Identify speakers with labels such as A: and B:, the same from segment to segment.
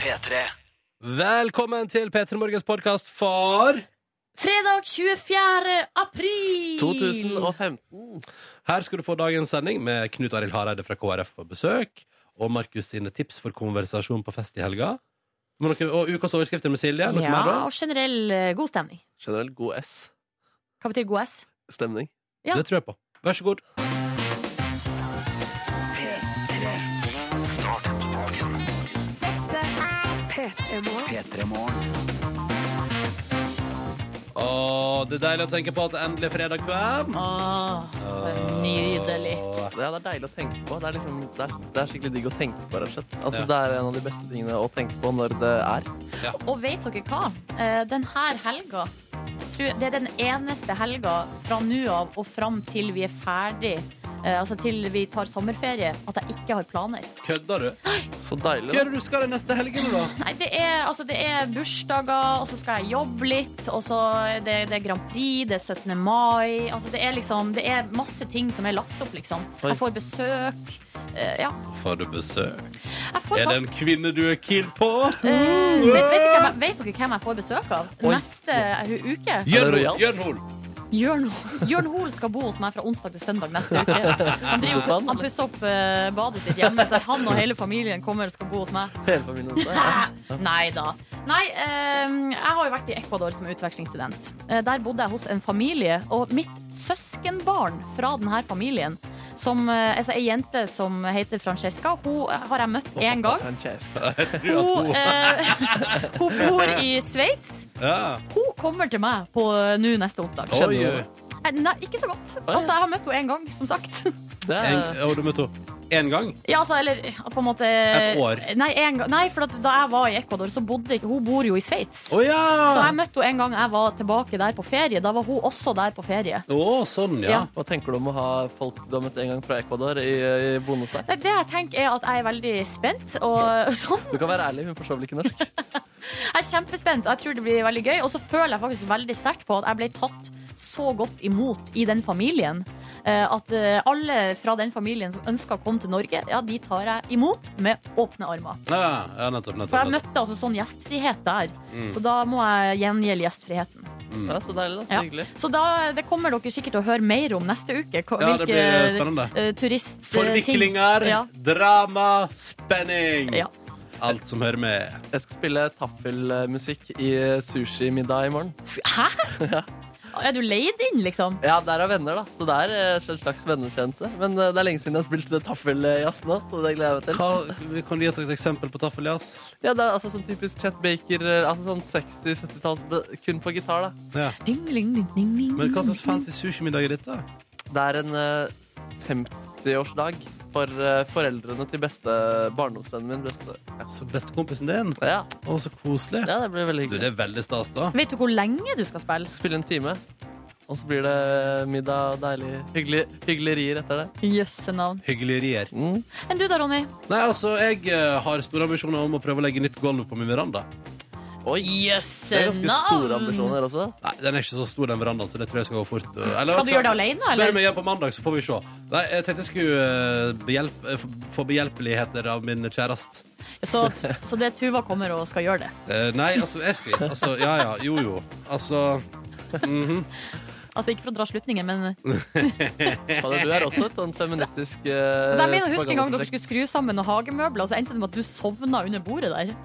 A: P3.
B: Velkommen til P3 Morgens podkast for
C: Fredag 24. april!
D: 2015.
B: Her skal du få dagens sending med Knut Arild Hareide fra KrF på besøk, og Markus sine tips for konversasjon på fest i helga. Men noe, og ukas overskrifter med Silje. Noe
C: Ja,
B: mer da?
C: og generell eh, god stemning.
D: Generelt god S.
C: Hva betyr god S?
D: Stemning.
C: Ja.
B: Det tror jeg på. Vær så god.
A: P3 Morgen.
B: Åh, det er deilig å tenke på at det endelig er fredag kveld.
C: Åh, det er nydelig.
D: Ja, det er deilig å tenke på. Det er, liksom, det er, det er skikkelig digg å tenke på, rett og slett. Altså,
B: Ja.
D: Det er en av de beste tingene å tenke på når det er.
C: Og vet dere hva? Eh, Den her helga jeg tror Det er den eneste helga fra nå av og fram til vi er ferdig, eh, altså til vi tar sommerferie, at jeg ikke har planer.
B: Kødder du?
D: Så deilig.
B: Hva
D: Da.
B: er det du skal i neste helg, eller da?
C: Nei, det er, altså, det er bursdager, og så skal jeg jobbe litt, og så er det, det er Grand Prix, det er 17. mai. Altså, det er liksom Det er masse ting som er lagt opp, liksom.
D: Oi.
C: Jeg får besøk. eh, ja.
B: Får du besøk?
C: Jeg får
B: Er det
C: fakt-
B: en kvinne du er keen på?
C: eh, vet, vet, dere, hvem- vet dere hvem jeg får besøk av
D: Oi.
C: neste hu- uke?
D: Er det
B: Jørn Hoel!
D: Royals?
B: Jørn Hoel!
C: Jørn, Jørn Hoel skal bo hos meg fra onsdag til søndag neste uke. Han, driver,
D: sofaen,
C: han pusser opp eh, badet sitt hjemme, så han og hele familien kommer og skal bo hos meg.
D: Hele familien hos deg. ja.
C: Nei da. Nei, eh, jeg har jo vært i Ecuador som utvekslingsstudent. Eh, der bodde jeg hos en familie, og mitt søskenbarn fra denne familien som, eh, altså, Ei jente som heter Francesca, hun eh, har jeg møtt én gang.
D: Francesca.
C: Hun, eh, hun bor i Sveits.
B: Ja.
C: Hun kommer til meg på eh, nå neste onsdag.
B: Oi,
D: Kjenner du
B: oi.
D: det?
C: Eh, Nei, ikke så godt.
D: Oi,
C: Altså,
D: yes.
C: Jeg har møtt henne én gang, som sagt.
D: Det
B: eh, En,
D: er,
C: Eh.
B: og du møtte henne én gang?
C: Ja, altså, eller eh, på en måte
B: Et år.
C: Nei, en gang. Nei for at da jeg var i Ecuador, så bodde ikke Hun bor jo i Sveits.
B: Å ja!
C: Så jeg møtte henne en gang jeg var tilbake der på ferie. Da var hun også der på ferie.
B: Å, sånn, ja.
C: Ja.
D: hva tenker du om å ha folk du har møtt en gang fra Ecuador, i, i bonus der?
C: Nei, Det jeg tenker er at jeg er veldig spent. Og sånn.
D: Du kan være ærlig, hun forstår vel ikke norsk?
C: Jeg er kjempespent, og jeg tror det blir veldig gøy. Og så føler jeg faktisk veldig sterkt på at jeg ble tatt så godt imot i den familien. eh, At eh, alle fra den familien som ønsker å komme til Norge, ja, de tar jeg imot med åpne armer.
B: Ja, ja, nettopp,
C: For
B: nettopp.
C: jeg
B: nettopp.
C: møtte altså sånn gjestfrihet der.
B: Mm.
C: Så da må jeg gjengjelde gjestfriheten.
D: Ja, så deilig, da. Så
C: Ja.
D: hyggelig.
C: Så da, det kommer dere sikkert til å høre mer om neste uke. hva-
B: Ja, det blir spennende.
C: eh, turist... eh, ting-
B: Forviklinger,
C: Ja.
B: drama, spenning.
C: Ja.
B: Alt som hører med.
D: Jeg skal spille taffelmusikk i sushimiddag i morgen.
C: Hæ? Er du leid inn, liksom?
D: Ja, der er venner, da. Så det er eh, en slags vennekjennelse. Men eh, det er lenge siden jeg har spilt eh, taffeljazz nå. Så det gleder jeg meg til.
B: Hva, kan du gi oss et eksempel på taffeljazz?
D: Ja, det er altså sånn typisk Chet Baker, eh, altså sånn 60-70-talls b- kun på gitar, da.
B: Ja.
C: Ding, ding, ding, ding, ding.
B: Men hva slags fancy sushimiddag er dette?
D: Det er en eh, 50-årsdag for eh, foreldrene til beste barndomsvennen min. Beste.
B: Så bestekompisen din?
D: Ja.
B: Å, så koselig.
D: ja, det blir veldig
B: Du,
D: hyggelig.
B: det er veldig stas, da.
C: Vet du hvor lenge du skal spille?
D: Spille en time, og så blir det eh, middag og deilig hyggelig, hyggelerier etter det.
C: Jøsse navn.
B: Hyggelerier.
D: Mm.
C: Enn du da, Ronny?
B: Nei, altså, jeg eh, har store ambisjoner om å prøve å legge nytt gulv på min veranda.
D: Oi! Det
C: Jøsse
D: er ganske store ambisjoner også.
B: Nei, Den er ikke så stor, den verandaen, så det tror jeg skal gå fort. eh, Eller,
C: Skal du
B: vet
C: gjøre det
B: hva?
C: alene, eller?
B: Spør meg igjen på mandag, så får vi se. Nei, jeg tenkte jeg skulle eh, behjelp, eh, få- få behjelpeligheter av min kjæreste.
C: Så, så det er Tuva kommer og skal gjøre det.
B: Eh, nei, altså, jeg skal altså, Ja ja, jo jo. Altså
C: Altså Ikke for å dra slutningen, men
D: Fader, du er også et sånn feministisk uh,
C: Men jeg mener, Husk en gang dere skulle skru sammen noen hagemøbler, og så endte det med at du sovna under bordet der.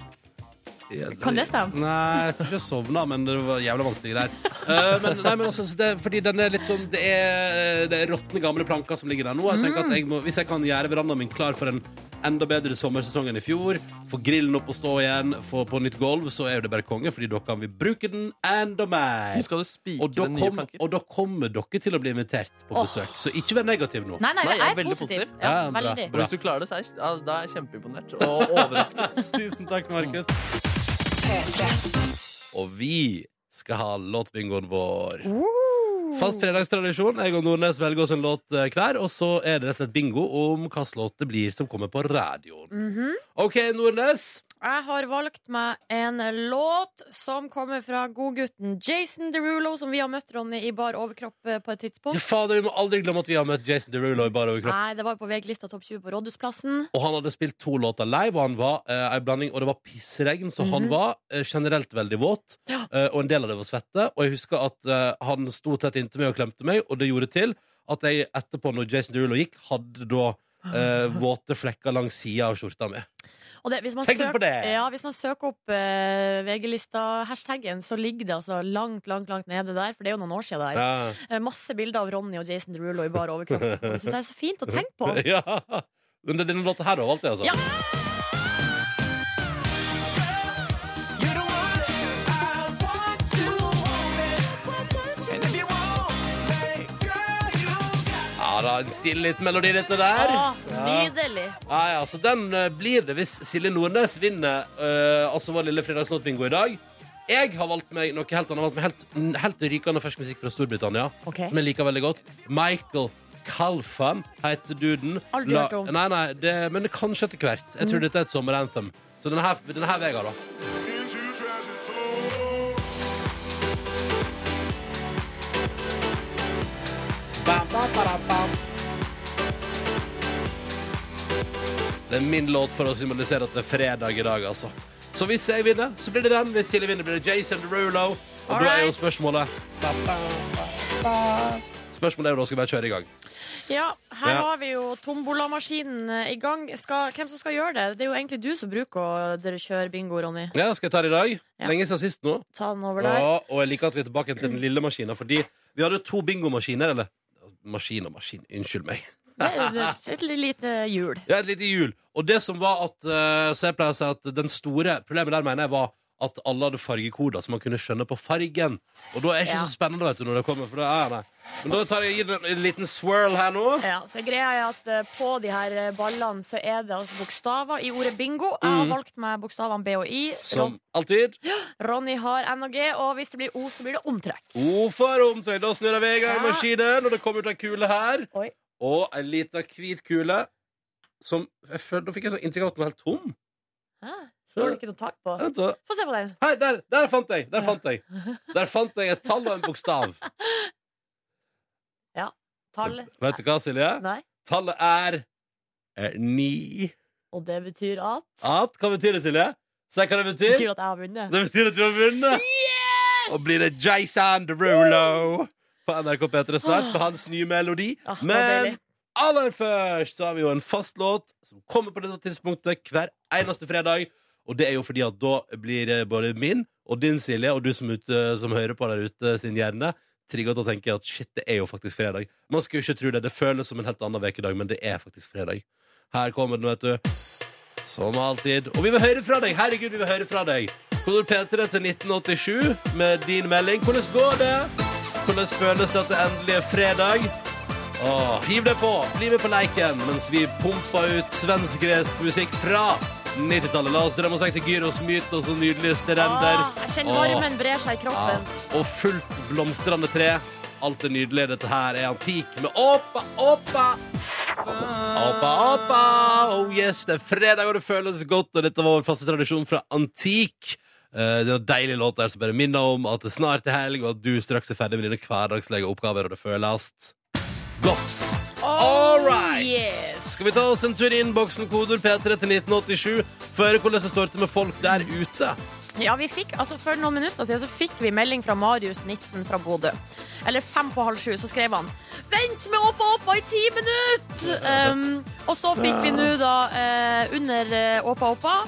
C: Kan det stemme?
B: Nei, jeg tror ikke jeg sovna, men det var jævla vanskelige greier. Eh, men, nei, men altså, det, fordi den er litt sånn Det er, det er råtne gamle planker som ligger der nå. Jeg tenker at jeg må, Hvis jeg kan gjøre verandaen min klar for en enda bedre sommersesong enn i fjor, få grillen opp og stå igjen, få på nytt gulv, så er jo det bare konge, fordi da kan vi bruke den enda mer.
D: Skal du spikre
B: Og da,
D: nye
B: kom,
D: planker?
B: og da kommer dere til å bli invitert på
C: Åh.
B: besøk, så ikke vær negativ nå.
C: Nei, nei,
D: Nei,
C: jeg er
D: veldig
C: positiv.
D: positiv.
C: Ja,
B: Ja, bra.
C: veldig.
D: Og hvis du klarer det, så er jeg, ja, da er jeg kjempeimponert og overrasket.
B: Tusen takk, Markus. Og vi skal ha låtbingoen vår. Fast fredagstradisjon. Jeg og Nordnes velger oss en låt eh, hver, og så er det rett og slett bingo om hvilken låt det blir som kommer på radioen. OK, Nordnes.
C: Jeg har valgt meg en låt som kommer fra godgutten Jason Derulo, som vi har møtt, Ronny, i bar overkropp eh, på et
B: Ja,
C: tidspunkt.
B: fader, vi må aldri glemme at vi har møtt Jason Derulo i bar overkropp.
C: Nei, det var på VG-lista Topp 20 på Rådhusplassen.
B: Og han hadde spilt to låter live, og han var eh, ei blanding, og det var pissregn, så han var eh, generelt veldig våt,
C: Mhm. Ja.
B: eh, og en del av det var svette. Og jeg husker at eh, han sto tett inntil meg og klemte meg, og det gjorde til at jeg etterpå, når Jason Derulo gikk, hadde da
C: Ah.
B: eh, våte flekker langs sida av skjorta mi.
C: Og det, hvis, man
B: Tenk litt på
C: søker,
B: det!
C: ja, hvis man søker opp eh, VG-lista-hashtaggen, så ligger det altså langt, langt, langt nede der, for det er jo noen år siden der.
B: Ja.
C: Eh, Masse bilder av Ronny og Jason Derulo i bar overkropp. Og Det syns jeg er så fint å tenke på.
B: ja. Men det er denne låta her da, valgte jeg, altså.
C: Ja.
B: Ja da, en stille liten melodi dette der.
C: Å,
B: Ja.
C: nydelig.
B: Ja, ja, så den eh, blir det hvis Silje Nordnes vinner eh, altså vår lille fredagslåtbingo i dag. Jeg har valgt meg noe helt annet. Jeg har Valgt meg helt, n- helt rykende fersk musikk fra Storbritannia.
C: Ok.
B: Som jeg liker veldig godt. Michael Calfan heter duden.
C: Aldri hørt om. Mm.
B: Nei, nei, det, men kanskje etter hvert. Jeg tror dette er et sommeranthem. Så denne her, denne her veier jeg, da. Bam, bam, bam, bam. Det er min låt for å symbolisere at det er fredag i dag, altså. Så hvis jeg vinner, så blir det den. Hvis Silje vinner, blir det Jason Derulo. Og da er jo
C: Alright.
B: spørsmålet Ba, ba, ba, ba. Spørsmålet er jo da skal vi bare kjøre i gang.
C: Ja, her
B: Ja.
C: har vi jo tombolamaskinen eh, i gang. Skal, hvem som skal gjøre det? Det er jo egentlig du som bruker å dere kjøre bingo, Ronny.
B: Ja, skal jeg ta det i dag?
C: Ja.
B: Lenge siden sist nå.
C: Ta den over der.
B: Ja, og jeg liker at vi er tilbake til den lille maskinen, fordi vi hadde to bingomaskiner, eller Maskin og maskin, unnskyld meg.
C: Det er- det er et lite hjul.
B: Ja, et lite hjul. Og det som var at eh, Så jeg pleier å si at den store problemet der mener jeg var at alle hadde fargekoder, så man kunne skjønne på fargen. Og da er det ikke
C: Ja.
B: så spennende vet du, når det kommer. For da er det. Men da tar jeg gir den en liten swirl her nå.
C: Ja, så greia er at eh, på de her eh, ballene så er det altså bokstaver i ordet bingo. Jeg
B: Mm.
C: har valgt meg bokstavene B og I.
B: Som alltid.
C: Ron- Ronny har N og G, og hvis det blir O, så blir det omtrekk.
B: O for omtøy. Da snurrer vi i gang
C: Ja.
B: maskinen, og det kommer ut ei kule her.
C: Oi.
B: Og ei lita hvit kule som jeg føler, Da fikk jeg sånn inntrykk av at den var helt tom.
C: Hæ? Ah, Står det ikke noe tak på?
B: Vent da.
C: Få se på den.
B: Hei, der, der fant jeg! Der fant jeg Der fant jeg et tall og en bokstav.
C: Tall.
B: Vet du hva, Silje?
C: Nei.
B: Tallet er, er ni.
C: Og det betyr at
B: At, hva betyr det, Silje? Se hva det
C: Det
B: betyr.
C: betyr at jeg har vunnet.
B: Det betyr at du har vunnet. Og blir det Jason Derulo på NRK P3 snart, med hans nye melodi.
C: Ah, det var
B: Men
C: deilig.
B: aller først så har vi jo en fast låt som kommer på dette tidspunktet hver eneste fredag. Og det er jo fordi at da blir eh, både min og din, Silje, og du som, ute, som hører på der ute, sin hjerne trigget til å tenke at shit, det er jo faktisk fredag. Man skulle ikke tro det. Det føles som en helt annen ukedag, men det er faktisk fredag. Her kommer den, vet du. Som alltid. Og vi vil høre fra deg! Herregud, vi vil høre fra deg! Kodord P3 til 1987 med din melding. Hvordan går det? Hvordan føles det at det endelig er fredag? Åh, hiv deg på! Bli med på leiken mens vi pumper ut svensk-gresk musikk fra 90-tallet. La oss drømme oss vekk til Gyros mytos og nydelige sterender.
C: Ah, jeg kjenner
B: Åh. Ah.
C: varmen brer seg i kroppen.
B: Ja, og fullt blomstrende tre. Alt er nydelig. Dette her er antik med Åpa, Åpa! Åpa, Åpa! Oh yes, det er fredag, og det føles godt. Og dette var vår faste tradisjon fra antik. Eh, Det er en deilig låt der som bare minner om at det snart er helg, og at du straks er ferdig med dine hverdagslige oppgaver, og det føles godt. All right!
C: Yes.
B: Skal vi ta oss en tur i innboksen, kodord P3 til 1987, for å høre hvordan det står til med folk der ute?
C: Ja, vi fikk, altså For noen minutter siden så fikk vi melding fra Marius 19 fra Bodø. Eller fem på halv sju, så skrev han 'Vent med Åpa Åpa i ti minutter!' Um, og så fikk vi nå, da, eh, under eh, Åpa Åpa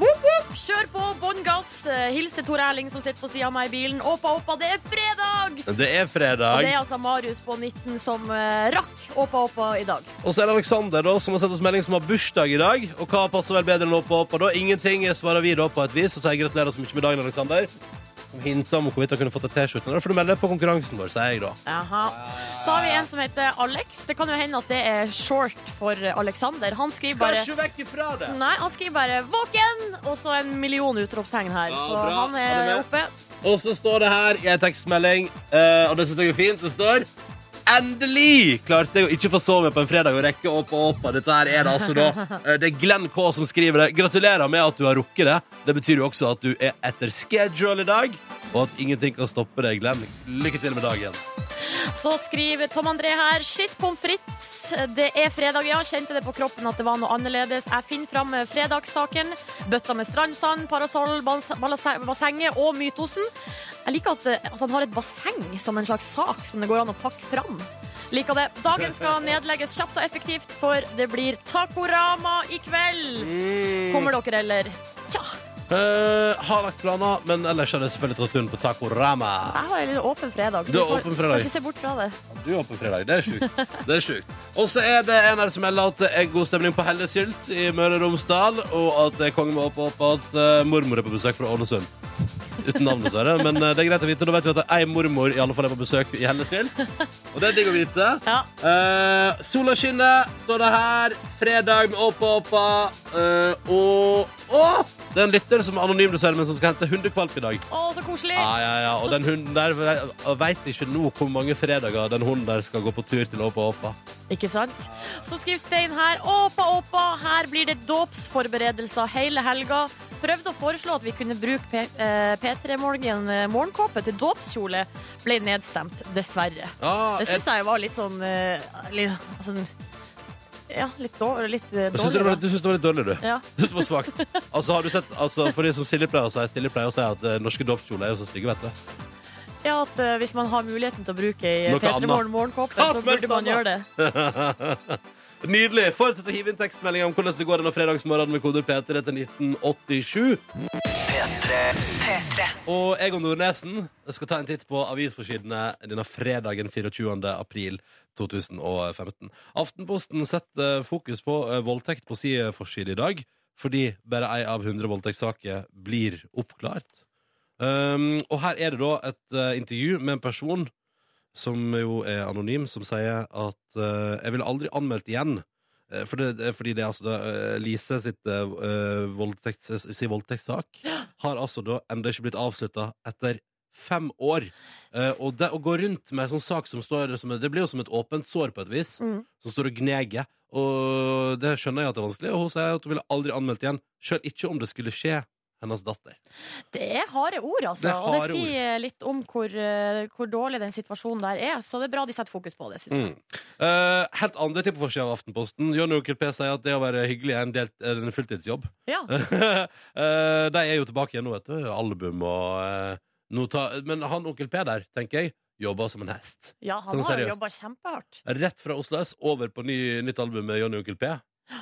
C: Woop, woop, kjør på, bånn gass. Eh, Hils til Tor Erling som sitter på sida av meg i bilen. Åpa Åpa, det er fredag!
B: Det er
C: Og
B: fredag.
C: det er altså Marius på 19 som eh, rakk Åpa Åpa i dag.
B: Og så er det Alexander da, som har sett oss melding som har bursdag i dag. Og hva passer vel bedre enn å hoppe opp? Og da ingenting svarer vi da på et vis. Og sier gratulerer så mye med dagen, Alexander. Som hintet om hvorvidt han kunne fått et T-skjorte. Da får du melde deg på konkurransen vår, sier jeg da.
C: Jaha. Så har vi en som heter Alex. Det kan jo hende at det er short for Alexander. Han skriver bare
B: ikke vekk ifra det!
C: Nei, han skriver bare 'våken' og så en million utropstegn her.
B: Ja,
C: så
B: bra.
C: han er,
B: Han er med.
C: oppe.
B: Og så står det her i en tekstmelding, eh, og det syns jeg er fint, det står Endelig klarte jeg å ikke få sove meg på en fredag og rekke opp og opp. og Dette her er det altså da. eh, Det er Glenn K som skriver det. Gratulerer med at du har rukket det. Det betyr jo også at du er etter schedule i dag, og at ingenting kan stoppe deg, Glenn. Lykke til med dagen.
C: Så skriver Tom André her Shit, pommes frites. Det er fredag, ja. Kjente det på kroppen at det var noe annerledes. Jeg finner fram eh, fredagssaken. Bøtta med strandsand, parasoll, bas- balas- bassenget og mytosen. Jeg liker at, eh, at han har et basseng som en slags sak som det går an å pakke fram. Liker det. Dagen skal nedlegges kjapt og effektivt, for det blir Tacorama i kveld.
B: Mm.
C: Kommer dere, eller? Tja.
B: Eh, har lagt planer, men ellers har jeg selvfølgelig tatt turen på Taco Rama.
C: Jeg har en litt åpen fredag. så
B: Du har
C: vi får-
B: åpen fredag.
C: Skal ikke se bort fra det.
B: Du er oppe fredag. Det er sjukt. Det er sjukt. Og så er det en her som melder at det er god stemning på Hellesylt i Møre og Romsdal, og at det er konge med opp opp, og at eh, mormor er på besøk fra Ålesund. Uten navn, dessverre. Men eh, det er greit å vite. Da vet vi at det er ei mormor i alle fall er på besøk i Hellesylt. Og det er digg å vite.
C: Ja.
B: Eh, sola skinner, står det her. Fredag med Åpa Åpa. eh, og Å! Det er en lytter som er anonym, dessverre, men som skal hente hundekvalp i dag.
C: Å, så koselig.
B: Ja, ja, ja. Og
C: Så-
B: den hunden der jeg veit ikke nå hvor mange fredager den hunden der skal gå på tur til Åpa Åpa.
C: Ikke sant? Så skriver Stein her Åpa, åpa, her blir det dåpsforberedelser hele helga. Prøvde å foreslå at vi kunne bruke P- eh, P3-morgen eh, morgenkåpe til dåpskjole. Ble nedstemt, dessverre.
B: Ja,
C: Det
B: jeg-
C: syns jeg var litt sånn eh, litt, altså, Ja, litt, dår, litt eh,
B: jeg synes det var-
C: dårlig.
B: Du syns det var litt dårlig, du?
C: da. Ja.
B: Du synes det var svakt. Altså, har du sett, altså, for de som Silje pleier å si, Silje pleier å si at eh, norske dåpskjoler er jo så stygge, vet du.
C: ja, at eh, hvis man har muligheten til å bruke ei
B: Noe
C: P3-morgen morgenkåpe,
B: Hva
C: så
B: som helst
C: burde man
B: annet.
C: gjøre det.
B: Nydelig. Fortsett å hive inn tekstmeldinger om hvordan det går denne fredagsmorgenen med koder P3 til 1987. Og jeg og Nordnesen skal ta en titt på avisforsidene denne fredagen 24. april 2015. Aftenposten setter fokus på eh, voldtekt på sin forside i dag, fordi bare ei av 100 voldtektssaker blir oppklart. Um, og her er det da et eh, intervju med en person som jo er anonym, som sier at eh, jeg ville aldri anmeldt igjen. Eh, For det, det- fordi det er altså da, eh, Lise sitt eh, voldtekts, si voldtektssak har altså da enda ikke blitt avslutta etter fem år. Eh, og det å gå rundt med en sånn sak som står som, et- Det blir jo som et åpent sår på et vis,
C: Mm.
B: som står og gneger. Og det skjønner jeg at det er vanskelig, og hun sier at hun ville aldri anmeldt igjen, sjøl ikke om det skulle skje hennes datter.
C: Det er harde ord, altså.
B: Det er
C: og
B: harde
C: det sier litt om hvor, eh, hvor dårlig den situasjonen der er. Så det er bra de setter fokus på det, syns jeg.
B: Mm. Eh, helt andre ting på forsida av Aftenposten. Johnny Onkel P sier at det å være hyggelig er en, delt, er en fulltidsjobb.
C: Ja.
B: Eh, de er jo tilbake igjen nå, vet du. Album og eh, nota- Men han Onkel P der, tenker jeg, jobber som en hest.
C: Ja, han
B: Sånn
C: har
B: seriøst.
C: jo jobba kjempehardt.
B: Rett fra Oslo S over på ny, nytt album med Johnny Onkel P.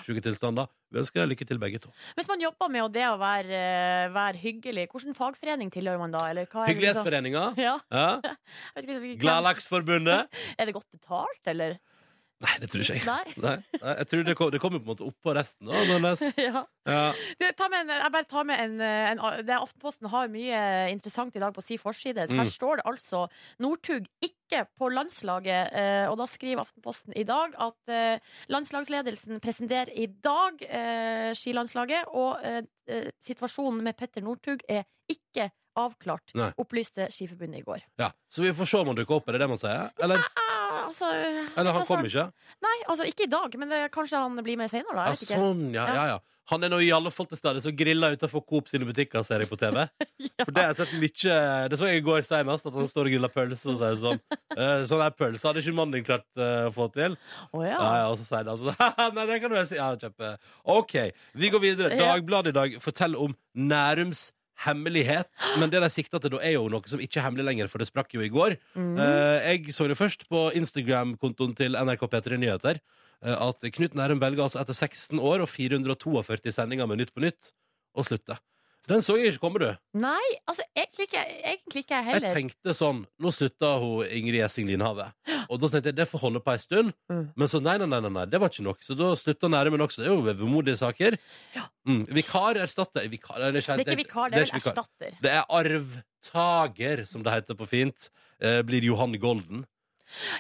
B: Sjuke tilstander. Vi ønsker deg lykke til, begge to.
C: Hvis man jobber med det å være, eh, være hyggelig, hvilken fagforening tilhører man da? Eller hva er det liksom?
B: Hyggelighetsforeninga.
C: Ja,
B: Ja.
C: jeg vet ikke, liksom, hvem-
B: Gladlaksforbundet.
C: er det godt betalt, eller?
B: Nei, det tror ikke jeg.
C: Nei.
B: Nei, nei, jeg tror det kom- det kommer på en måte oppå resten. Da, Nordnes.
C: Ja.
B: ja.
C: Du, ta med en, jeg bare tar med en, eh, en det, er Aftenposten har mye interessant i dag på sin forside. Her
B: Mm.
C: står det altså Northug ikke på landslaget. eh, Og da skriver Aftenposten i dag at eh, landslagsledelsen presenterer i dag eh, skilandslaget, og eh, eh, situasjonen med Petter Northug er ikke avklart,
B: Nei.
C: opplyste Skiforbundet i går.
B: Ja, Så vi får se om han dukker opp, er det det man sier? Eller,
C: Ah, altså,
B: eller han kom ikke?
C: Nei, altså ikke i dag, men det, kanskje han blir med senere. Da,
B: Ja,
C: jeg vet ikke.
B: sånn, ja, ja, ja. Han er nå i alle fall til stede så grilla utenfor Coop sine butikker, ser jeg på TV. For det har jeg sett mye Det så jeg i går senest, at han står og griller pølse og sier sånn. eh, Sånn her pølse hadde ikke mannen din klart eh, å få til.
C: Å, ja.
B: Ja, ja, og så sier han sånn Nei, det kan du vel si. Ja, kjempe. OK, vi går videre.
C: Ja.
B: Dagbladet i dag forteller om Nærums hemmelighet. Men det de sikter til da, er jo noe som ikke er hemmelig lenger, for det sprakk jo i går.
C: Mhm.
B: Eh, jeg så det først på Instagram-kontoen til NRK P3 Nyheter. eh, At Knut Nærum velger altså etter 16 år og 442 sendinger med Nytt på Nytt å slutte. Den så jeg ikke komme, du.
C: Nei, altså egentlig ikke, egentlig ikke jeg
B: Jeg
C: heller.
B: tenkte sånn Nå slutta hun Ingrid Gjessing Linhave. Og da tenkte jeg det får holde på ei stund.
C: Mm.
B: Men så nei, nei, nei, nei, nei, det var ikke nok. Så da slutta Nærumen også. Det er jo vemodige saker. Mm. Vikar erstatter vikar, eller,
C: Det er ikke vikar, det er vel
B: ikke vikar.
C: erstatter.
B: Det er arvtaker, som det heter på fint. Eh, blir Johan Golden.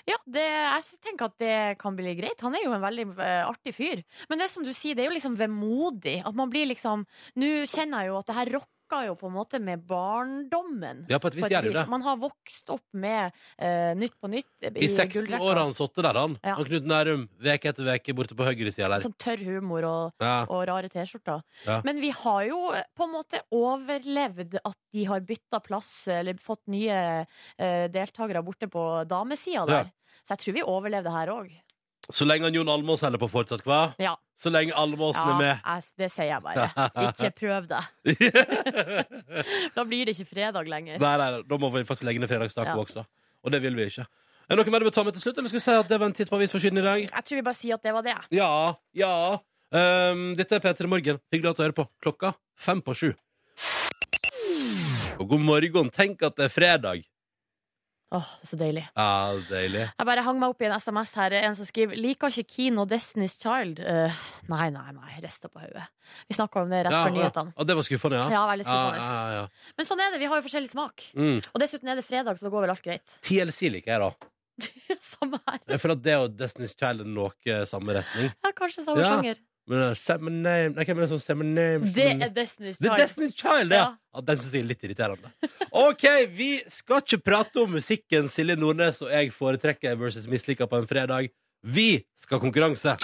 C: Ja, det, jeg tenker at det kan bli greit. Han er jo en veldig eh, artig fyr. Men det som du sier, det er jo liksom vemodig. At man blir liksom Nå kjenner jeg jo at det her rocker fucka jo på en måte med barndommen.
B: Ja, på et
C: på
B: vis
C: et
B: gjør du
C: vis.
B: det.
C: Man har vokst opp med eh, Nytt på nytt i,
B: I 16
C: gullrekka.
B: år har han sittet der, han.
C: Ja.
B: Han Knut Nærum, veke etter veke borte på høyresida der.
C: Sånn tørr humor og,
B: Ja.
C: og rare T-skjorter.
B: Ja.
C: Men vi har jo eh, på en måte overlevd at de har bytta plass, eller fått nye eh, deltakere borte på damesida
B: Ja.
C: der. Så jeg tror vi overlevde her òg.
B: Så lenge han Jon Almås holder på fortsatt, hva?
C: Ja.
B: Så lenge Almåsen
C: Ja,
B: er
C: jeg- det sier jeg bare. Ikke prøv det.
B: med.
C: Da blir det ikke fredag lenger.
B: nei, nei, nei, da må vi faktisk legge ned fredagstaco
C: Ja.
B: også. Og det vil vi ikke. Er det noe mer du vil ta med til slutt, eller skal vi si at det var en titt på avisforsiden i dag?
C: Jeg tror vi bare sier at det var det.
B: Ja, ja. Ehm, dette er P3 Morgen. Hyggelig at du hører på. Klokka fem på sju. Og god morgen. Tenk at det er fredag.
C: Åh, det er så deilig.
B: Ja, deilig.
C: Jeg bare hang meg opp i en SMS her. En som skriver 'Liker ikke Keen og Destiny's Child'. Eh, nei, nei, nei. Rista på hodet. Vi snakka om det rett
B: Ja,
C: før
B: ja.
C: nyhetene.
B: Og det var skuffende, ja?
C: Ja, veldig skuffende.
B: Ja, ja, ja.
C: Men sånn er det. Vi har jo forskjellig smak.
B: Mm.
C: Og dessuten er det fredag, så da går vel alt greit.
B: TLC liker jeg, da.
C: samme her.
B: Jeg føler at det og Destiny's Child er noe samme retning.
C: Ja, kanskje samme
B: Ja.
C: sjanger.
B: Men det er Summer Name Nei, hvem er det som Summer Name?
C: Det er
B: Mm.
C: Destiny's
B: Det
C: Child.
B: er Destiny's Child, ja!
C: Ja.
B: ja den syns jeg er litt irriterende. OK, vi skal ikke prate om musikken Silje Nordnes og jeg foretrekker versus misliker på en fredag. Vi skal ha konkurranse.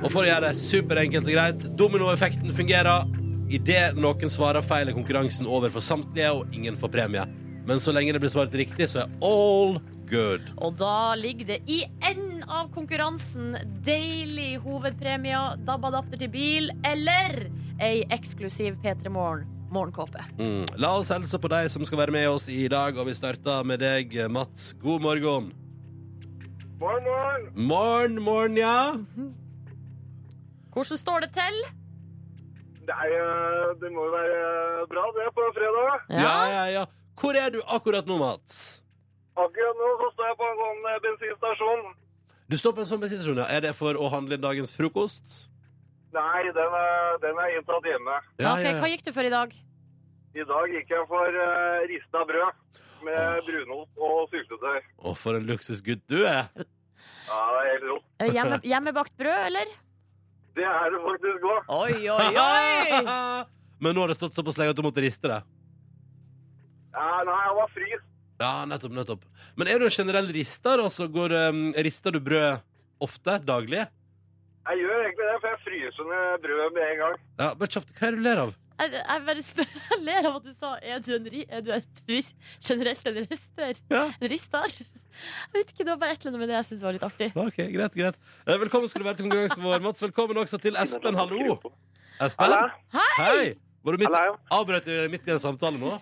B: Og for å gjøre det superenkelt og greit, dominoeffekten fungerer. Idet noen svarer feil, er konkurransen over for samtlige, og ingen får premie. Men så lenge det blir svart riktig, så er all good.
C: Og da ligger det i enden av konkurransen deilig hovedpremie, DAB-adapter til bil eller ei eksklusiv P3 Morgen morgenkåpe.
B: Mm. La oss helse på deg som skal være med oss i dag, og vi starter med deg, Mats. God morgen.
E: Morgen, morgen.
B: Morgen, morgen, ja.
C: Hvordan står det til?
E: Nei, eh, det må jo være eh, bra det på en fredag.
B: Ja, ja, ja. Hvor er du akkurat nå, Mats?
E: Akkurat nå så står jeg på en sånn eh, bensinstasjon.
B: Du står på en sånn bensinstasjon, ja. Er det for å handle dagens frokost?
E: Nei, den er, den er inntatt hjemme.
C: Ja, ok. Hva gikk du for i dag?
E: I dag gikk jeg for eh, rista brød med brunost og syltetøy.
B: Å, for en luksusgutt du er.
E: Ja, det er helt rått.
C: Eh, Hjemme, hjemmebakt brød, eller?
E: Det er det faktisk godt.
C: Oi, oi, oi!
B: Men nå har det stått såpass lenge at du måtte riste det.
E: Ja, nei, jeg var fryst.
B: Ja, nettopp, nettopp. Men er du en generell rister, altså? Går, um, rister du brød ofte? Daglig?
E: Jeg gjør egentlig det, for jeg fryser ned brød med en gang.
B: Ja, bare kjapt. Hva er det du ler av?
C: Jeg, jeg bare spør, jeg ler av at du sa Er du en, ri, er du en ris, generelt en rister?
B: Ja.
C: En ristar? Jeg vet ikke, Det var bare et eller annet med det jeg syntes var litt artig.
B: Ok, greit, greit. Eh, Velkommen skal du være til konkurransen vår, Mats. Velkommen også til Espen, hallo. Espen?
E: Hallo.
B: Hei! Var du midt,
E: Hallo.
B: avbrøt du midt i en samtale nå?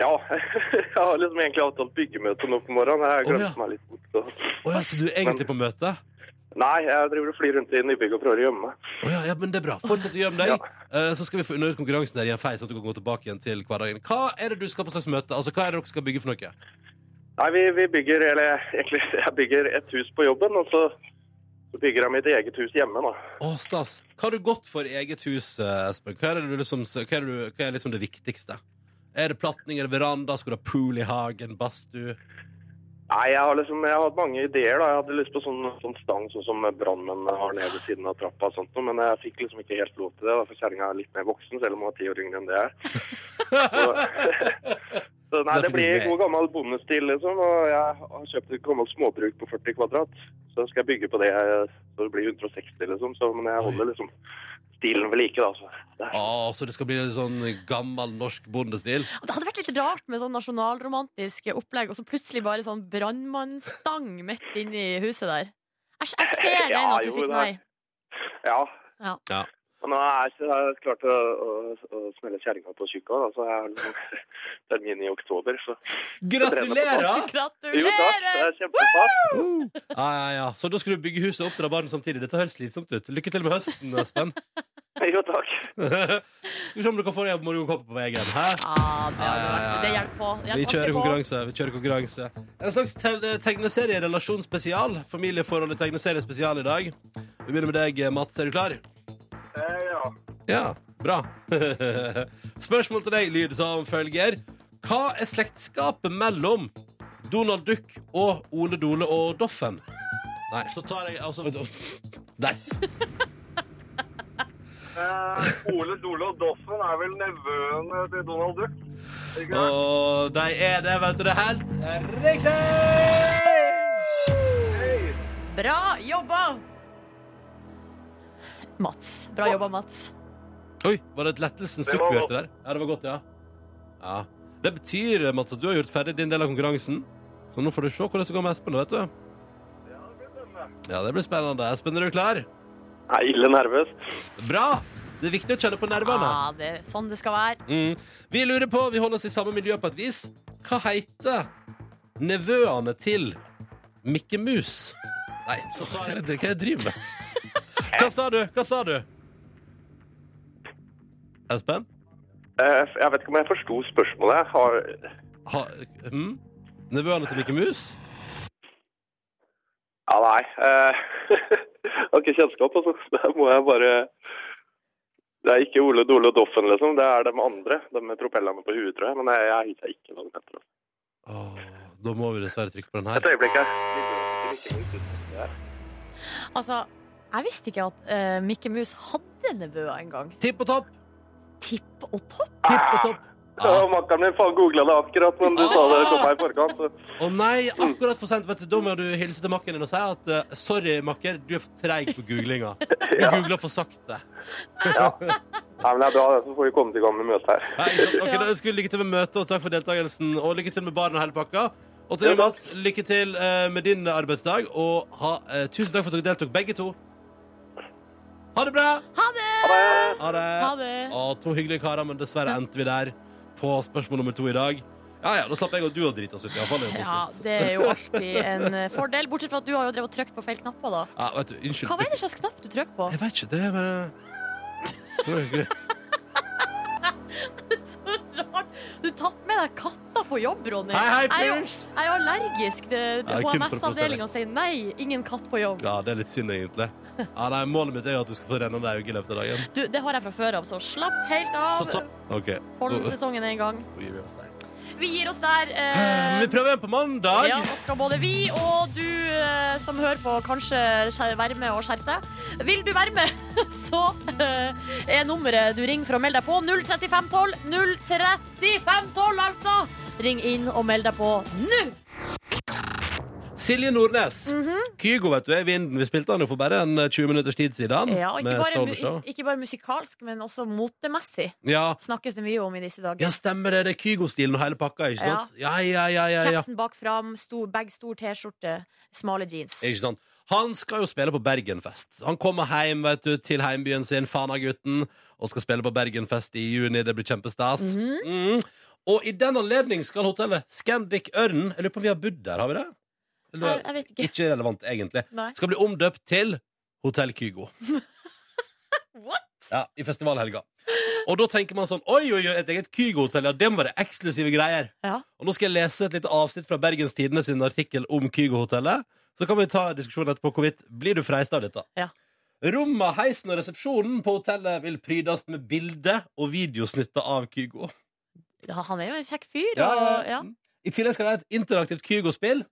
E: Ja, jeg har liksom egentlig avtalt byggemøte nå på morgenen. Jeg
B: glemte Å, ja.
E: meg litt bort. Så.
B: Å ja, så du er egentlig på møte? Å
E: Nei, jeg driver og flyr rundt i nybygg og prøver å gjemme meg.
B: ja, ja, men det er bra. Fortsett å gjemme deg, eh, så skal vi få unna ut konkurransen der i en fei, så at du kan gå tilbake igjen til hverdagen. Hva er det du skal på slags møte? Altså, hva er det dere skal bygge for noe?
E: Nei, vi, vi bygger, eller egentlig, jeg bygger et hus på jobben, og så, så bygger jeg mitt eget hus hjemme nå.
B: Å, stas. Hva har du gått for i eget hus, eh, Espen? Hva er, det du liksom, hva, er det du, hva er liksom det viktigste? Er det platning, er det veranda, skal du ha pool i hagen, badstue?
E: Nei, jeg har liksom, jeg har hatt mange ideer da. Jeg hadde lyst på sånn, sånn stang sånn som brandmenn har nede ved siden av trappa og sånt, noe, men jeg fikk liksom ikke helt lov til det, da, for kjerringa er litt mer voksen, selv om hun er ti år yngre enn det jeg er. Så, så nei, det blir god gammel bondestil liksom, og jeg har kjøpt et gammelt småbruk på 40 kvadrat, så skal jeg bygge på det, eh, så det blir 160 liksom, så, men jeg holder liksom stilen ved like da, så det er...
B: Å, så det skal bli en sånn gammel norsk bondestil?
C: Og Det hadde vært litt rart med sånn nasjonalromantisk opplegg, og så plutselig bare sånn brannmannsstang midt inni huset der. Jeg, jeg ser den
E: Ja,
C: at du
E: jo,
C: fikk
E: det er-
C: nei.
E: Ja.
C: Ja.
B: Ja.
E: Og nå er jeg ikke klart å, å, å smelle kjerringa på tjukka, da, så jeg har liksom termin i oktober. Så.
B: Gratulerer!
E: Jo takk, det
C: Gratulerer!
E: er kjempestas.
B: Ja, ja, ja. Så da skal du bygge huset og oppdra barn samtidig. Dette høres slitsomt ut. Lykke til med høsten, Espen.
E: Jo takk.
B: skal vi se om dere får en morgenkopp på veien. Hæ?
C: Ja, det, hadde vært, det hjelper på. Det
B: Vi
C: hjelper
B: kjører
C: alltid på.
B: konkurranse. vi kjører konkurranse En slags te- tegneserie-relasjonsspesial. Familieforholdet tegneseriespesial i dag. Vi begynner med deg, Mats. Er du klar?
E: Eh, ja.
B: Ja, bra. Spørsmål til deg lyder som følger. Hva er slektskapet mellom Donald Duck og Ole Dole og Doffen? Nei, så tar jeg altså Der.
E: Eh, Ole Dole og Doffen er vel nevøen til Donald Duck? Ikke sant?
B: Og de er det, vet du. Det er helt eh, riktig!
E: Hei!
C: Bra jobba!
F: Mats. Bra jobba, Mats.
B: Oi, var det et lettelsens
E: Det
B: sukk
E: var
B: vi hørte der? Ja, det var godt, ja. ja. Det betyr, Mats, at du har gjort ferdig din del av konkurransen. Så nå får du se hvordan det går med Espen, da, vet du. Ja, det blir spennende. Espen, er du klar?
E: Jeg er ille nervøs.
B: Bra! Det er viktig å kjenne på nervene.
F: Ja, det er sånn det skal være.
B: Mm. Vi lurer på, vi holder oss i samme miljø på et vis. Hva heter nevøene til Mikke Mus? Nei, hva er det hva er det jeg driver med? Hva sa du? Hva sa du? Espen?
E: Eh, Jeg vet ikke om jeg forsto spørsmålet. Jeg Har...
B: Ha, hm? Nevøene til Mikke Mus?
E: Ja, nei. eh, Jeg har ikke kjennskap, altså. Der må jeg bare Det er ikke Ole Dole og Doffen, liksom. Det er de andre. De med propellene på huet, tror jeg. Men jeg, jeg hitter ikke langt etter. altså.
B: Åh, da må vi dessverre trykke på den
E: Et
B: her.
E: øyeblikk her.
C: Altså, jeg visste ikke at eh, Mikke Mus hadde nevøer en gang.
B: Tipp og topp!
C: Tipp og topp?
B: Tipp og topp! Ah.
E: Ja, Makkeren min faen googla det akkurat, men du sa det kom meg i forkant. Så.
B: Å nei, akkurat for sent. Vet du, da må du hilse til makken din og si at eh, sorry, makker, du er for treig på googlinga. Du googler for sakte.
E: Nei, men det er bra, det. Så får vi komme til gang med møtet her.
B: Nei, ikke sant. Ok, da ønsker vi lykke til med møtet, og takk for deltakelsen. Og lykke til med baren og hele pakka. Og til deg, Mats, lykke til eh, med din arbeidsdag, og ha, eh, tusen takk for at dere deltok, begge to. Ha det bra! Ha det!
F: Ha det.
B: Å, to hyggelige karer, men dessverre endte vi der på spørsmål nummer to i dag. Ja, ja, da slapp jeg og du å drite oss ut, iallfall.
C: Ja, det er jo alltid en eh, fordel. Bortsett fra at du har jo drevet og trykt på feil knapper, da.
B: Ja, vet du, unnskyld.
C: Hva var det slags knapp du trykte på?
B: Jeg vet ikke, det er bare Det var hyggelig.
C: Så rart! Du har tatt med deg katta på jobb, Ronny.
B: Hei, hei,
C: Jeg er jo-
B: Purs!
C: Jeg er jo allergisk. Det-
B: Ja, det er kun for å
C: HMS-avdelinga sier nei, ingen katt på jobb.
B: Ja, det er litt synd, egentlig. Ja, nei, Målet mitt er jo at du skal få rennende øyne i løpet av dagen.
C: Du, det har jeg fra før av, så slapp helt
B: Så ta...
C: av.
B: OK. Nå
C: Pollensesongen er i gang.
B: gir vi oss der.
C: Vi gir oss der. eh,
B: Vi prøver igjen på mandag.
C: Ja, nå skal både vi og du eh, som hører på, kanskje skjer- være med og skjerpe deg. Vil du være med, så eh, er nummeret du ringer for å melde deg på 03512. 03512, altså! Ring inn og meld deg på nå!
B: Silje Nordnes.
C: Mhm.
B: Kygo vet du, er i vinden. Vi spilte han jo for bare en eh, 20 minutters tid siden.
C: Ja, og ikke,
B: med
C: bare,
B: Stone Show.
C: mu- ikke bare musikalsk, men også motemessig
B: Ja.
C: snakkes det mye om i disse dager.
B: ja, stemmer det. Det er Kygo-stilen og hele pakka, ikke
C: Ja.
B: sant? Ja, ja, ja, ja, ja.
C: Capsen bak fram, stor, bag, stor T-skjorte, smale jeans.
B: Ikke sant? Han skal jo spille på Bergenfest. Han kommer hjem vet du, til heimbyen sin, Fanagutten, og skal spille på Bergenfest i juni. Det blir kjempestas.
C: Mhm.
B: Mm. Og i den anledning skal hotellet Scandic Ørn Jeg lurer på om vi har bodd der, har vi det?
C: Jeg, jeg vet ikke.
B: Ikke relevant, egentlig.
C: Nei.
B: Skal bli omdøpt til Hotell Kygo.
C: What?
B: Ja, I festivalhelga. Og da tenker man sånn Oi, oi, oi, et eget Kygo-hotell, ja, det må være eksklusive greier.
C: Ja.
B: Og nå skal jeg lese et lite avsnitt fra Bergens Tidende sin artikkel om Kygo-hotellet. Så kan vi ta diskusjonen etterpå hvorvidt blir du freista av dette.
C: Ja.
B: Romma, heisen og resepsjonen på hotellet vil prydes med bilde og videosnutter av Kygo.
C: Ja, Han er jo en kjekk fyr.
B: Ja, ja,
C: Og,
B: ja.
C: ja.
B: I tillegg skal det være et interaktivt Kygo-spill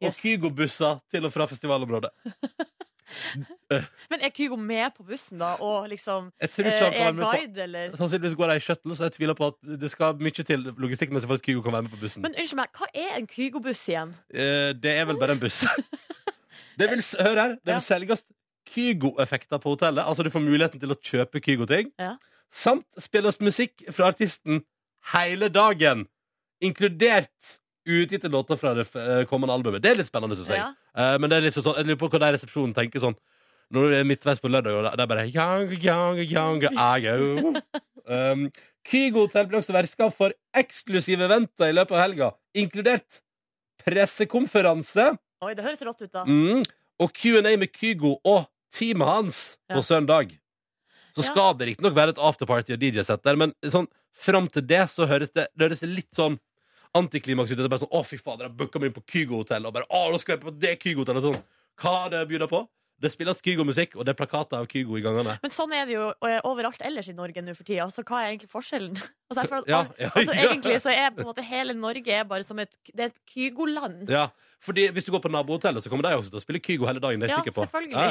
B: og
C: Yes.
B: Kygo-busser til og fra festivalområdet.
C: Men er Kygo med på bussen, da? Og liksom
B: Jeg
C: eh,
B: tror ikke han
C: er
B: kan være med på
C: guide, eller?
B: Sannsynligvis går jeg i shuttle, så jeg tviler på at det skal mye til logistikkmessig for at Kygo kan være med på bussen.
C: Men unnskyld meg, hva er en Kygo-buss igjen?
B: Eh, det er vel bare en buss. det vil, s- hør her, det
C: Ja.
B: vil selges Kygo-effekter på hotellet. Altså du får muligheten til å kjøpe Kygo-ting.
C: Ja.
B: Samt spilles musikk fra artisten hele dagen, inkludert uutgitte låter fra det eh, kommende albumet. Det er litt spennende, syns jeg.
C: Ja.
B: Eh, men det er litt sånn, jeg lurer på hva de i resepsjonen tenker sånn når du er midtveis på lørdag, og det er bare young, young, young, I go. um, Kygo-hotell blir også vertskap for eksklusive eventer i løpet av helga, inkludert pressekonferanse
C: Oi, det høres rått ut, da.
B: mm, og Q&A med Kygo og teamet hans
C: Ja.
B: på søndag. Så
C: Ja.
B: skal det riktignok være et afterparty og DJ-sett der, men sånn, fram til det så høres det, det høres litt sånn antiklimaks ut. Det er bare sånn 'Å, fy fader, jeg booka meg inn på Kygo-hotell', og bare 'Å, nå skal jeg på det Kygo-hotellet', og sånn. Hva har det byr på? Det spilles Kygo-musikk, og det er plakater av Kygo i gangene.
C: Men sånn er det jo eh, overalt ellers i Norge nå for tida, så hva er egentlig forskjellen? Altså, jeg føler at
B: Ja,
C: alt-
B: ja,
C: altså,
B: ja.
C: egentlig så er på en måte hele Norge er bare som et, det er et Kygo-land.
B: Ja, fordi Hvis du går på nabohotellet, så kommer de også til å spille Kygo hele dagen. Det er jeg
C: Ja,
B: sikker på.
C: selvfølgelig.
B: Ja,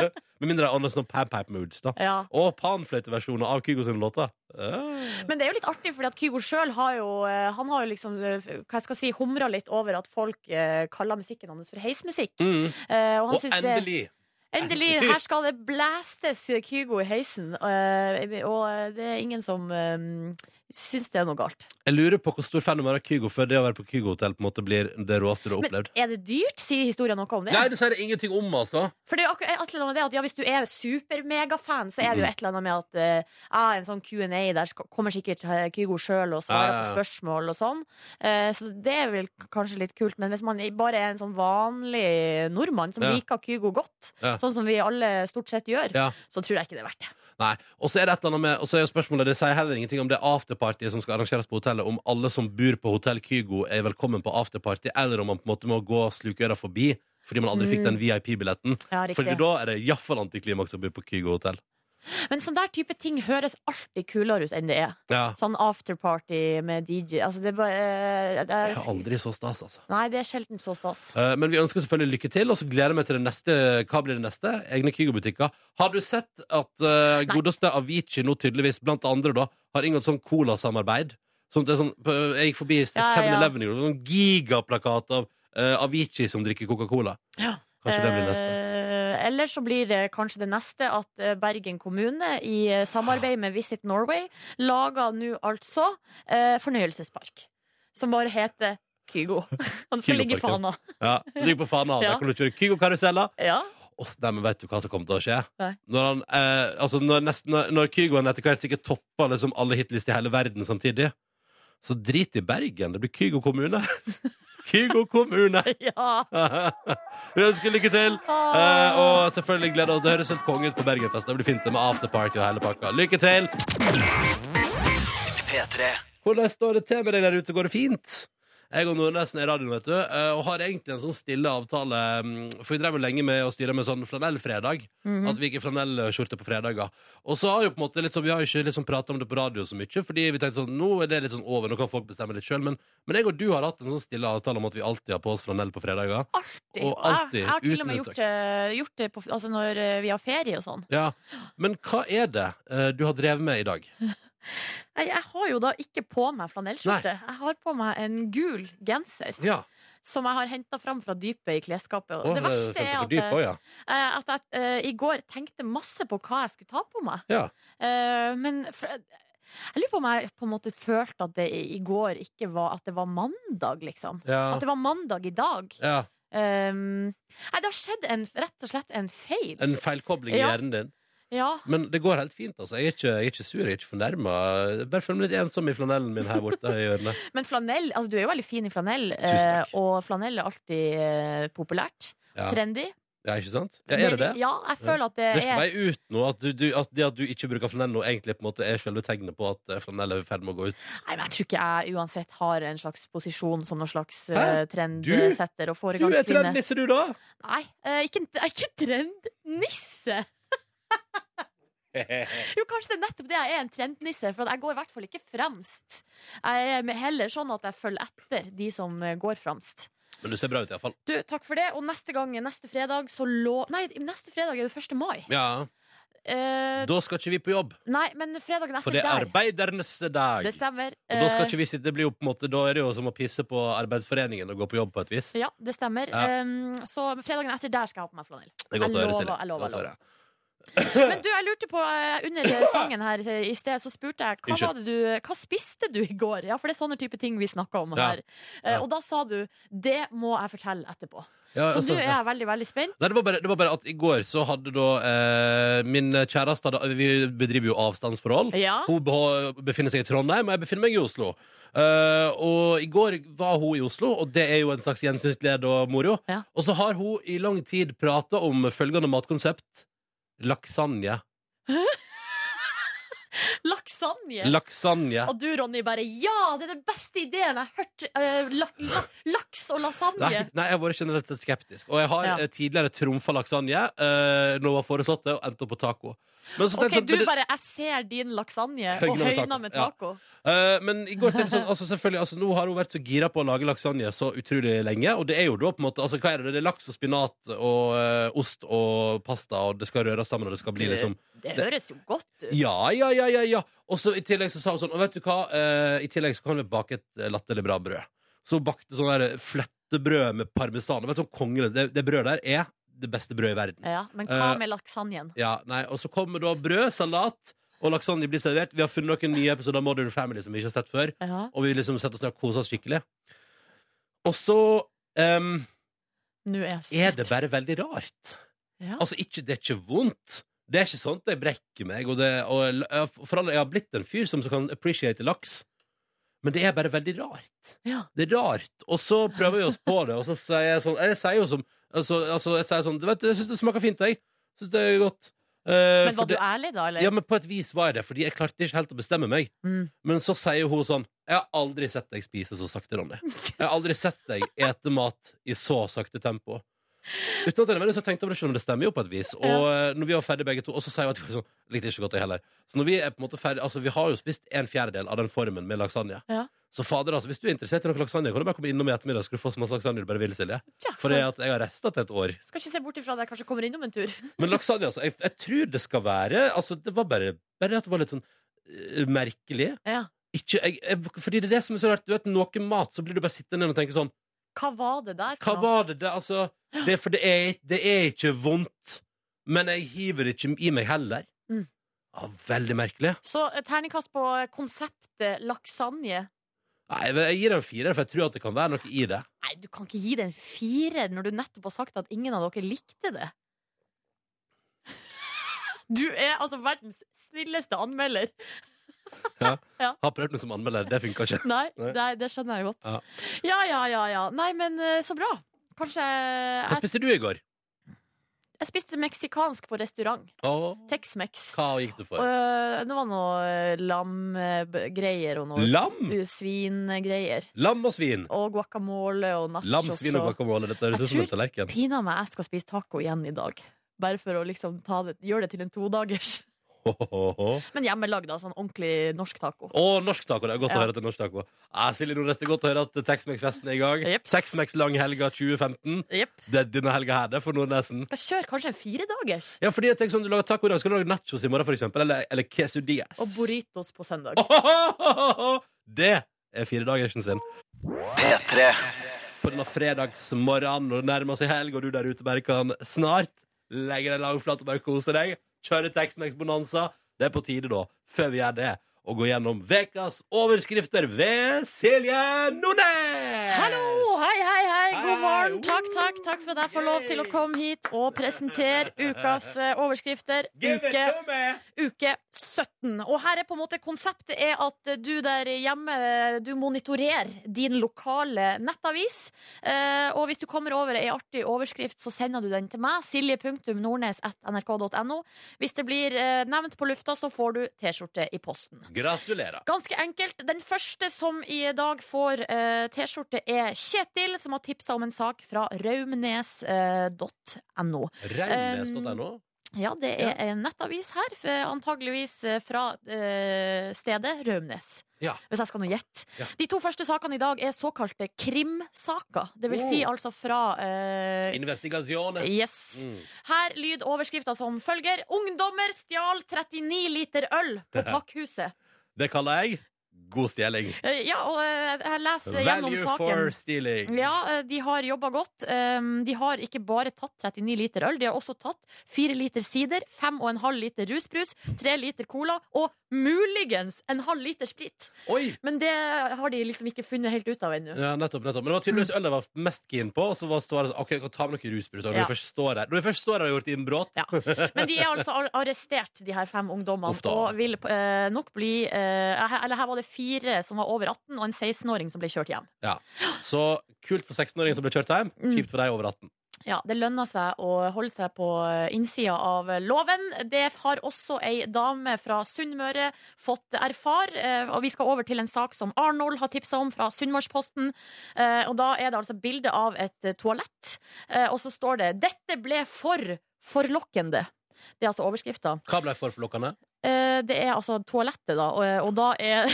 B: ja. Med mindre det er andre sånn pam-pap-moods. da
C: Ja.
B: Og panfløyteversjoner av Kygo sine låter. Ja.
C: Men det er jo litt artig, fordi at Kygo sjøl har jo eh, Han har jo liksom eh, hva jeg skal si, humra litt over at folk eh, kaller musikken hans for heismusikk.
B: Mm.
C: Eh, og han
B: Og
C: synes det,
B: endelig!
C: endelig! Her skal det blæstes Kygo i heisen. eh, og det er ingen som um, syns det er noe galt.
B: Jeg lurer på hvor stor fan du er av Kygo før det å være på Kygo-hotell på en måte blir det råeste du har
C: Men
B: opplevd.
C: er det dyrt? Sier historien noe om det?
B: Nei, det sier det ingenting om, altså.
C: For det er jo akkurat et eller annet med det at ja, Hvis du er super-megafan, så
B: Mm.
C: er det jo et eller annet med at eh, ah, en sånn Q&A der skal- kommer sikkert eh, Kygo sjøl og
B: Ja,
C: svarer
B: ja, ja.
C: på spørsmål og sånn. Eh, så det er vel k- kanskje litt kult. Men hvis man i- bare er en sånn vanlig nordmann som
B: Ja.
C: liker Kygo godt,
B: Ja.
C: sånn som vi alle stort sett gjør,
B: Ja.
C: så tror jeg ikke det er verdt det.
B: Nei, Og så er det et eller annet med Og så er jo spørsmålet Det sier heller ingenting om det afterpartyet som skal arrangeres på hotellet, om alle som bor på Hotell Kygo, er velkommen på afterparty, eller om man på en måte må gå slukøra forbi fordi man aldri fikk den VIP-billetten.
C: Mm. Ja, riktig.
B: Fordi da er det iallfall antiklimaks å bo på Kygo hotell.
C: Men sånn der type ting høres alltid kulere ut enn det er.
B: Ja.
C: Sånn afterparty med DJ altså det er bare, eh, det
B: Det
C: er,
B: er aldri så stas, altså.
C: Nei, det er sjelden så stas.
B: Eh, Men vi ønsker selvfølgelig lykke til, og så gleder jeg meg til det neste. Hva blir det neste? Egne Kygo-butikker. Har du sett at eh, godeste Avicii nå tydeligvis, blant andre, da, har inngått sånn colasamarbeid? Sånn, at det er sånn, på- jeg gikk forbi
C: Ja, ja, ja.
B: 7-Eleven i går, sånn gigaplakat av eh, Avicii som drikker Coca-Cola.
C: Ja.
B: Kanskje det blir neste.
C: Eh, Eller så blir det kanskje det neste at eh, Bergen kommune i eh, samarbeid med Visit Norway lager nå altså eh, fornøyelsespark. Som bare heter Kygo. Og det skal ligge i
B: Kygoparken.
C: fana.
B: Ja, Drikk på fana,
C: Ja.
B: der kan du kjøre Kygo-karuseller.
C: Ja.
B: Åh, Nei, men vet du hva som kommer til å skje?
C: Nei.
B: Når, han, eh, altså når, nesten, når, når Kygoen etter hvert sikkert topper liksom alle hitlister i hele verden samtidig, så drit i Bergen. Det blir Kygo kommune. Kygo kommune!
C: ja.
B: Vi ønsker lykke til. Eh, og selvfølgelig gleder oss. Det høres helt konge ut på Bergenfest. Det blir fint det med afterparty og hele pakka. Lykke til!
G: P3.
B: Hvordan står det til med deg der ute? Går det fint? Jeg og Nordnesen er i radioen, vet du, eh, og har egentlig en sånn stille avtale. mm, For vi drev jo lenge med å styre med sånn flanellfredag.
C: Mhm.
B: At vi gikk i flanellskjorte på fredager. Og så har jo på en måte litt sånn, vi har jo ikke liksom prata om det på radio så mye, fordi vi tenkte sånn, nå er det litt sånn over, nå kan folk bestemme litt sjøl. Men, men jeg og du har hatt en sånn stille avtale om at vi alltid har på oss flanell på fredager.
C: Alltid.
B: Og alltid,
C: jeg, jeg har til
B: uten
C: og med
B: unntak.
C: gjort, det- gjort det på, altså når eh, vi har ferie og sånn.
B: Ja, Men hva er det eh, du har drevet med i dag?
C: Jeg, jeg har jo da ikke på meg flanellskjorte. Jeg har på meg en gul genser
B: Ja,
C: som jeg har henta fram fra dypet i klesskapet. Og
B: Åh,
C: det verste
B: femte
C: er
B: for
C: at
B: dyp,
C: jeg-
B: også, ja.
C: Eh, at jeg eh, i går tenkte masse på hva jeg skulle ta på meg.
B: Ja.
C: Eh, men for, jeg lurer på om jeg på en måte følte at det i i går ikke var At det var mandag, liksom.
B: Ja.
C: At det var mandag i dag.
B: ja.
C: Eh, nei, det har skjedd en, rett og slett en feil.
B: En feilkobling i
C: Ja.
B: hjernen din.
C: Ja.
B: Men det går helt fint. altså Jeg er ikke, jeg er ikke sur, jeg er ikke fornærma. Bare føler meg litt ensom i flanellen min her borte. i hjørnet.
C: Men flanell altså, Du er jo veldig fin i flanell,
B: Tusen takk.
C: eh, og flanell er alltid eh, populært.
B: Ja.
C: Trendy.
B: Ja, ikke sant? Ja, er det det?
C: Ja, jeg føler at det,
B: Det er ikke på vei
C: er
B: ut nå at, du, du, at det at du ikke bruker flanell nå, egentlig på en måte er selve tegnet på at eh, flanell er i ferd med å gå ut.
C: Nei, men Jeg tror ikke jeg uansett har en slags posisjon som noen slags
B: Hæ?
C: eh, trendsetter og
B: Du er
C: foregangskvinne.
B: trendnisse, du, da!
C: Nei, eh, ikke, jeg er ikke trendnisse. Jo, kanskje det er nettopp det jeg er, en trendnisse. For at jeg går i hvert fall ikke fremst. Jeg er heller sånn at jeg følger etter de som eh, går fremst.
B: Men du ser bra ut, iallfall.
C: Du, takk for det. Og neste gang, neste fredag, så lå Nei, neste fredag er det 1. mai.
B: Ja.
C: Eh,
B: Da skal ikke vi på jobb,
C: nei, men fredagen
B: for
C: etter
B: det er
C: der.
B: arbeidernes dag.
C: Det stemmer.
B: Og da skal
C: Eh,
B: ikke vi sitte, det blir jo på en måte, da er det jo som å pisse på arbeidsforeningen og gå på jobb på et vis.
C: Ja, det stemmer.
B: Ja.
C: Eh, så fredagen etter der skal jeg ha på meg flanell.
B: Det er godt å
C: Jeg
B: høre,
C: lover,
B: Silje.
C: jeg lover,
B: Godt å
C: jeg
B: høre.
C: Men du, jeg lurte på eh, under sangen her eh, i sted, så spurte jeg hva,
B: Unnskyld.
C: var det du, hva spiste du i går? Ja, for det er sånne type ting vi snakker om
B: Ja.
C: her. Eh,
B: Ja.
C: Og da sa du 'det må jeg fortelle etterpå'.
B: Ja,
C: Så
B: altså,
C: nå er
B: ja.
C: jeg veldig, veldig spent.
B: Nei, det var, bare, det var bare at i går så hadde da eh, Min kjæreste hadde, Vi bedriver jo avstandsforhold.
C: Ja.
B: Hun beh- befinner seg i Trondheim, og jeg befinner meg i Oslo. Eh, og i går var hun i Oslo, og det er jo en slags gjensynsglede og moro.
C: Ja.
B: Og så har hun i lang tid prata om følgende matkonsept. Laksanje.
C: Laksanje.
B: Laksanje.
C: og du, Ronny, bare 'ja, det er den beste ideen jeg har hørt'. eh, lak, la, laks og
B: Nei,
C: lasagne.
B: nei, jeg har vært generelt sett skeptisk. Og jeg har
C: Ja.
B: eh, tidligere trumfa lasagne eh, når jeg var foresatte, og endte opp på taco. Men, så
C: Ok,
B: tenkte jeg sånn,
C: du
B: men det-
C: bare 'jeg ser din lasagne'
B: Høgna
C: og
B: med taco.
C: høyna med taco.
B: Eh, men i går tenkte jeg sånn, altså selvfølgelig, altså nå har hun vært så gira på å lage lasagne så utrolig lenge, og det er jo da på en måte, altså hva er det, det er laks og spinat og eh, ost og pasta, og det skal røres sammen, og det skal bli liksom
C: Det høres jo godt ut.
B: Ja, ja, ja, ja, ja. Og så i tillegg så sa hun sånn, og vet du hva, Eh, i tillegg så kan vi bake et eh, latterlig bra brød. Så hun bakte sånn der flettebrød med parmesan, og vet du sånn kongelig, det, det brødet der er det beste brødet i verden.
C: Ja, men hva
B: Eh,
C: med lasagnen?
B: Ja, nei, og så kommer da brød, salat og lasagne blir servert. Vi har funnet noen nye episoder av Modern Family som vi ikke har sett før.
C: Ja.
B: Og vi liksom setter oss ned og koser oss skikkelig. Og så em,
C: Nå er jeg så
B: er det bare veldig rart.
C: Ja.
B: Altså, ikke, det er ikke vondt. Det er ikke sånn at jeg brekker meg. Og det, og, l- for alle, jeg har blitt en fyr som kan appreciate laks. Men det er bare veldig rart.
C: Ja.
B: Det er rart. Og så prøver vi oss på det, og så sier jeg sånn Jeg sier jo som altså, altså, Jeg sier sånn du vet, Jeg syns det smaker fint, jeg. Syns det er godt. Eh, for
C: Men var du
B: det-
C: ærlig, da? Eller?
B: ja, men på et vis var jeg det, fordi jeg klarte ikke helt å bestemme meg.
C: Mm.
B: Men så sier hun sånn Jeg har aldri sett deg spise så sakte, Ronny. Jeg har aldri sett deg ete mat i så sakte tempo. Uten at jeg nødvendigvis har tenkt over det, selv om det stemmer jo på et vis. Og eh, når vi var ferdig begge to, og så sier hun at jeg sånn, likte ikke godt jeg heller. Så når vi er på en måte ferdig, altså vi har jo spist en fjerdedel av den formen med lasagne.
C: Ja.
B: Så fader, altså, hvis du er interessert i noe lasagne, kan du bare komme innom i ettermiddag, så skal du få så masse lasagne du bare vil, Silje.
C: Tja,
B: For jeg har resta til et år.
C: Skal ikke se bort ifra at jeg kanskje kommer innom en tur.
B: Men lasagne, altså. Jeg, jeg tror det skal være Altså, det var bare, bare at det var litt sånn eh, merkelig.
C: Ja.
B: Ikke, jeg, jeg, fordi det er det som er så rart. Du vet, noe mat, så blir du bare sittende ned og tenke sånn
C: Hva var det der?
B: Hva var det der? Altså, det, for det er, det er ikke vondt, men jeg hiver det ikke i meg heller.
C: Mm.
B: Ja, veldig merkelig.
C: Så eh, terningkast på eh, konseptet lasagne.
B: Nei, men Jeg gir det en firer, for jeg tror at det kan være noe i det.
C: Nei, du kan ikke gi det en firer når du nettopp har sagt at ingen av dere likte det. Du er altså verdens snilleste anmelder.
B: Har prøvd meg som anmelder, det funka ikke.
C: Nei,
B: Nei.
C: det, det skjønner jeg godt.
B: Ja.
C: Ja, ja, ja. ja. Nei, men eh, så bra. Kanskje eh,
B: Hva
C: jeg,
B: spiste du i går?
C: jeg spiste meksikansk på restaurant.
B: Åh,
C: Tex-Mex.
B: hva gikk du for?
C: Øh, det var noe lamgreier og noe
B: Lam!
C: svingreier.
B: Lam og svin.
C: Og guacamole og nachos.
B: Lam, svin og guacamole. Dette høres
C: Jeg
B: ut som en
C: tror-
B: tallerken.
C: Pina meg, jeg skal spise taco igjen i dag. Bare for å liksom ta det, gjøre det til en todagers.
B: Ho, ho, ho.
C: Men hjemmelagd, da. Sånn ordentlig norsk taco.
B: Å, norsk taco. Det er godt
C: Ja.
B: å høre at det er norsk taco. Ah, Silje Nordnes, det er godt å høre at Tex-Mex-festen er i gang.
C: Jeps.
B: Tex-Mex langhelga 2015.
C: Jepp.
B: Det er denne helga her, det er for Nordnesen.
C: Jeg kjører kanskje en firedagers.
B: Ja, fordi jeg tenker sånn, du lager taco i dag, skal du lage nachos i morgen, for eksempel? Eller, eller quesadillas?
C: Og burritos på søndag.
B: Ohohohoho! Det er firedagersen sin.
G: P3
B: På denne fredagsmorgenen når det nærmer seg helg, og du der ute bare kan snart legge deg langflat og bare kose deg, kjøre Tex-Mex-bonanza. Det er på tide, da, før vi gjør det, å gå gjennom vekas overskrifter ved Silje Nordnes!
C: Hallo! Hei, hei, hei!
B: Hei,
C: God morgen!
B: hei.
C: Takk, takk, takk for at jeg får lov til å komme hit og presentere ukas eh, overskrifter.
B: Give it
C: Uke
B: to me!
C: uke 17. Og her er på en måte konseptet er at du der hjemme du monitorerer din lokale nettavis. Eh, og hvis du kommer over ei artig overskrift, så sender du den til meg. Silje.nordnes.nrk.no. Hvis det blir eh, nevnt på lufta, så får du T-skjorte i posten.
B: Gratulerer.
C: Ganske enkelt. Den første som i dag får eh, T-skjorte, er Kjetil, som har tipsa om en sak fra eh, raumnes.no.
B: Raumnes.no.
C: Ja, det er en nettavis her, f- antageligvis eh, fra eh, stedet Raumnes.
B: Ja.
C: Hvis jeg skal nå gjette.
B: Ja.
C: De to første sakene i dag er såkalte krimsaker. Det vil
B: Oh.
C: si altså fra eh,
B: Investigasjone.
C: Yes.
B: Mm.
C: Her lyd overskrifta som følger. 'Ungdommer stjal 39 liter øl på Pakkhuset'.
B: Det kaller jeg god stjeling.
C: Eh, ja, og eh, jeg leser gjennom
B: Value
C: saken.
B: for stealing.
C: Ja, eh, de har jobba godt. Um, De har ikke bare tatt 39 liter øl, de har også tatt 4 liter sider, 5,5 liter rusbrus, 3 liter cola og muligens en halv liter sprit.
B: Oi!
C: Men det har de liksom ikke funnet helt ut av ennå.
B: Ja, nettopp, nettopp. Men det var
C: Mm.
B: tydeligvis øl jeg var mest keen på. Og så var så var det sånn, ok, jeg kan ta med noe rusbrus. og Når
C: Ja.
B: jeg først står her Når jeg først står her og har gjort innbrudd
C: Ja. Men de er altså ar- arrestert, de her fem ungdommene,
B: Uff da.
C: og vil eh, nok bli eh, her- Eller her var det fire som var over 18, og en 16-åring som ble kjørt hjem.
B: Så kult for 16-åringer som ble kjørt hjem.
C: Mm.
B: Kjipt for deg over 18.
C: Ja, Det lønner seg å holde seg på innsida av eh, loven. Det har også ei dame fra Sunnmøre fått erfare. eh, Og vi skal over til en sak som Arnold har tipsa om fra Sunnmørsposten. Eh, Og da er det altså bilde av et eh, toalett, Eh, og så står det 'Dette ble for forlokkende'. Det er altså overskrifta.
B: Hva ble for forlokkende?
C: Eh, Det er altså toalettet, da, og, og da er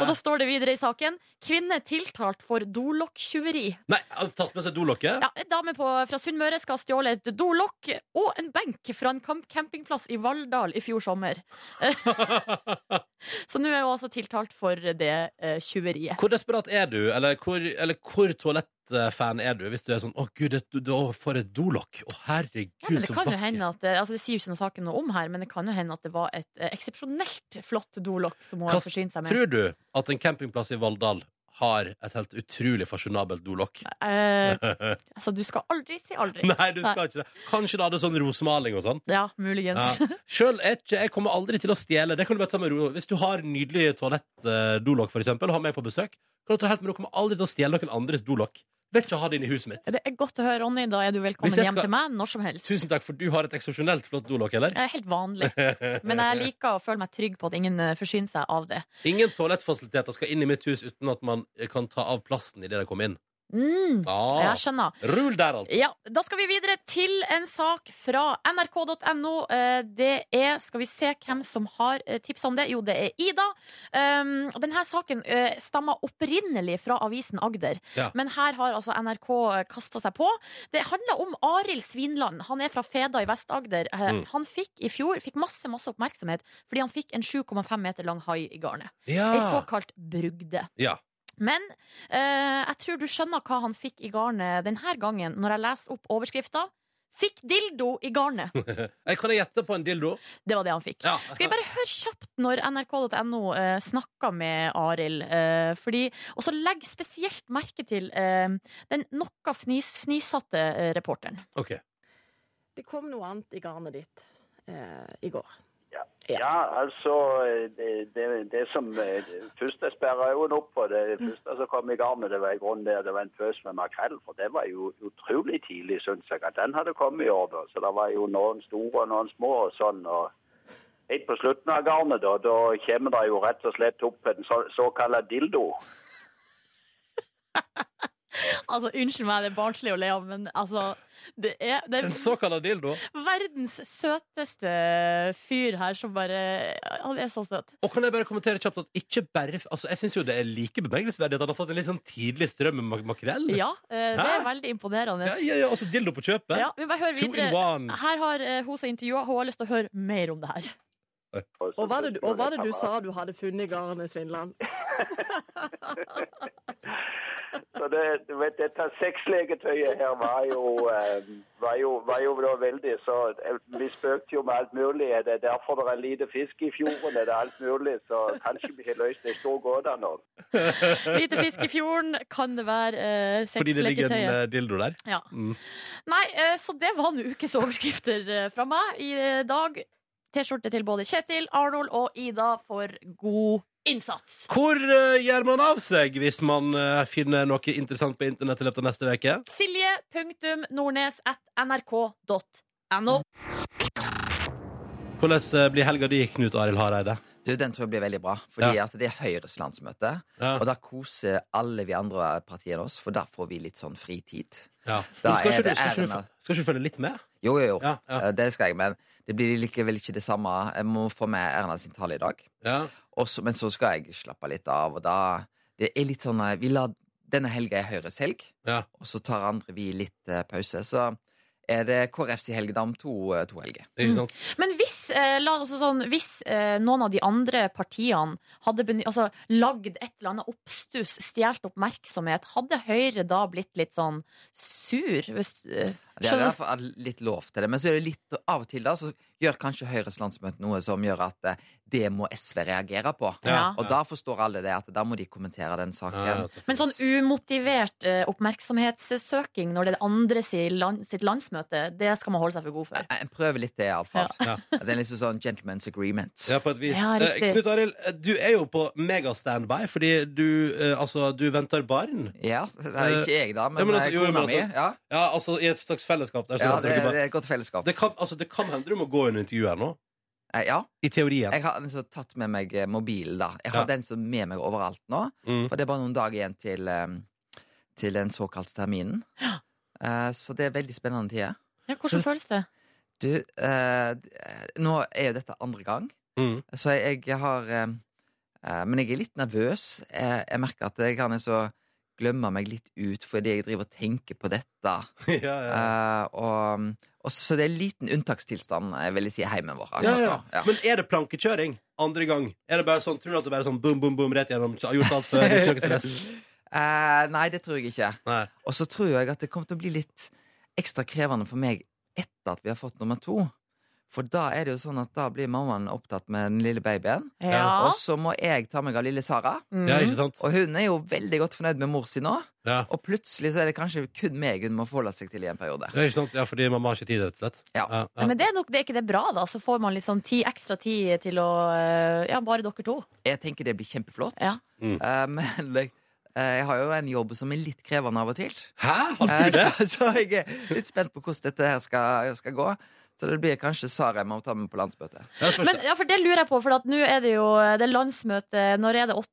C: Og da står det videre i saken 'Kvinne tiltalt for dolokktyveri'.
B: Nei, har du tatt med seg dolokket?
C: Ja, en dame på, fra Sunnmøre skal ha stjålet et dolokk og en benk fra en kamp campingplass i Valldal i fjor sommer. Så nå er hun altså tiltalt for det eh, tyveriet.
B: Hvor desperat er du, eller hvor, eller hvor toalettfan er du, hvis du er sånn 'Å, gud, et, du, å, for et dolokk'. Å, herregud,
C: Ja, men det
B: så
C: kan jo
B: vakkert.
C: hende at eh, altså Det sier jo ikke noe saken noe om her, men det kan jo hende at det var et eh, eksepsjonelt flott dolokk som hun har
B: Hva
C: forsynt seg med.
B: Tror du at en campingplass i Valldal har et helt utrolig fasjonabelt dolokk?
C: Eh, altså, du skal aldri si aldri.
B: Nei, du skal ikke det. Kanskje det hadde sånn rosemaling og sånn.
C: Ja, muligens.
B: Ja. Sjøl er ikke Jeg kommer aldri til å stjele. Det kan du bare ta med ro. Hvis du har nydelig toalett-dolokk, for eksempel, og har meg på besøk, kan du ta det helt med ro. Kommer aldri til å stjele noen andres dolokk. Vil ikke ha det inne i huset mitt.
C: Det er godt å høre, Ronny. Da er du velkommen
B: Hvis jeg
C: hjem
B: skal-
C: til meg når som helst.
B: Tusen takk, for du har et eksepsjonelt flott dolokk, eller?
C: Jeg er helt vanlig. Men jeg liker å føle meg trygg på at ingen eh, forsyner seg av det.
B: Ingen toalettfasiliteter skal inn i mitt hus uten at man eh, kan ta av plasten idet de kommer inn.
C: Mm,
B: Ah,
C: jeg skjønner.
B: Rull der, altså.
C: Ja, Da skal vi videre til en sak fra nrk.no. Eh, Det er Skal vi se hvem som har eh, tipsa om det? Jo, det er Ida. Um, og denne saken eh, stammer opprinnelig fra avisen Agder,
B: Ja.
C: men her har altså NRK kasta seg på. Det handler om Arild Svinland. Han er fra Feda i Vest-Agder. Eh,
B: Mm.
C: Han fikk i fjor fikk masse masse oppmerksomhet fordi han fikk en 7,5 meter lang hai i garnet. Ei
B: Ja.
C: såkalt brugde.
B: Ah. ja.
C: Men eh, jeg tror du skjønner hva han fikk i garnet denne gangen, når jeg leser opp overskrifta. Fikk dildo i garnet!
B: Jeg Eh, kan jeg gjette på en dildo?
C: Det var det han fikk.
B: Ja.
C: Skal vi bare høre kjapt når nrk.no eh, snakker med Arild, eh, fordi Og så legg spesielt merke til eh, den noe fnis, fnisete eh, reporteren.
B: Ok.
H: Det kom noe annet i garnet ditt eh, i går.
I: Ja, altså eh, det, det, det som eh, det Først jeg sperra øynene opp for det første som kom i garnet, det var i grunnen der det var en pøs med makrell. For det var jo utrolig tidlig, syns jeg, at den hadde kommet i år. da. Så det var jo noen store og noen små og sånn. og Helt på slutten av garnet, da, da kommer det jo rett og slett opp en så, såkalt dildo.
C: Altså, unnskyld meg, det er barnslig å le av, men altså Det er, det er
B: En såkalt dildo.
C: verdens søteste fyr her som bare Han er så søt.
B: Og kan jeg bare kommentere kjapt at ikke bare Altså, jeg syns jo det er like bevegelsesverdig at han har fått en litt sånn tidlig strøm med mak makrell.
C: Ja, eh, det
B: Hæ?
C: er veldig imponerende.
B: ja, ja, ja. Altså dildo på kjøpet.
C: Ja, vi bare hører
B: Two in
C: videre.
B: one.
C: Her har eh, hun som intervjua, hun har lyst til å høre mer om det her.
H: Og hva det, du- og hva det du sa du hadde funnet i garnet, Svindland?
I: Så det, du vet, dette sexlegetøyet her var jo, eh, var jo, var jo da veldig så eh, Vi spøkte jo med alt mulig. Er det derfor det er lite fisk i fjorden? Er det alt mulig? Så kanskje vi har løst en stor gåte nå.
C: Lite fisk i fjorden, kan det være uh,
B: Fordi det ligger en
C: sexleketøyet?
B: eh, dildo der.
C: Ja.
B: Mm.
C: Nei, eh, så det var nå ukes overskrifter eh, fra meg i eh, dag. T-skjorte til både Kjetil, Arnold og Ida for god innsats.
B: Hvor eh, gjør man av seg hvis man eh, finner noe interessant på internett i løpet av neste uke?
C: Silje.nordnes.nrk.no.
B: Hvordan eh, blir helga di, Knut Arild Hareide?
J: Du, Den tror jeg blir veldig bra. Fordi at det er Høyres landsmøte.
B: Ja.
J: Og da koser alle vi andre partiene oss, for da får vi litt sånn fritid.
B: Ja.
J: Da
B: Men Skal
J: er
B: ikke du,
J: det
B: skal ikke du,
J: æren av-
B: skal ikke du følge litt med?
J: Jo, jo, jo.
B: Ja, ja.
J: Eh, Det skal jeg, men det blir likevel ikke det samme. Jeg må få med Erna sin tale i dag.
B: Ja.
J: Og så- men så skal jeg slappe litt av, og da Det er litt sånn eh, vi lar, Denne helga er Høyres helg,
B: Ja.
J: og så tar andre vi litt eh, pause. Så er det KrFs i helg, da, om to, eh, to helger.
B: Ikke sant?
C: Men hvis, eh, la, altså sånn, hvis eh, noen av de andre partiene hadde beny- altså, lagd et eller annet oppstuss, stjålet oppmerksomhet, hadde Høyre da blitt litt sånn sur? Hvis, eh,
J: Det er i
C: skjønner
J: hvert
C: du?
J: fall litt lov til det, men så er det litt av og til da, så gjør kanskje Høyres landsmøte noe som gjør at eh, det må SV reagere på.
C: Ja.
J: Og da forstår alle det, at da må de kommentere den saken.
B: Ja, altså. selvfølgelig.
C: Men sånn umotivert eh, oppmerksomhetssøking når det er andre si land, sitt landsmøte, det skal man holde seg for god for.
J: Jeg prøver litt det, iallfall.
B: Ja.
J: fall Det er liksom sånn gentleman's agreement.
B: Ja, på et vis.
C: Ja, riktig.
B: Eh, Knut Arild, eh, du er jo på megastandby fordi du, eh, altså, du venter barn.
J: Ja, det er ikke jeg, da, men,
B: Ja, men altså,
J: eh,
B: jo, men
J: kona mi.
B: altså-
J: Ja,
B: Ja, altså i et slags fellesskap der. så
J: ja
B: venter
J: det,
B: dere barn.
J: det er et godt fellesskap.
B: det, kan, altså, det kan hende du må gå under intervjuet her nå.
J: Eh, Ja,
B: I teorien.
J: jeg har altså tatt med meg eh, mobilen, da. Jeg
B: Ja.
J: har den som er med meg overalt nå.
B: Mm.
J: For det er bare noen dager igjen til, eh, til den såkalte terminen. Eh, Så det er veldig spennende tider.
C: Ja, hvordan føles det?
J: Du, eh, nå er jo dette andre gang,
B: Mm.
J: så jeg, jeg har eh, eh, Men jeg er litt nervøs. Eh, jeg merker at jeg kan så glemme meg litt ut fordi jeg driver og tenker på dette.
B: ja, ja.
J: Eh, og, og Så det er en liten unntakstilstand, jeg vil si, heimen vår
B: Ja,
J: akkurat
B: ja.
J: nå. Ja.
B: Men er det plankekjøring andre gang? Er det bare sånn, Tror du at det bare er sånn boom, boom, boom rett gjennom? Har gjort alt før? ikke noe stress?
J: Eh, nei, det tror jeg ikke.
B: Nei.
J: Og så tror jeg at det kommer til å bli litt ekstra krevende for meg etter at vi har fått nummer to. For da er det jo sånn at da blir mammaen opptatt med den lille babyen.
B: Ja.
J: Og så må jeg ta meg av lille Sara.
C: Mm.
B: Ja, ikke sant?
J: Og hun er jo veldig godt fornøyd med mor si nå.
B: Ja.
J: Og plutselig så er det kanskje kun meg hun må forholde seg til i en periode.
B: Ja, ikke sant? ja, fordi mamma har ikke tid, rett og slett.
J: Ja.
B: Ja,
F: Men det er nok det er ikke det bra, da. Så får man litt
C: liksom
F: sånn ti, ekstra tid til å eh, Ja, bare dere to.
J: Jeg tenker det blir kjempeflott.
F: Ja.
B: Mm.
J: Eh, men det- eh, jeg har jo en jobb som er litt krevende av og til.
B: Hæ? Har
J: Eh,
B: du det?
J: så, så jeg er litt spent på hvordan dette her skal, skal gå. Så det blir kanskje Sara jeg må ta med på landsmøtet.
B: Ja, spørs
F: Men
B: det.
F: ja, for det lurer jeg på, for at nå er det jo det er landsmøte Når er det 8.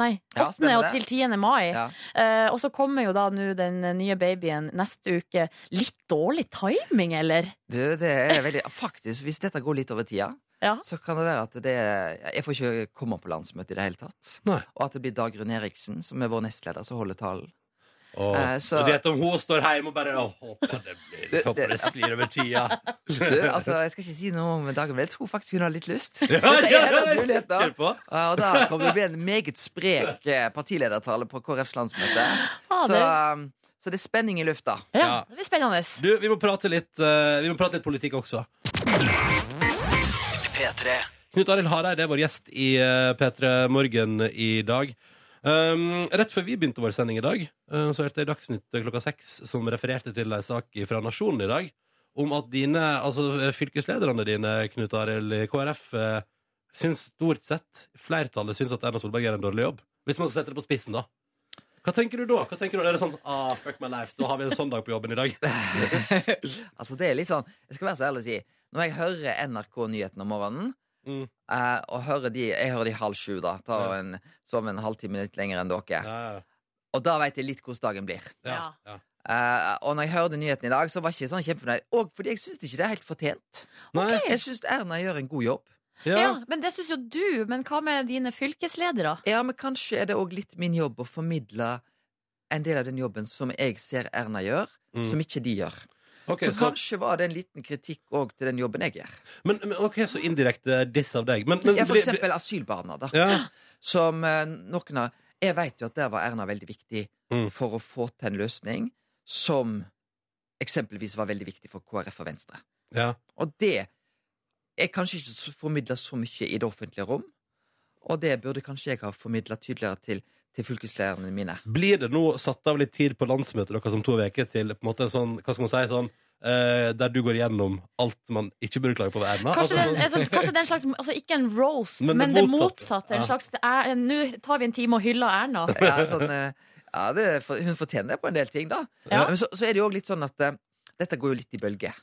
F: Nei, 8.
J: Ja, stemmer
F: og
J: det.
F: til 10. mai.
J: Ja.
F: Eh, og så kommer jo da nå den nye babyen neste uke. Litt dårlig timing, eller?
J: Du, det er veldig Faktisk, hvis dette går litt over tida,
F: Ja.
J: så kan det være at det Jeg får ikke komme på landsmøtet i det hele tatt.
B: Nei.
J: Og at det blir Dagrun Eriksen, som er vår nestleder, som holder talen.
B: Åh.
J: eh, så-
B: Og det om hun står hjemme og bare åh, håper det blir
J: Det-
B: Håper
J: det-
B: det sklir over tida.
J: Du, altså, jeg skal ikke si noe om Dagrun, men jeg tror faktisk hun har litt lyst.
B: Ja,
J: Dette
B: ja,
J: er hennes
B: ja,
J: mulighet, da.
B: sikker på.
J: Ja, Og da kommer det å bli en meget sprek eh, partiledertale på KrFs landsmøte.
F: Ah,
J: Så,
F: det,
J: um, så det er spenning i lufta.
F: ja,
B: Ja.
F: det blir spennende.
B: Du, vi må prate litt, eh, vi må prate litt politikk også.
G: P3.
B: Knut Arild Hareide er vår gjest i eh, P3 Morgen i dag. Um, rett før vi begynte vår sending i dag, eh, så hørte jeg Dagsnytt klokka seks som refererte til en sak fra Nasjonen i dag om at dine, altså fylkeslederne dine, Knut Arild i KrF, eh, syns stort sett flertallet syns at Erna Solberg gjør en dårlig jobb. Hvis man setter det på spissen, da. Hva tenker du da? Hva tenker du? Er det sånn ah, fuck my life, da har vi en sånn dag på jobben i dag?
J: altså, det er litt sånn Jeg skal være så ærlig å si, når jeg hører NRK Nyhetene om morgenen
B: Mm.
J: eh, og hører de, Jeg hører de halv sju, da. Tar
B: Ja.
J: en, sover en halvtime litt lenger enn dere.
B: Ja,
J: Og da veit jeg litt hvordan dagen blir.
B: ja, ja.
J: Eh, og når jeg hørte nyheten i dag, så var jeg ikke sånn kjempefornøyd. Og fordi jeg syns ikke det er helt fortjent.
B: Nei,
J: Jeg syns Erna gjør en god jobb.
B: ja.
F: Ja, men det syns jo du. Men hva med dine fylkesledere?
J: Ja, men kanskje er det òg litt min jobb å formidle en del av den jobben som jeg ser Erna gjør,
B: Mm.
J: som ikke de gjør.
B: Ok,
J: så, kanskje var det en liten kritikk òg til den jobben jeg gjør.
B: men, men, ok, så indirekte diss av deg. Men, men
J: Ja, for
B: blir-
J: eksempel asylbarna, da.
B: Ja.
J: Som eh, noen av Jeg veit jo at der var Erna veldig viktig
B: Mm.
J: for å få til en løsning som eksempelvis var veldig viktig for KrF og Venstre.
B: Ja.
J: Og det er kanskje ikke så- formidlet så mye i det offentlige rom. Og det burde kanskje jeg ha formidla tydeligere til, til fylkeslærerne mine.
B: Blir det nå satt av litt tid på landsmøtet deres om to uker til på en måte en sånn, hva skal man si, sånn eh, der du går igjennom alt man ikke burde klage på ved Erna?
F: Kanskje det, er
B: Altså,
F: en-
B: sånn-
F: altså, kanskje det er en slags Altså ikke en roast, men,
B: Men det
F: det
B: motsatte.
F: motsatte. En
B: Ja.
F: slags det er- Nå tar vi en time og hyller Erna.
J: Ja, sånn, eh, ja det, for- hun fortjener det på en del ting, da.
F: Ja.
J: Men så, så er det jo òg litt sånn at eh, dette går jo litt i bølger.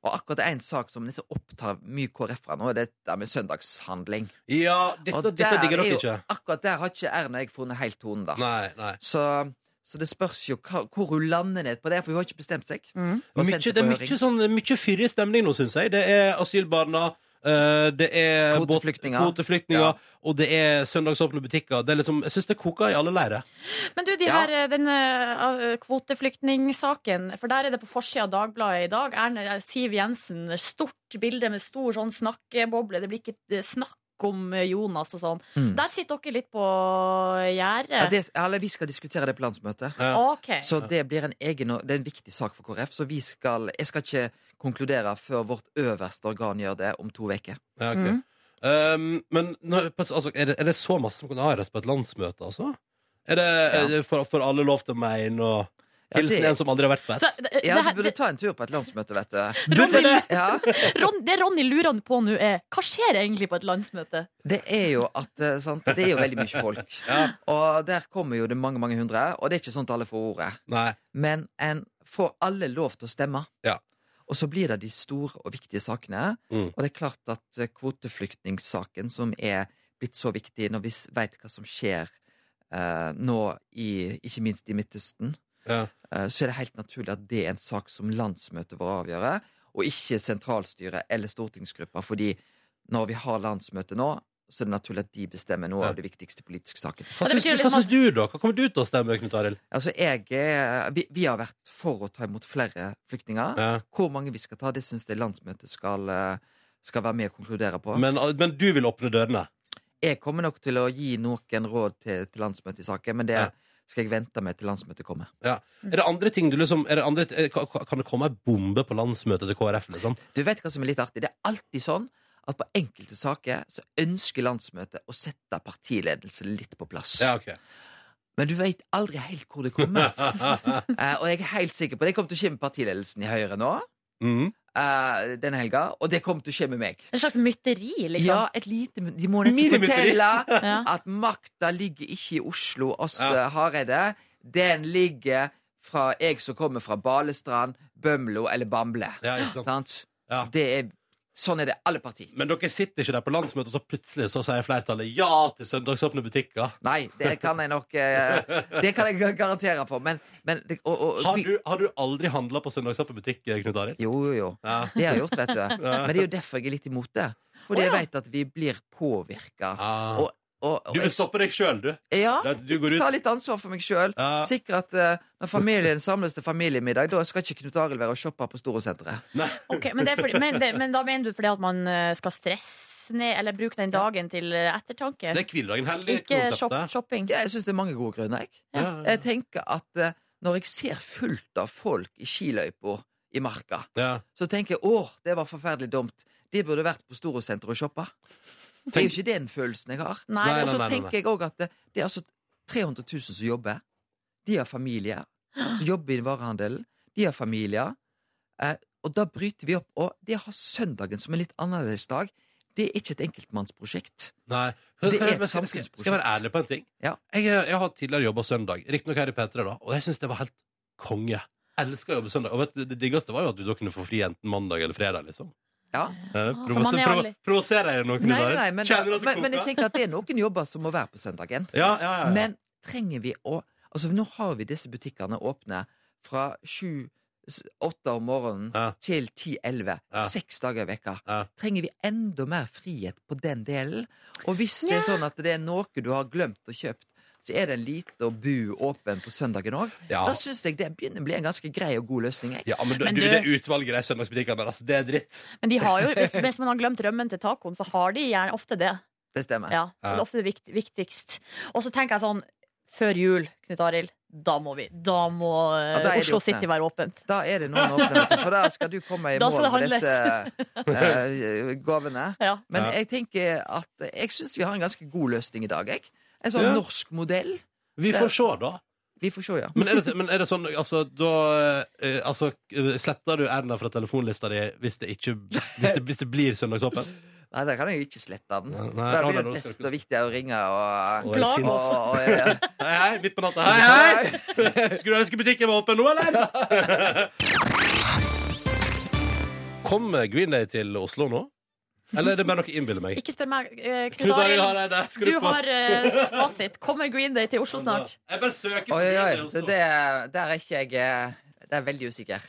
J: Og akkurat én sak som liksom opptar mye KrF-ere nå, det er dette med søndagshandling.
B: ja, dette,
J: Og
B: dette
J: der
B: digger
J: er
B: dere
J: jo-
B: ikke.
J: Akkurat der har ikke Erna og jeg funnet helt tonen, da.
B: Nei, nei.
J: Så, så det spørs jo hva, hvor hun lander ned på det, for hun har ikke bestemt seg.
F: Mm.
J: Og
B: Mykje-
J: sendt
B: det er
J: på
B: mye
J: høring.
B: sånn, mye fyrig stemning nå, syns jeg. Det er asylbarna. eh, det er båt-
J: Kvoteflyktninger.
B: kvoteflyktninger,
J: Ja.
B: og det er søndagsåpne butikker. Det er liksom, jeg syns det koker i alle leirer.
F: Men du, de
J: Ja.
F: her, eh, den eh, kvoteflyktningsaken, for der er det på forsida av Dagbladet i dag. Erne eh, Siv Jensen, stort bilde med stor sånn snakkeboble. Det blir ikke eh, snakk om eh, Jonas og sånn.
J: Mm.
F: Der sitter dere litt på gjerdet.
J: Ja, det, eller vi skal diskutere det på landsmøtet.
F: OK.
J: Så det blir en egen og- Det er en viktig sak for KrF. Så vi skal, jeg skal ikke konkludere før vårt øverste organ gjør det om to uker.
B: Ja, ok.
F: Mm.
B: Um, men når, altså, er, det, er det så masse som kan avgjøres på et landsmøte, altså? Er det,
J: Ja.
B: er det for, for alle lov til å mene og
J: Ja,
B: Hilsen
J: det-
B: en som aldri har vært på et?
F: Så, Eh, det, det,
J: Ja, du
F: her-
J: burde
F: det,
J: ta en tur på et landsmøte, vet du.
F: Ronny,
J: Ja,
F: Ron, det Ronny lurer på nå, er hva skjer egentlig på et landsmøte?
J: det er jo at eh, sant? Det er jo veldig mye folk.
B: Ja.
J: Og der kommer jo det mange mange hundre, og det er ikke sånn at alle får ordet.
B: Nei.
J: Men en får alle lov til å stemme.
B: Ja.
J: Og så blir det de store og viktige sakene.
B: Mm.
J: Og det er klart at eh, kvoteflyktningsaken, som er blitt så viktig når vi s- vet hva som skjer eh, nå, i, ikke minst i Midtøsten,
B: Ja.
J: eh, så er det helt naturlig at det er en sak som landsmøtet vår avgjør. og ikke sentralstyret eller stortingsgruppa. Fordi når vi har landsmøte nå, så er det naturlig at de bestemmer noe av de viktigste politiske sakene.
B: Hva
C: det
B: syns, du-
C: betyr
B: hva
C: liksom
B: syns du, da? Hva kommer du til å stemme, Knut Arild?
J: Altså, jeg er, vi, vi har vært for å ta imot flere flyktninger.
B: Ja.
J: Hvor mange vi skal ta, det syns jeg landsmøtet skal, eh, skal være med og konkludere på.
B: Men, men du vil åpne dørene?
J: Jeg kommer nok til å gi noen råd til, til landsmøtet i saken, men det
B: Ja.
J: skal jeg vente med til landsmøtet kommer.
B: Er det andre ting du liksom er det andre, er, ka- ka- Kan det komme ei bombe på landsmøtet til KrF, liksom?
J: Du vet hva som er litt artig? Det er alltid sånn at på enkelte saker så ønsker landsmøtet å sette partiledelsen litt på plass.
B: Ja, ok
J: Men du veit aldri helt hvor det kommer. Eh, og jeg er helt sikker på det kommer til å skje med partiledelsen i Høyre nå.
B: Mhm.
J: eh, denne helga, og det kommer til å skje med meg.
C: En slags mytteri, liksom.
J: Ja, et lite men- De må nesten
B: Minimytteri.
J: fortelle
C: Ja.
J: at makta ligger ikke i Oslo, oss
B: Ja.
J: eh, Hareide. Den ligger fra jeg som kommer fra Balestrand, Bømlo eller Bamble.
B: Ja, ikke sant?
J: Sant?
B: Ja.
J: Det er, sånn er det alle parti.
B: Men dere sitter ikke der på landsmøtet, og så plutselig så sier flertallet ja til søndagsåpne butikker.
J: Nei, det kan jeg nok eh, Det kan jeg garantere for. Men, men det- og, og,
B: Har
J: vi-
B: du, har du aldri handla på søndagsåpen butikk, Knut Arild?
J: Jo, jo, jo.
B: Ja.
J: Det har jeg gjort, vet du. Men det er jo derfor jeg er litt imot det. Fordi jeg veit at vi blir påvirka.
B: Ah.
J: Og, og, og
B: Du vil
J: jeg-
B: stoppe deg sjøl, du.
J: Ja,
B: Det at du går ut-
J: ta litt ansvar for meg sjøl.
B: Ja.
J: Sikre at eh, når familien samles til familiemiddag, da skal ikke Knut Arild være og shoppe på Storosenteret.
B: Nei.
C: Ok, men, det er fordi, men, det, men da mener du fordi at man eh, skal stresse ned, eller bruke den dagen til eh, ettertanke?
B: Det er hviledagen hellig.
C: Ikke shop,
B: konseptet.
C: shopping.
J: Jeg syns det er mange gode grunner, jeg.
B: Ja, ja.
J: Jeg tenker at eh, når jeg ser fullt av folk i skiløypa i marka,
B: ja.
J: så tenker jeg åh, det var forferdelig dumt. De burde vært på Storosenteret og shoppa. Det er jo
B: Tenk-
J: ikke den følelsen jeg har.
C: Nei,
B: Nei,
J: og så
B: nei, nei,
J: tenker jeg òg at det, det er altså 300 000 som jobber. De har familier. Som jobber i varehandelen. De har familier. Eh, og da bryter vi opp. Og det å ha søndagen som en litt annerledes dag, det er ikke et enkeltmannsprosjekt.
B: Nei.
J: Det er et
B: Men skal, skal, skal jeg være
J: samfunnsprosjekt.
B: ærlig på en ting?
J: Ja.
B: Jeg, jeg har tidligere jobba søndag, riktignok her i P3, da, og jeg syns det var helt konge. Elsker å jobbe søndag. Og vet, du, det diggeste var jo at du da kunne få fri enten mandag eller fredag, liksom.
J: Ja. Ah,
B: Eh,
C: for
B: provos-
C: man er
B: provo-
C: aldri-
B: Provoserer jeg noen?
J: Nei, nei, nei, men,
B: Kjenner du at det
J: men, men jeg
B: koker?
J: tenker at det er noen jobber som må være på søndagen.
B: Ja, ja, ja.
J: Men trenger vi å Altså Nå har vi disse butikkene åpne fra sju s- åtte om morgenen
B: Ja.
J: til ti-elleve.
B: Ja.
J: Seks dager i veka.
B: Ja.
J: Trenger vi enda mer frihet på den delen? Og hvis det er sånn at det er noe du har glemt å kjøpt, så er det en liten bu åpen på søndagen òg.
B: Ja.
J: Da syns jeg det begynner å bli en ganske grei og god løsning. Jeg.
B: ja, men, du,
C: Men
B: du,
C: du-
B: det utvalget i de søndagsbutikkene der, altså, det er dritt.
C: Men de har jo, hvis, hvis man har glemt rømmen til tacoen, så har de gjerne ofte det.
J: Det stemmer.
C: Ja, det er ofte det vikt, viktigst. Og så tenker jeg sånn, før jul, Knut Arild, da må vi. Da må eh,
J: Ja, da er de
C: Oslo
J: åpne.
C: City være åpent.
J: Da er det noen åpne, vet du, for da skal du komme i
C: Da
J: mål
C: skal
J: med
C: det
J: disse eh, gavene.
C: Ja.
J: Men
B: Ja.
J: jeg tenker at Jeg syns vi har en ganske god løsning i dag. Jeg. En sånn
B: Ja.
J: norsk modell.
B: Vi får se, da.
J: Vi får se, ja.
B: Men er det, men er det sånn altså, da, eh, altså, Sletter du Erna fra telefonlista di hvis det, ikke, hvis det, hvis det blir søndagsåpent?
J: Nei, der kan jeg jo ikke slette den.
B: Nei, nei, nei,
J: Da blir
B: nei,
J: det
B: nå skal
J: best
B: du ikke-
J: og viktig å ringe og
B: Og er sint.
J: og- og- ja.
B: Hei, hei, midt på natta. Hei, hei! Skulle du ønske butikken var åpen nå, eller? Kom Green Day til Oslo nå? Eller er det bare noe jeg innbiller meg?
C: Ikke spør meg, eh, Knut
B: Knut Arild
C: Arild.
B: Hareide, skru
C: Du
B: på.
C: har eh, fasit. Kommer Green Day til Oslo snart?
B: Jeg bare søker på
J: Oi, oi,
B: Green Day i
J: oi. Så
B: Oslo.
J: det, der er ikke jeg eh, Der er jeg veldig usikker.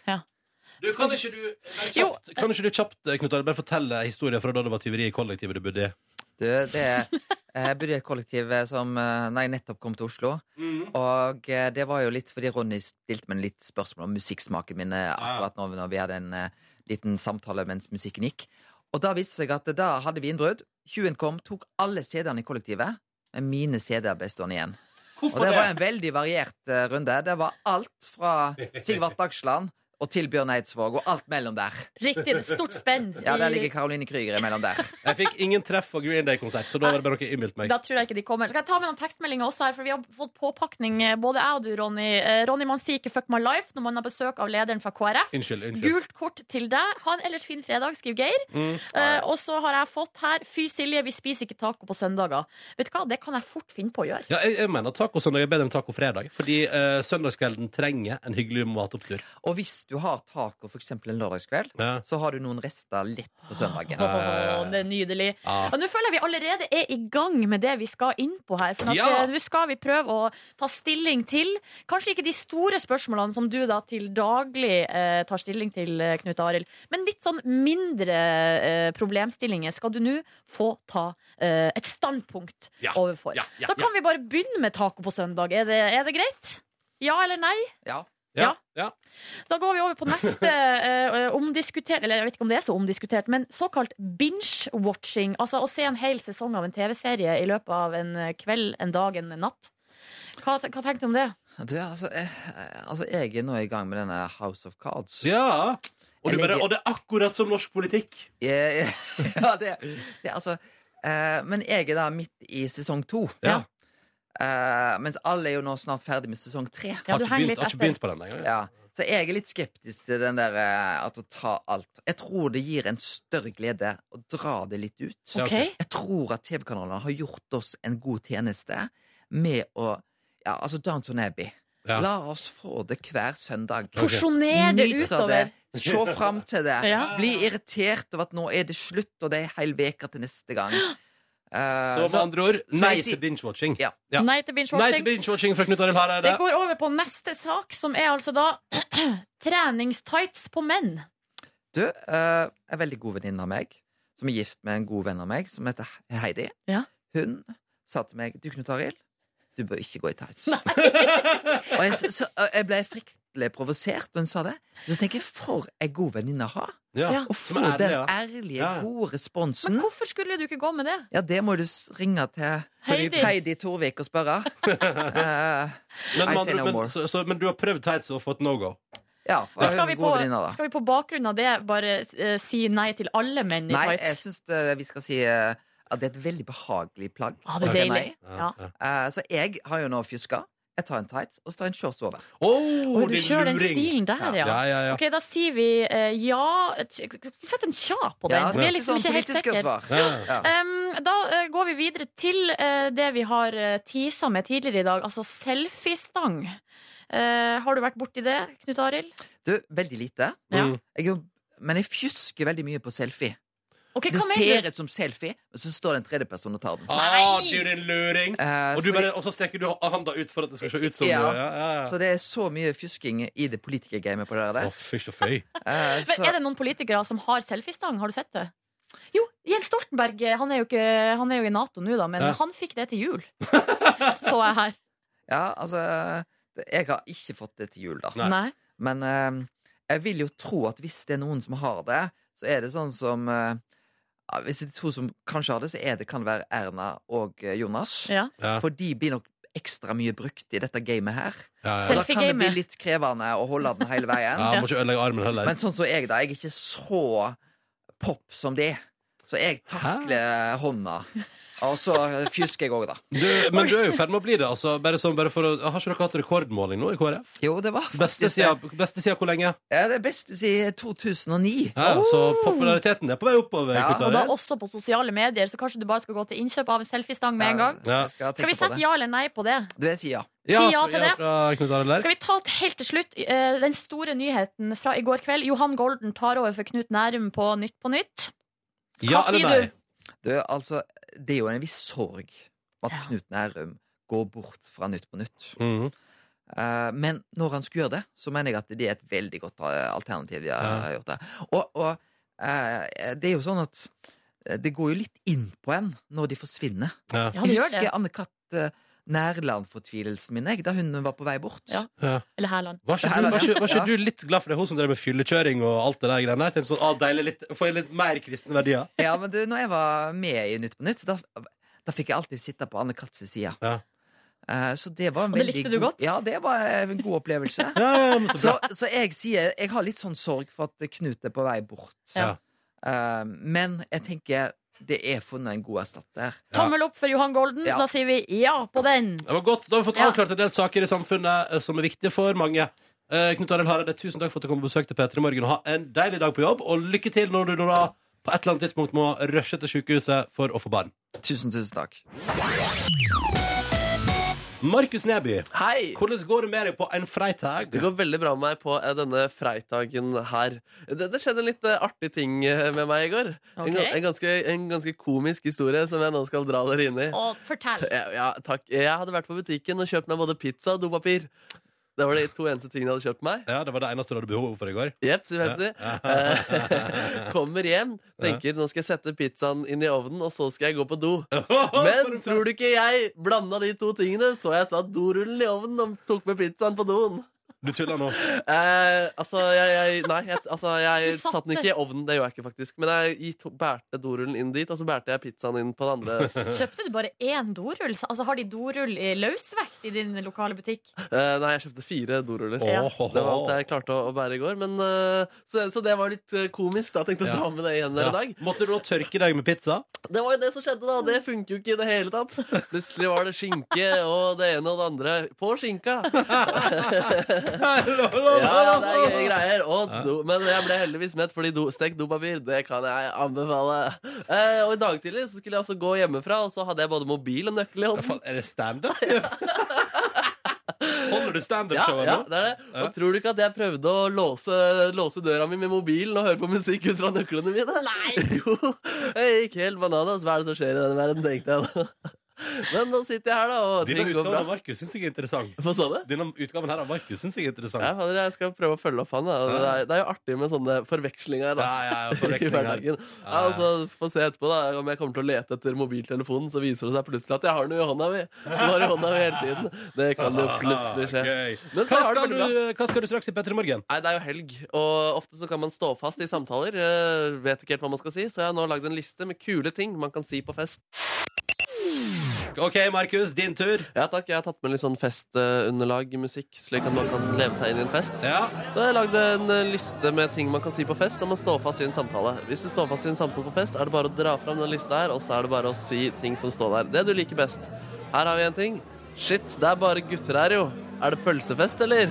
B: Du, kan ikke du bare
C: Jo.
B: kjapt, kan ikke du kjapt, eh, Knut Arild, bare fortelle historien fra da det var tyveri i kollektivet du bodde i?
J: Du, det er eh, Jeg bodde i et kollektiv som eh, Nei, nettopp kom til Oslo. Og eh, det var jo litt fordi Ronny stilte meg litt spørsmål om musikksmaken min eh, akkurat nå når vi hadde en eh, liten samtale mens musikken gikk. Og da viste det seg at eh, da hadde vi innbrudd. Tjuven kom, tok alle CD-ene i kollektivet. Men mine CD-er ble stående igjen. Og det var en veldig variert eh, runde. Det var alt fra Sigvart Dagsland og til Bjørn Eidsvåg, og alt mellom der.
C: Riktig. det er Stort spenn.
J: Ja, der
C: i-
J: ligger Caroline Krüger imellom der.
B: Jeg fikk ingen treff av Green Day-konsert, så da var det bare noe jeg innbilte meg.
C: Da tror jeg ikke de kommer. Skal jeg ta med noen tekstmeldinger også her, for vi har fått påpakning, eh, både jeg og du, Ronny. Eh, Ronny, man sier ikke 'fuck my life' når man har besøk av lederen fra KrF.
B: Unnskyld. unnskyld.
C: Gult kort til deg. Ha en ellers fin fredag, skriver Geir.
B: Mm.
C: Eh, og så har jeg fått her 'Fy Silje, vi spiser ikke taco på søndager'. Vet du hva, det kan jeg fort finne på å gjøre.
B: Ja, jeg, jeg mener at tacosøndag er bedre enn tacofredag, fordi eh, søndagskvelden trenger en hyggelig matopptur.
J: Og hvis du har taco for eksempel en lørdagskveld,
B: Ja.
J: så har du noen rester lett på søndagen.
B: Ja, ja,
C: Å, det er nydelig.
B: Ja.
C: Og nå føler jeg vi allerede er i gang med det vi skal inn på her. For at,
B: Ja.
C: eh, nå skal vi prøve å ta stilling til kanskje ikke de store spørsmålene som du da til daglig eh, tar stilling til, eh, Knut Arild, men litt sånn mindre eh, problemstillinger skal du nå få ta eh, et standpunkt
B: Ja.
C: overfor.
B: Ja, ja,
C: da kan vi bare begynne med taco på søndag. Er det, er det greit? Ja eller nei?
J: Ja.
B: Ja. ja.
C: Da går vi over på neste eh, omdiskutert Eller jeg vet ikke om det er så omdiskutert, men såkalt binge-watching. Altså å se en hel sesong av en TV-serie i løpet av en eh, kveld, en dag, en natt. Hva, hva tenker du om det?
J: Du, altså, jeg, altså, jeg er nå i gang med denne House of Cards.
B: Ja. Og, du
J: Jeg
B: bare,
J: legger-
B: og det er akkurat som norsk politikk.
J: Jeg, ja, det, det er altså eh, Men jeg er da midt i sesong to.
B: Ja.
J: Eh, mens alle er jo nå snart ferdig med sesong tre.
C: Ja,
B: har,
C: du
B: ikke
C: henger
B: begynt,
C: litt
B: har ikke
C: etter.
B: begynt på den engang.
J: Ja. Så jeg er litt skeptisk til den der eh, at å ta alt Jeg tror det gir en større glede å dra det litt ut.
B: Ja,
C: OK?
B: ok.
J: Jeg tror at TV-kanalene har gjort oss en god tjeneste med å Ja, altså Downton Abbey.
B: Ja.
J: La oss få det hver søndag.
C: Porsjoner det
J: Nyt av
C: utover.
J: det. Se fram til det.
C: Ja.
J: Bli irritert over at nå er det slutt, og det er hel uke til neste gang. Eh,
B: Så med andre ord,
J: så jeg
B: nei
J: sier-
B: til binge-watching.
J: Ja.
B: Ja.
C: Nei til
B: Nei til
C: binge-watching.
B: binge-watching fra Knut Arild Hareide.
C: Det går over på neste sak, som er altså da treningstights på menn.
J: Du, eh, en veldig god venninne av meg, som er gift med en god venn av meg, som heter Heidi,
C: Ja.
J: hun sa til meg Du, Knut Arild, du bør ikke gå i tights. og jeg, s- så, jeg ble fryktelig provosert da hun sa det. Så tenker jeg, for ei god venninne å ha!
B: Ja.
C: Ja.
J: Å
B: Som
J: få
B: er ærlig,
J: den
B: ja.
J: ærlige,
B: Ja, ja.
J: gode
C: Men
J: responsen.
C: hvorfor skulle du ikke gå med det?
J: Ja, det må du s- ringe til
C: Heidi.
J: Heidi Torvik og spørre. Eh,
B: Men, med
J: I say
B: andre,
J: no
B: men,
J: more.
B: så, så, men du har prøvd tights og fått no go.
J: ja, for
C: Da
J: hun
C: skal vi,
J: er
C: på,
J: god venninne, da.
C: skal vi på bakgrunn av det bare eh, si nei til alle menn i
J: Nei, jeg
C: tights?
J: syns det- vi skal si eh, at det er et veldig behagelig plagg.
C: Ja, Ah, det er
J: Ok,
C: deilig.
J: nei.
C: Ja.
J: Eh, så jeg har jo nå fjuska. Jeg tar en tights og så tar jeg en shorts over.
B: Oh,
C: Oi, du
B: din
C: kjører den
B: luring.
C: stilen der, ja.
B: Ja, ja, ja.
C: Ok, Da sier vi eh, ja Vi setter en tja på den.
J: Ja,
C: vi er liksom ikke
J: sånn
C: helt
J: politisk
C: sikre.
J: svar.
B: Ja.
J: Ja.
C: Um, da eh, går vi videre til eh, det vi har uh, tisa med tidligere i dag, altså selfiestang. Eh, har du vært borti det, Knut Arild?
J: Du, veldig lite.
C: Ja.
B: Mm.
J: Jeg, er jo- men jeg fjusker veldig mye på selfie.
C: Ok,
J: Det
C: hva
J: ser
C: mener du?
J: ut som selfie, men så står det en tredjeperson og tar den.
B: Ah, du, din luring.
J: Eh,
B: Og, du
J: fordi-
B: bare, og så strekker du handa ut for at det skal se ut som
J: Ja.
B: ja, ja, ja.
J: Så det er så mye fjusking i det politikergamet på det der.
B: Å, fysj og føy.
J: Eh,
B: altså-
C: Men er
J: så,
C: det noen politikere som har selfiestang? Har du sett det? Jo, Jens Stoltenberg eh, han er jo, ikke, han er jo i Nato nå, da, men
B: Ja.
C: han fikk det til jul. Så jeg her.
J: ja, altså det- Jeg har ikke fått det til jul, da.
B: Nei.
C: Nei.
J: Men eh, jeg vil jo tro at hvis det er noen som har det, så er det sånn som eh, ja, Hvis det er to som kanskje har det, så er det kan være Erna og eh, Jonas.
C: Ja.
B: Ja.
J: For de blir nok ekstra mye brukt i dette gamet her.
B: Ja, ja.
J: Så da kan det bli
C: Selfie-gamet.
J: litt krevende å holde den hele veien.
B: Ja, må ikke ødelegge armen heller.
J: Men sånn som jeg, da. Jeg er ikke så pop som de. Så jeg takler hånda. Og så fjusker jeg òg, da.
B: Du, men du er jo i ferd med å bli det. Altså. Bare sånn, bare for å, har ikke dere hatt rekordmåling nå i KrF?
J: Jo, det var
B: Beste
J: faktisk
B: sida, beste sida hvor lenge?
J: Ja, det er best siden 2009.
B: Ja, Så populariteten er på vei oppover.
J: Ja,
B: Knut
C: Og da
B: Arild.
C: også på sosiale medier, så kanskje du bare skal gå til innkjøp av en selfiestang med en gang.
B: Ja.
J: Jeg
C: Skal
J: skal
C: vi
J: tenke på
C: sette
J: det.
C: ja eller nei på det?
J: Du, jeg sier ja.
C: Si ja
B: fra-
C: til det.
B: Fra Knut Arild der.
C: Skal vi ta t- helt til slutt eh, den store nyheten fra i går kveld? Johan Golden tar over for Knut Nærum på Nytt på nytt.
B: Ja
C: Hva
B: eller
C: sier
B: nei?
C: du?
J: Du, altså, det er jo en viss sorg at
C: Ja.
J: Knut Nærum går bort fra Nytt på Nytt.
B: Mhm.
J: Eh, men når han skulle gjøre det, så mener jeg at det er et veldig godt eh, alternativ. De har
B: Ja.
J: gjort det. Og, og eh, det er jo sånn at eh, det går jo litt inn på en når de forsvinner.
B: Ja.
C: Ja, det
J: jeg
C: gjør
J: husker
C: det.
J: Anne-Cath eh, Nærland-fortvilelsen min jeg, da hun var på vei bort.
C: Ja.
B: Ja.
C: Eller Hærland.
B: Var ikke,
J: Det her
B: du,
J: er
B: var,
J: det.
B: ikke, var ikke
J: Ja.
B: du litt glad for det? Hun som drev med fyllekjøring og alt det der greiene der? Tenkte sånn, ah, deilig, litt, Får jeg litt mer kristne verdier?
J: Ja, men du, når jeg var med i Nytt på Nytt, da, da fikk jeg alltid sitte på Anne-Caths side.
B: Ja.
J: Eh, så det var en
C: Og det
J: veldig
C: likte du
J: god-
C: godt?
J: Ja, det var en god opplevelse.
B: Ja, ja, men så
J: Så,
B: bra.
J: så jeg sier Jeg har litt sånn sorg for at Knut er på vei bort.
B: Ja.
J: Eh, men jeg tenker det er funnet en god erstatter.
B: Ja.
C: Tommel opp for Johan Golden.
J: Ja.
C: Da sier vi ja på den.
B: Det var godt. Da har vi fått
C: Ja.
B: avklart en del saker i samfunnet eh, som er viktige for mange. Eh, Knut Arild Hareide, tusen takk for at du kom på besøk til P3 Morgen. Og ha en deilig dag på jobb, og lykke til når du nå da på et eller annet tidspunkt må rushe til sykehuset for å få barn.
J: Tusen, tusen takk.
B: Markus Neby,
D: Hei!
B: hvordan går det med deg på en freitag?
D: Det går veldig bra med meg på eh, denne freitagen her. Det, det skjedde en litt eh, artig ting eh, med meg i går. En, ga-
C: Ok.
D: en, ganske, en ganske komisk historie som jeg nå skal dra dere inn i.
C: Å, fortell.
D: Ja, ja, takk. Jeg hadde vært på butikken og kjøpt meg både pizza og dopapir. Det var de to eneste tingene jeg hadde kjøpt meg.
B: Ja, Det var det eneste du hadde behov for i går?
D: Jepsi, pepsi. Eh, Kommer hjem, tenker nå skal jeg sette pizzaen inn i ovnen, og så skal jeg gå på do. Men tror du ikke jeg blanda de to tingene? Så jeg satt dorullen i ovnen og tok med pizzaen på doen.
B: Du tuller nå.
D: Eh, altså, jeg, jeg Nei, jeg, altså, jeg
C: Du satte-
D: satte den ikke i ovnen. Det gjorde jeg ikke, faktisk. Men jeg gi- to- bærte dorullen inn dit, og så bærte jeg pizzaen inn på den andre.
C: Kjøpte du bare én dorull? Altså, har de dorull i løsvekt i din lokale butikk?
D: Eh, nei, jeg kjøpte fire doruller.
B: Ja.
D: Det var alt jeg klarte å, å bære i går. Men, eh, så, så det var litt eh, komisk. da Tenkte å
B: Ja.
D: dra med det igjen her i dag.
B: Måtte du da tørke deg med pizza?
D: Det var jo det som skjedde, da. Det funker jo ikke i det hele tatt. Plutselig var det skinke og det ene og det andre på skinka. Ja, ja, det er gøye greier. Og do, men jeg ble heldigvis mett, fordi do, stekt dopapir det kan jeg anbefale. Eh, og i dag tidlig så skulle jeg altså gå hjemmefra, og så hadde jeg både mobil og nøkkel i
B: Ja,
D: hånden.
B: faen, Er det standup? Holder du
D: Ja,
B: standup-showet
D: ja,
B: nå?
D: det er det. Og tror du ikke at jeg prøvde å låse, låse døra mi med mobilen og høre på musikk ut fra nøklene mine? Nei! Jo, jeg gikk helt bananas. Hva er det som skjer i denne verden, tenkte jeg da. Men nå sitter jeg her, da, og
B: Denne
D: ting går
B: utgaven
D: bra.
B: av Markus syns jeg er interessant.
D: Hva sa du?
B: Denne utgaven her av Markus synes jeg er interessant.
D: Ja, fader, jeg skal prøve å følge opp han. Da. Det, er, det er jo artig med sånne forvekslinger. Da.
B: Ja, ja, ja, forvekslinger.
D: I hverdagen.
B: Ja, ja.
D: Ja, altså, Få se etterpå da, om jeg kommer til å lete etter mobiltelefonen, så viser det seg plutselig at jeg har den jo i hånda mi. Den var i hånda mi hele tiden. Det kan jo plutselig skje.
B: Ah, Gøy.
D: Men så
B: Hva
D: har det
B: skal,
D: veldig
B: du, hva skal du straks i Petter i morgen?
D: Nei, det er jo helg, og ofte så kan man stå fast i samtaler. eh, vet ikke helt hva man skal si, så jeg har nå lagd en liste med kule ting man kan si på fest.
B: OK, Markus, din tur.
D: Ja takk, jeg har tatt med litt sånn festunderlag i musikk, slik at man kan leve seg inn i en fest.
B: Ja.
D: Så har jeg lagd en eh, liste med ting man kan si på fest når man står fast i en samtale. Hvis du står fast i en samtale på fest, er det bare å dra fram den lista her, og så er det bare å si ting som står der. Det du liker best. Her har vi en ting. Shit, det er bare gutter her, jo. Er det pølsefest, eller?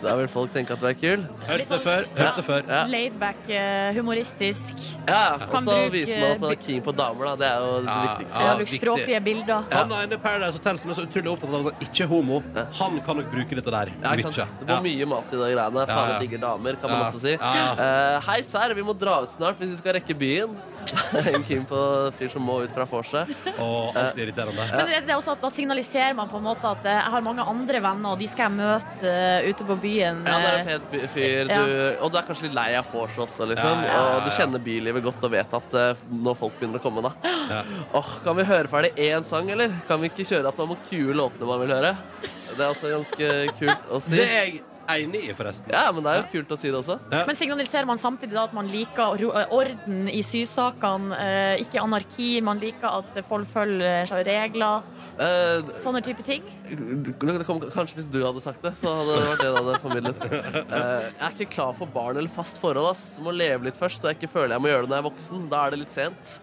D: Da vil folk tenke at du er kul.
B: Hørt det før. Hørt det før.
D: Ja,
C: sånn, Laidback, eh, humoristisk.
D: ja og
C: Kan
D: så
C: bruke
D: viser man at man er
C: bits-
D: keen på damer, da. Det er jo det
B: Ja,
D: viktigste.
C: Ja,
B: ja,
C: Bruk
B: viktig.
C: språklige bilder.
B: Han er inne i Paradise Hotel som er så utrolig opptatt av at han ikke er homo. Han kan nok bruke dette der.
D: Ja, ikke
B: mye.
D: sant? Det var mye mat i de greiene.
B: Ja,
D: Faen,
B: ja.
D: jeg digger damer, kan man
B: Ja.
D: også si.
B: Ja, ja.
D: Eh, hei, serr, vi må dra ut snart hvis vi skal rekke byen. En keen på fyr som må ut fra vorset.
B: Ja. Og alt er irriterende.
C: Men det er også at da signaliserer man på en måte at eh, jeg har mange andre venner, og de skal jeg møte eh, ute på byen.
D: Ja, det er
C: eh,
D: en fet by- fyr.
C: Ja.
D: Du, og du er kanskje litt lei av vors også, liksom.
B: Ja, ja, ja,
D: Og du
B: ja.
D: kjenner bylivet godt og vet at eh, når folk begynner å komme, da.
B: Ja.
D: Åh, Kan vi høre ferdig én sang, eller? Kan vi ikke kjøre at man må kue låtene man vil høre? Det er altså ganske kult å si.
B: Det er jeg enig i, forresten.
D: Ja, men det er jo kult å si det også.
C: Men signaliserer man samtidig da at man liker ro- eh, orden i sysakene, eh, ikke anarki, man liker at folk følger eh, regler,
D: Eh,
C: sånne type ting?
D: det kom, kanskje hvis du hadde sagt det, så hadde det vært det det hadde formidlet. Eh, jeg er ikke klar for barn eller fast forhold. ass Må leve litt først, så jeg ikke føler jeg må gjøre det når jeg er voksen. Da er det litt sent.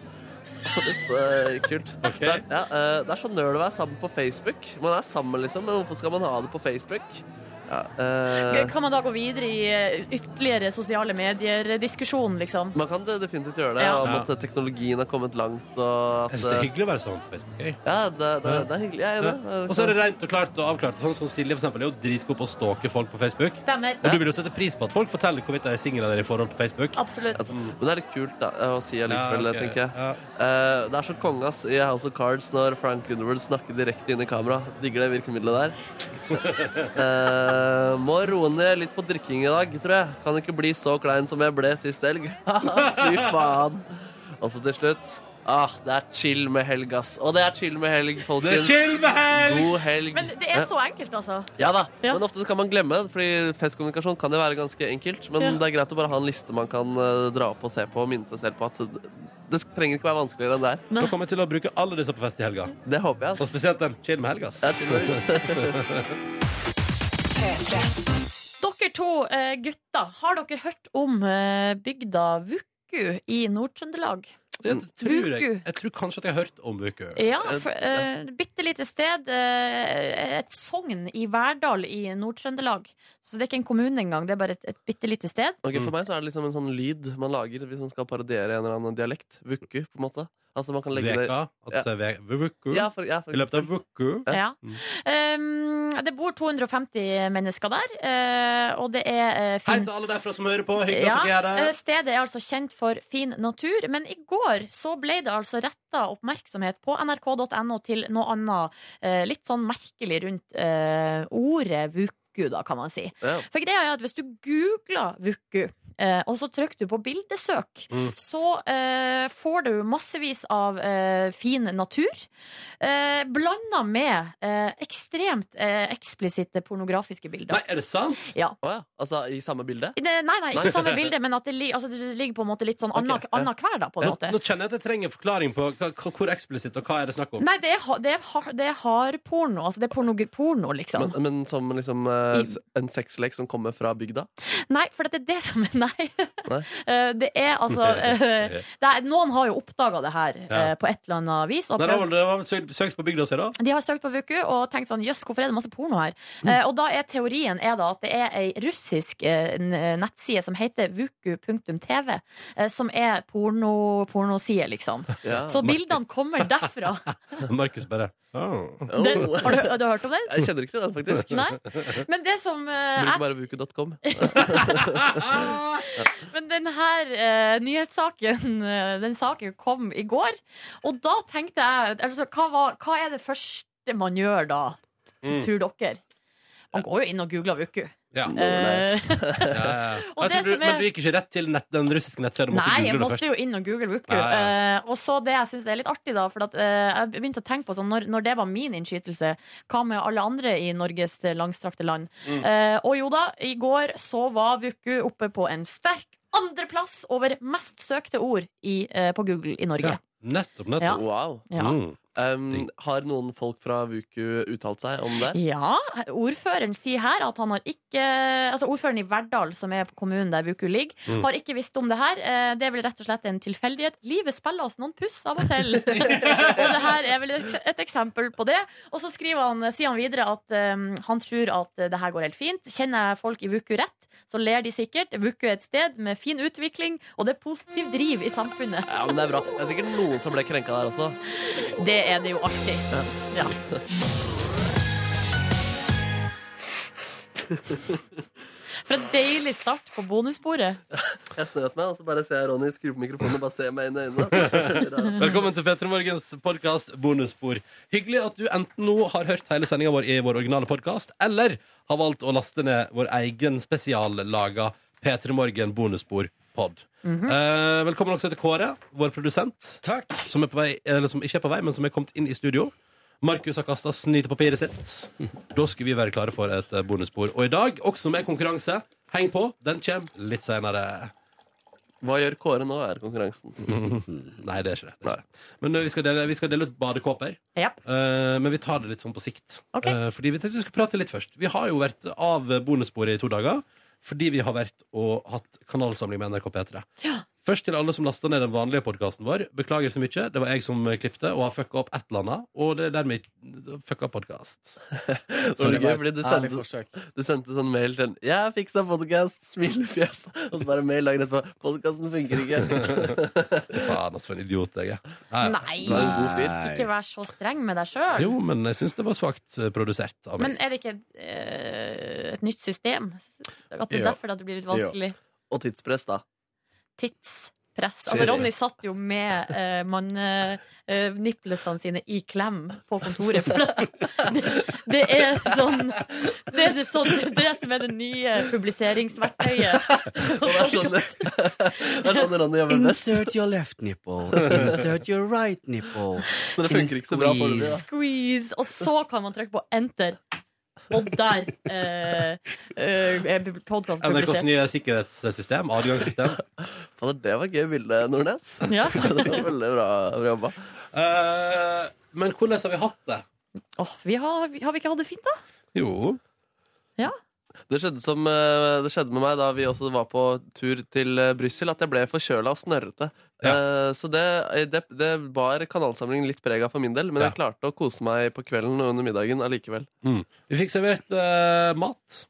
D: Så litt eh, kult. Det, er- ja, eh, det er så nøl å være sammen på Facebook. Man er sammen, liksom, men hvorfor skal man ha det på Facebook? Ja, eh,
C: Kan man da gå videre i eh, ytterligere sosiale medier-diskusjon, liksom?
D: man kan definitivt gjøre det,
C: Ja.
D: om at teknologien har kommet langt. Og
B: Jeg
D: at,
B: synes det er
D: eh,
B: hyggelig å være sammen på Facebook. jeg.
D: ja, det, det, det er hyggelig. Jeg er enig.
B: Ja. Og så er det rent og klart og avklart. Sånn som Silje for eksempel, er jo dritgod på å stalke folk på Facebook.
C: Stemmer.
B: Og du vil jo sette pris på at folk forteller hvorvidt de er single eller i forhold på Facebook.
C: Absolutt.
D: Altså, Men det er litt kult da, å si allikevel,
B: Ja, ok.
D: tenker jeg.
B: Ja.
D: Eh, det er så konge ass, i House of Cards når Frank Underwood snakker direkte inn i kamera. Digger det virkemidlet der. Eh, må roe ned litt på drikking i dag, tror jeg. Kan ikke bli så klein som jeg ble sist helg. Fy faen. Og så til slutt Ah, det er chill med helg, ass. Og det er chill med helg,
B: Det er
D: folkens.
B: chill med helg!
D: God helg.
C: Men det er så enkelt, altså.
D: Ja da,
C: Ja.
D: men ofte så kan man glemme Fordi festkommunikasjon kan jo være ganske enkelt Men
C: Ja.
D: det er greit å bare ha en liste man kan eh, dra opp og se på Og minne seg selv på at det, det trenger ikke være vanskeligere enn det er
B: Nå kommer jeg til å bruke alle disse på fest i helga.
D: Det håper jeg
B: Og
D: altså.
B: spesielt den chill med helga. ass.
D: Jeg tror-
C: Dere to eh, gutter, har dere hørt om eh, bygda Vuku i Nord-Trøndelag?
B: Jeg tror, jeg,
C: Vuku.
B: jeg tror kanskje at jeg har hørt om Vuku.
C: Ja, for, eh, bitte lite sted. eh, et sogn i Verdal i Nord-Trøndelag. Så det er ikke en kommune engang, det er bare et, et bitte lite sted.
D: Ok,
B: Mm.
D: For meg så er det liksom en sånn lyd man lager hvis man skal parodiere en eller annen dialekt. Vuku, på en måte. Altså man kan legge det
B: Veka. At det er ve- Vuku.
D: ja, for, ja, for
B: I løpet av Vuku.
C: Ja. Mm. Eh, det bor 250 mennesker der, eh, og det er uh,
B: Hei
C: fint.
B: til alle derfra som hører på. Hyggelig
C: Ja,
B: at dere er
C: eh,
B: her.
C: stedet er altså kjent for fin natur, men i går så ble det altså retta oppmerksomhet på nrk.no til noe annet eh, litt sånn merkelig rundt eh, ordet vuku, da, kan man si.
D: Ja.
C: For greia er at hvis du googler vuku eh, og så trykker du på bildesøk,
B: Mm.
C: så eh, får du massevis av eh, fin natur. Eh, Blanda med eh, ekstremt eh, eksplisitte pornografiske bilder.
B: Nei, er det sant?
D: Å ja. Altså i samme bilde?
C: Det, nei, nei, ikke samme bilde, men at det, li, altså, det ligger på en måte litt sånn anna,
D: Ok, ja.
C: anna hver, da, på en
B: Nå,
C: måte.
B: nå kjenner jeg at jeg trenger forklaring på hva, hva- hvor eksplisitt og hva er det snakk om.
C: Nei, det er, ha- det er, har- det er hardporno. Altså, det er porno, porno liksom.
D: Men, men som liksom eh, s- en sexlek som kommer fra bygda?
C: nei, for det er det som er Nei.
D: Nei.
C: Eh, det er altså eh, det er, Noen har jo oppdaga det her eh, på et eller annet vis. Og
B: Nei, det var
C: prøvd,
B: vel- det var vel søkt- søkt på bygda si, da.
C: de har søkt på Vuku og tenkt sånn Jøss, hvorfor er det masse porno her?
D: Mm.
C: Eh, og da er teorien er da at det er ei russisk eh, n- nettside som heter vuku.tv, eh, som er porno, pornoside, liksom.
D: Ja.
C: Så bildene kommer derfra.
B: Markus bare oh.
D: Oh.
C: Den, har, du, har du hørt om den?
D: Jeg kjenner ikke til den, faktisk.
C: Nei? Men det som
D: Bruker
C: eh, jeg,
D: bare vuku.com.
C: Men den her eh, nyhetssaken eh, Den saken kom i går Og da tenkte jeg altså, hva, var, hva er det første man gjør da?
B: Mm.
C: Tror dere? Man går jo inn og googler Vuku
B: Ja.
C: Eh,
B: Ja, ja,
C: Og
B: ja. Jeg
C: det
B: tror du,
C: som er-
B: Men du gikk ikke rett til nett, den russiske nettsiden?
C: Nei, jeg
B: google det
C: måtte jo inn og google Vuku.
B: Ja, ja.
C: Eh, og så det jeg syns er litt artig, da, for at, eh, jeg begynte å tenke på sånn, når, når det var min innskytelse, hva med alle andre i Norges langstrakte land?
B: Mm.
C: Eh, og jo da, i går så var Vuku oppe på en sterk andreplass over mest søkte ord i, eh, på Google i Norge.
B: Ja. Nettopp, nettopp.
C: Ja.
D: Wow.
C: Ja.
B: Mm.
D: Um, har noen folk fra Vuku uttalt seg om det?
C: Ja, ordføreren sier her at han har ikke Altså ordføreren i Verdal, som er på kommunen der Vuku ligger,
B: Mm.
C: har ikke visst om det her. Eh, Det er vel rett og slett en tilfeldighet. Livet spiller oss noen puss av og til. og det her er vel et eks- et eksempel på det. Og så skriver han, sier han videre at eh, han tror at det her går helt fint. Kjenner jeg folk i Vuku rett, så ler de sikkert. Vuku er et sted med fin utvikling, og det er positiv driv i samfunnet.
D: Ja, men Det er bra. Det er sikkert noen som ble krenka der også.
C: Det er det jo alltid. Ja. For en deilig start på bonusbordet.
D: Jeg snøt meg, og så bare ser jeg Ronny skru på mikrofonen og bare se meg inn i øynene.
B: Velkommen til Petter Morgens podkast Bonusspor. Hyggelig at du enten nå har hørt hele sendinga vår i vår originale podkast, eller har valgt å laste ned vår egen spesiallaga P3 Morgen bonusspor-pod. eh, velkommen også til Kåre, vår produsent,
K: Takk.
B: som, er på vei, eller som ikke er på vei, men som er kommet inn i studio. Markus har kasta snytepapiret sitt. Da skulle vi være klare for et eh, bonusspor. Og i dag også med konkurranse. Heng på, den kommer litt seinere.
D: Hva gjør Kåre nå, er konkurransen.
B: Nei, det er ikke det. det, er ikke det. Men eh, vi skal, dele, vi skal dele ut badekåper.
C: Ja.
B: Eh, men vi tar det litt sånn på sikt.
C: Ok.
B: Eh, fordi vi tenkte vi skulle prate litt først. Vi har jo vært av bonussporet i to dager fordi vi har vært og hatt kanalsamling med NRK P3. Først til alle som lasta ned den vanlige podkasten vår. Beklager så mye. Det var jeg som klippte og har fucka opp et eller annet. Og det er dermed fucka podkast.
D: Så det var gøy, fordi du
K: Ærlig
D: sendte,
K: forsøk.
D: du sendte sånn mail til en, 'Jeg fiksa podkast', smilefjes, og så bare mail dagen etterpå. 'Podkasten funker ikke'.
B: Faen, altså, for en idiot jeg er. Nei.
C: Nei,
D: Du er en god fyr.
C: ikke vær så streng med deg sjøl.
B: Jo, men jeg syns det var svakt eh, produsert av meg.
C: Men er det ikke eh, et nytt system? At det er
K: Jo.
C: derfor at det blir litt vanskelig?
D: Og tidspress, da.
C: Tidspress. Altså,
K: Ser det.
C: Ronny satt jo med uh, manneniplesene eh, sine i klem på kontoret. For at det, det er sånn Det er det, sånn, det som er det nye publiseringsverktøyet.
D: Og det er sånn, det er sånn Ronny jobber best.
G: Insert your left nipple. Insert your right nipple.
D: Men det funker ikke så bra foreløpig. da.
C: Squeeze. Og så kan man trykke på enter. Og der uh, er podkasten
B: NRKs
C: publisert.
B: nye sikkerhetssystem, adgangssystem.
D: Fader, det var et gøy bilde, Nordnes.
C: Ja.
D: Det var veldig bra, bra jobba.
B: Eh, men hvordan har vi hatt det?
C: Åh, vi har, har vi ikke hatt det fint, da?
B: Jo.
C: Ja.
D: Det skjedde, som, eh, det skjedde med meg da vi også var på tur til eh, Brussel, at jeg ble forkjøla og snørrete. Eh, Så det, det, det bar kanalsamlingen litt preg av for min del, men
B: Ja.
D: jeg klarte å kose meg på kvelden og under middagen allikevel.
B: Vi fikk servert eh, mat.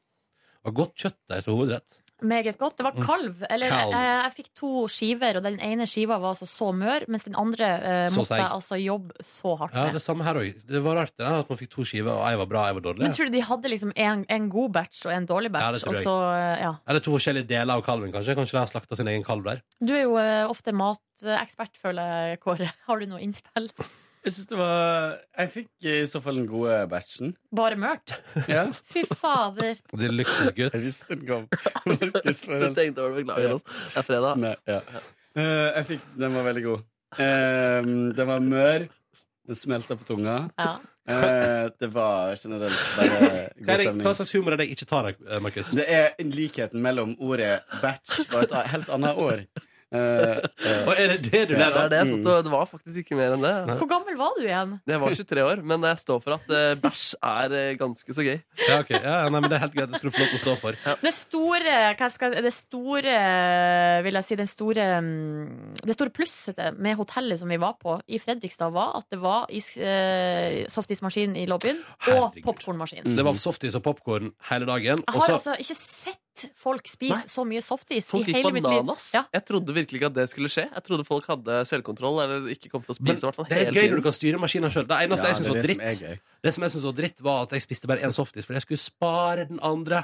B: Og godt kjøtt der til hovedrett.
C: Meget godt. Det var kalv. Eller
B: Mm. Kalv.
C: Jeg, jeg fikk to skiver, og den ene skiva var altså så mør, mens den andre eh,
B: Så
C: måtte
B: seig.
C: jeg altså jobbe så hardt
B: Ja,
C: med.
B: det samme her òg. Det var rart det der, at man fikk to skiver, og ei var bra, ei var dårlig.
C: Men tror du de hadde liksom en, en god batch og en dårlig
B: Ja, det
C: batch?
B: tror jeg.
C: og så, eh, ja.
B: Eller to forskjellige deler av kalven, kanskje. Kanskje de har slakta sin egen kalv der.
C: Du er jo eh, ofte matekspert, føler jeg, Kåre. Har du noe innspill?
I: Jeg syns det var Jeg fikk i så fall den gode batchen.
C: Bare mørkt?
I: Ja.
C: Fy fader.
B: Det er luksusgutt.
I: Jeg visste den kom.
D: Jeg
I: Markedsføring.
D: tenkte over det, beklager oss. Det er fredag.
I: Nei, ja. Eh, jeg fikk Den var veldig god. Eh, den var mør. Den smelta på tunga.
C: Ja.
I: Eh, det var generelt bare
B: Hva,
I: god
B: er det, hva
I: stemning.
B: slags humor er det jeg ikke tar, eh, Markus?
I: Det er en likheten mellom ordet batch og et helt annet ord. Eh, eh,
B: Og er det det du
D: Det
B: ler
D: er
B: av?
D: det, så det- det var faktisk ikke mer enn det.
C: Hvor gammel var du igjen?
D: Jeg var 23 år, men jeg står for at eh, bæsj er eh, ganske så gøy.
B: Ja, ok. ja, nei, men det er helt greit. Det skal du få lov til å stå for.
C: Det store, hva skal, det store vil jeg si, den store, mm, det store plusset til- med hotellet som vi var på i Fredrikstad, var at det var is, eh, softismaskin i lobbyen og
B: Herregud.
C: popkornmaskin.
B: Det var softis og popkorn hele dagen.
C: Jeg
B: Og
C: har
B: så
C: altså ikke sett folk spise
D: Nei.
C: så mye softis
D: Folk
C: i
D: gikk
C: hele mitt liv.
D: bananas.
C: Ja.
D: Jeg trodde virkelig ikke at det skulle skje. Jeg trodde folk hadde selvkontroll eller ikke kom til å
B: Men
D: spise. i hvert fall
B: det er
D: hele
B: gøy
D: tiden.
B: når du kan styre maskina sjøl. Det eneste jeg
I: det
B: syns var
I: er det som
B: dritt,
I: er gøy.
B: Det som jeg syntes var dritt, var at jeg spiste bare én softis fordi jeg skulle spare den andre.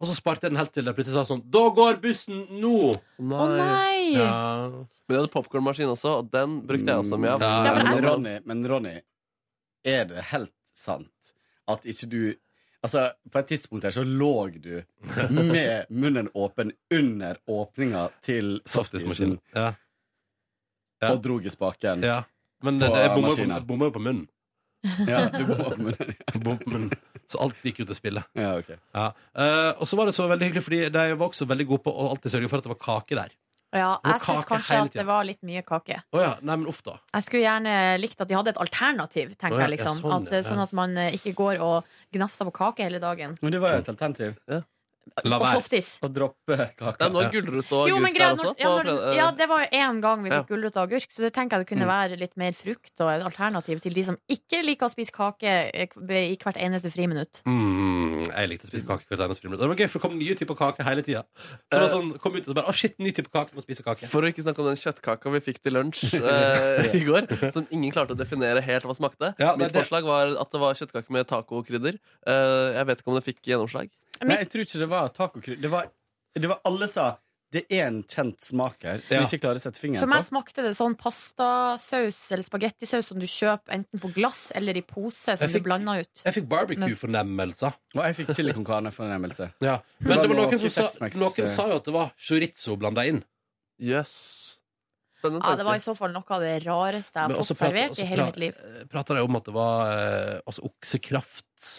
B: Og så sparte jeg den helt til jeg plutselig sa sånn Da går bussen nå!
D: Nei.
C: Å nei!
B: Ja.
D: Men jeg hadde popkornmaskin også, og den brukte jeg også mye av.
B: Mm. Ja,
C: for
I: men,
C: jeg-
I: Ronny, men Ronny, er det helt sant at ikke du Altså, På et tidspunkt her så lå du med munnen åpen under åpninga til softisen
B: Softismaskinen. Ja. Ja.
I: og dro i spaken.
B: ja. Men det,
I: På
B: det, jeg bomma jo på-
I: maskina.
B: jeg bomma jo på munnen.
I: Ja, du bomma på munnen.
B: Jeg bomma på munnen. Så alt gikk jo til spille.
I: Ja, ok.
B: Ja. Eh, og så var det så veldig hyggelig, fordi de var også veldig gode på å alltid sørge for at det var kake der.
C: Ja,
B: Det var
C: jeg syns
B: kake hele
C: kanskje at
B: tiden.
C: det var litt mye kake.
B: Å ja. Nei, men uff da.
C: Jeg skulle gjerne likt at de hadde et alternativ,
B: Å,
C: tenker
B: ja,
C: jeg. liksom
B: ja, sånn,
C: at, eh,
B: ja.
C: Sånn at man eh, ikke går og gnafser på kake hele dagen.
I: Men det var jo et alternativ.
B: La
C: Og
B: være.
C: softis.
I: Å droppe
D: Det er
I: kaka.
D: nå gulrot og
C: Jo, men
D: agurk
C: greia,
D: der også.
C: når, ja,
D: på
C: når,
D: fred-
C: ja, det var jo én gang vi
D: Ja.
C: fikk gulrot og agurk, så det tenker jeg det
B: Mm.
C: kunne være litt mer frukt og et alternativ til de som ikke liker å spise kake eh, i hvert eneste friminutt.
B: Mm, jeg likte å spise kake hvert eneste friminutt. Og Det var gøy, for det kom nye typer kake hele tida. Så det var sånn, kom ut og så bare Å, shit, ny type kake. Må spise kake.
D: For å ikke snakke om den kjøttkaka vi fikk til lunsj eh, i går, som ingen klarte å definere helt hva smakte.
B: Ja, nei,
D: Mitt
B: det-
D: forslag var at det var kjøttkake med tacokrydder. Eh, jeg vet ikke om det fikk gjennomslag.
I: Nei, jeg tror ikke det var tacokrydder. Det, var- det var Alle sa det er en kjent smak her som
B: Ja.
I: vi ikke klarer å sette fingeren
C: For meg
I: på.
C: smakte det sånn pastasaus eller spagettisaus som du kjøper enten på glass eller i pose, som
B: Jeg fikk-
C: du blander ut.
B: Jeg fikk barbecue-fornemmelser.
I: Og jeg fikk chili con carne-fornemmelse.
B: Ja. Men
I: Men
B: det var
I: da
B: noen som
I: fikk
B: sa,
I: Tex-Mex,
B: noen
I: eh,
B: sa jo at det var chorizo blanda inn.
D: Jøs. Spennende
C: Ja, det var i
D: tanke.
C: så fall noe av det rareste jeg
B: Men
C: har
B: også
C: fått
B: prat-
C: servert
B: også
C: i hele
B: prat-
C: mitt liv.
B: eh, Prata de om at det var eh, altså oksekraft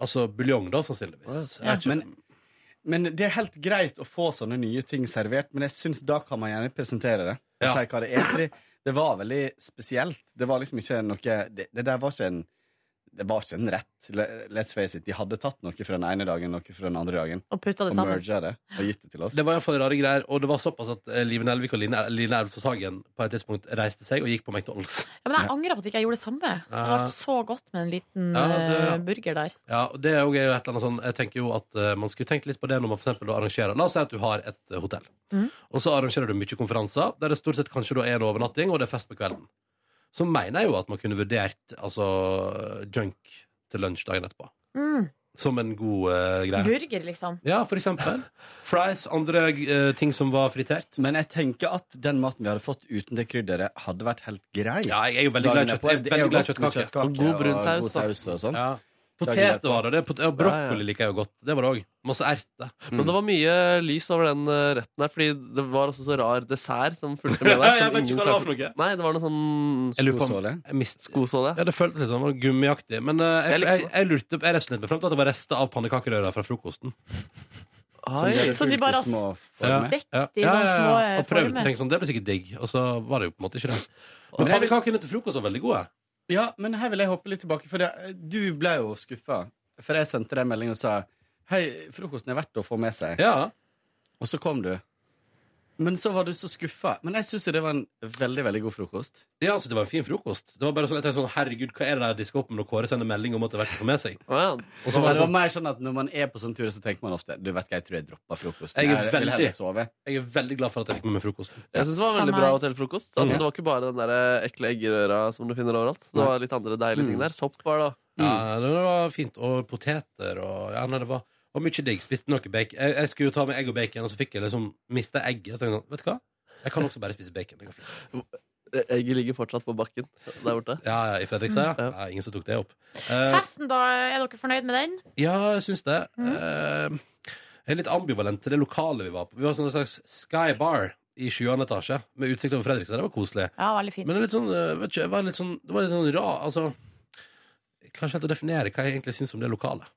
B: Altså buljong, da, sannsynligvis. Jeg vet ikke.
I: Men, men det er helt greit å få sånne nye ting servert, men jeg syns da kan man gjerne presentere det. Og
B: Ja.
I: si hva det er. Fordi det var veldig spesielt. Det var liksom ikke noe Det, det der var ikke en det var ikke en rett. Le- Let's face it, De hadde tatt noe fra den ene dagen noe fra den andre dagen
C: Og putta det
I: og
C: sammen.
I: merga det og gitt det til oss.
B: det var iallfall rare greier, og det var såpass at eh, Live Nelvik og Line, Line Elvsås Hagen på et tidspunkt reiste seg og gikk på McDonald's.
C: Ja, men jeg angrer på at ikke jeg gjorde det samme. Det hadde vært så godt med en liten
B: Ja, det-
C: eh, burger der.
B: Ja, og det er jo et eller annet sånn Jeg tenker jo at eh, man skulle tenkt litt på det når man for eksempel da arrangerer La oss si at du har et eh, hotell Og så arrangerer du mye konferanser Der det stort sett kanskje da er en overnatting Og det er fest på kvelden Så mener jeg jo at man kunne vurdert Altså junk til lunsj dagen etterpå
C: Mm.
B: Som en god eh, greie
C: Burger, liksom.
B: Ja, for eksempel Fries, andre eh, ting som var fritert
I: Men jeg tenker at den maten vi hadde fått uten det krydderet, hadde vært helt grei.
B: Ja, jeg er jo veldig glad i
I: Dagen
B: kjøtt
I: etterpå,
B: jeg
I: det
B: er
I: er jo
B: veldig glad i
I: godt med
B: kjøttkake
I: kjøttkake
D: Og god brun
I: og
D: saus,
I: god
D: da.
I: saus og sånn.
B: ja.
I: Dagen
B: Potet
I: etterpå.
B: var det, det er pot- ja, brokkoli liker jeg jo godt Det var det også, masse erte
D: Men det var mye lys over den eh, retten her, fordi det var også så rar dessert som fulgte med
B: Ja,
D: der.
B: jeg
D: som
B: vet ikke
D: ingen
B: hva det var
D: klarte-
B: for noe.
D: Nei, det var noe sånn
B: Jeg lurer på om
I: Skosåle.
B: jeg mist,
D: skosåle.
B: Ja, det føltes litt sånn det var gummiaktig. Men eh, jeg,
D: Jeg likte
B: jeg, jeg lurte Jeg resonerte meg frem til at det var rester av pannekakerøra fra frokosten.
I: Som
D: Oi.
I: dere
C: Som de
I: fulgte
C: bare har
I: små
B: Ja,
I: former.
C: Stekt i
B: ja. Ja, ja,
C: sånne
B: ja.
C: små, eh,
B: Og prøvde
C: former.
B: å tenke sånn, det blir sikkert digg. Og så var det jo på en måte ikke det. Men
I: Men jeg-
B: pannekakene til frokost var veldig gode.
I: Ja, men her vil jeg hoppe litt tilbake, for det, du ble jo skuffa. For jeg sendte deg en melding og sa
G: Hei, frokosten er verdt å få med seg.
B: Ja.
G: Og så kom du. Men så var du så skuffa. Men jeg syns jo det var en veldig veldig god frokost.
B: ja, altså, det var en fin frokost. Det var bare sånn, jeg tenkte sånn, Herregud, hva er det der de skal opp med når Kåre sender melding om at det er verdt å få med seg?
D: Å ja.
B: Og så
G: Men
B: var
G: det
B: det
G: var
B: sånn,
G: mer sånn at Når man er på sånn tur, så tenker man ofte Du vet hva, jeg tror jeg dropper frokost.
B: Jeg er
G: vil
B: veldig-
G: heller sove.
B: Jeg er veldig glad for at jeg fikk med meg frokost.
D: Jeg syns det var veldig
F: Samme
D: bra
F: her.
D: hotellfrokost. Altså,
B: Mhm.
D: det var ikke bare den der eh, ekle eggerøra som du finner overalt. Det var litt andre deilige ting der. Sopp var det òg.
B: Ja, det var fint. Og poteter og ja, nei, det var, var mye digg. Spiste noe bacon. Jeg, jeg skulle jo ta med egg og bacon, og så fikk jeg liksom mista egget. Og så tenkte jeg sånn, vet du hva? Jeg kan også bare spise bacon. Det går fint.
D: Eh, Egget ligger fortsatt på bakken der borte.
B: Ja, ja, I Fredrikstad, ja.
D: Mm.
B: ja. Ingen som tok det opp. Eh,
C: Festen, da? Er dere fornøyd med den?
B: ja, jeg syns det. Eh, jeg er litt ambivalent til det lokalet vi var på. Vi var sånn en slags Sky Bar i 20. etasje med utsikt over Fredrikstad. Det var koselig.
F: Ja, veldig fint.
B: Men det er litt sånn, eh, vet ikke, jeg var litt sånn, det var litt sånn rar Altså, jeg klarer ikke helt å definere hva jeg egentlig syns om det lokalet.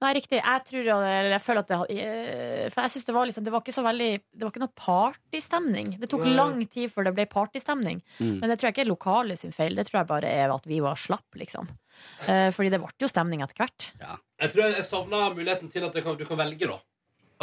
C: Nei, riktig. Jeg tror eller jeg føler at det eh, For jeg synes det var liksom Det var ikke så veldig Det var ikke noe partystemning. Det tok
B: Nei. Mm.
C: lang tid før det ble partystemning. Men det tror jeg ikke er lokalet sin feil. Det tror jeg bare er at vi var slapp, liksom. Eh, Fordi det ble jo stemning etter hvert.
B: Jeg tror jeg, jeg savna muligheten til at jeg kan, du kan velge, da.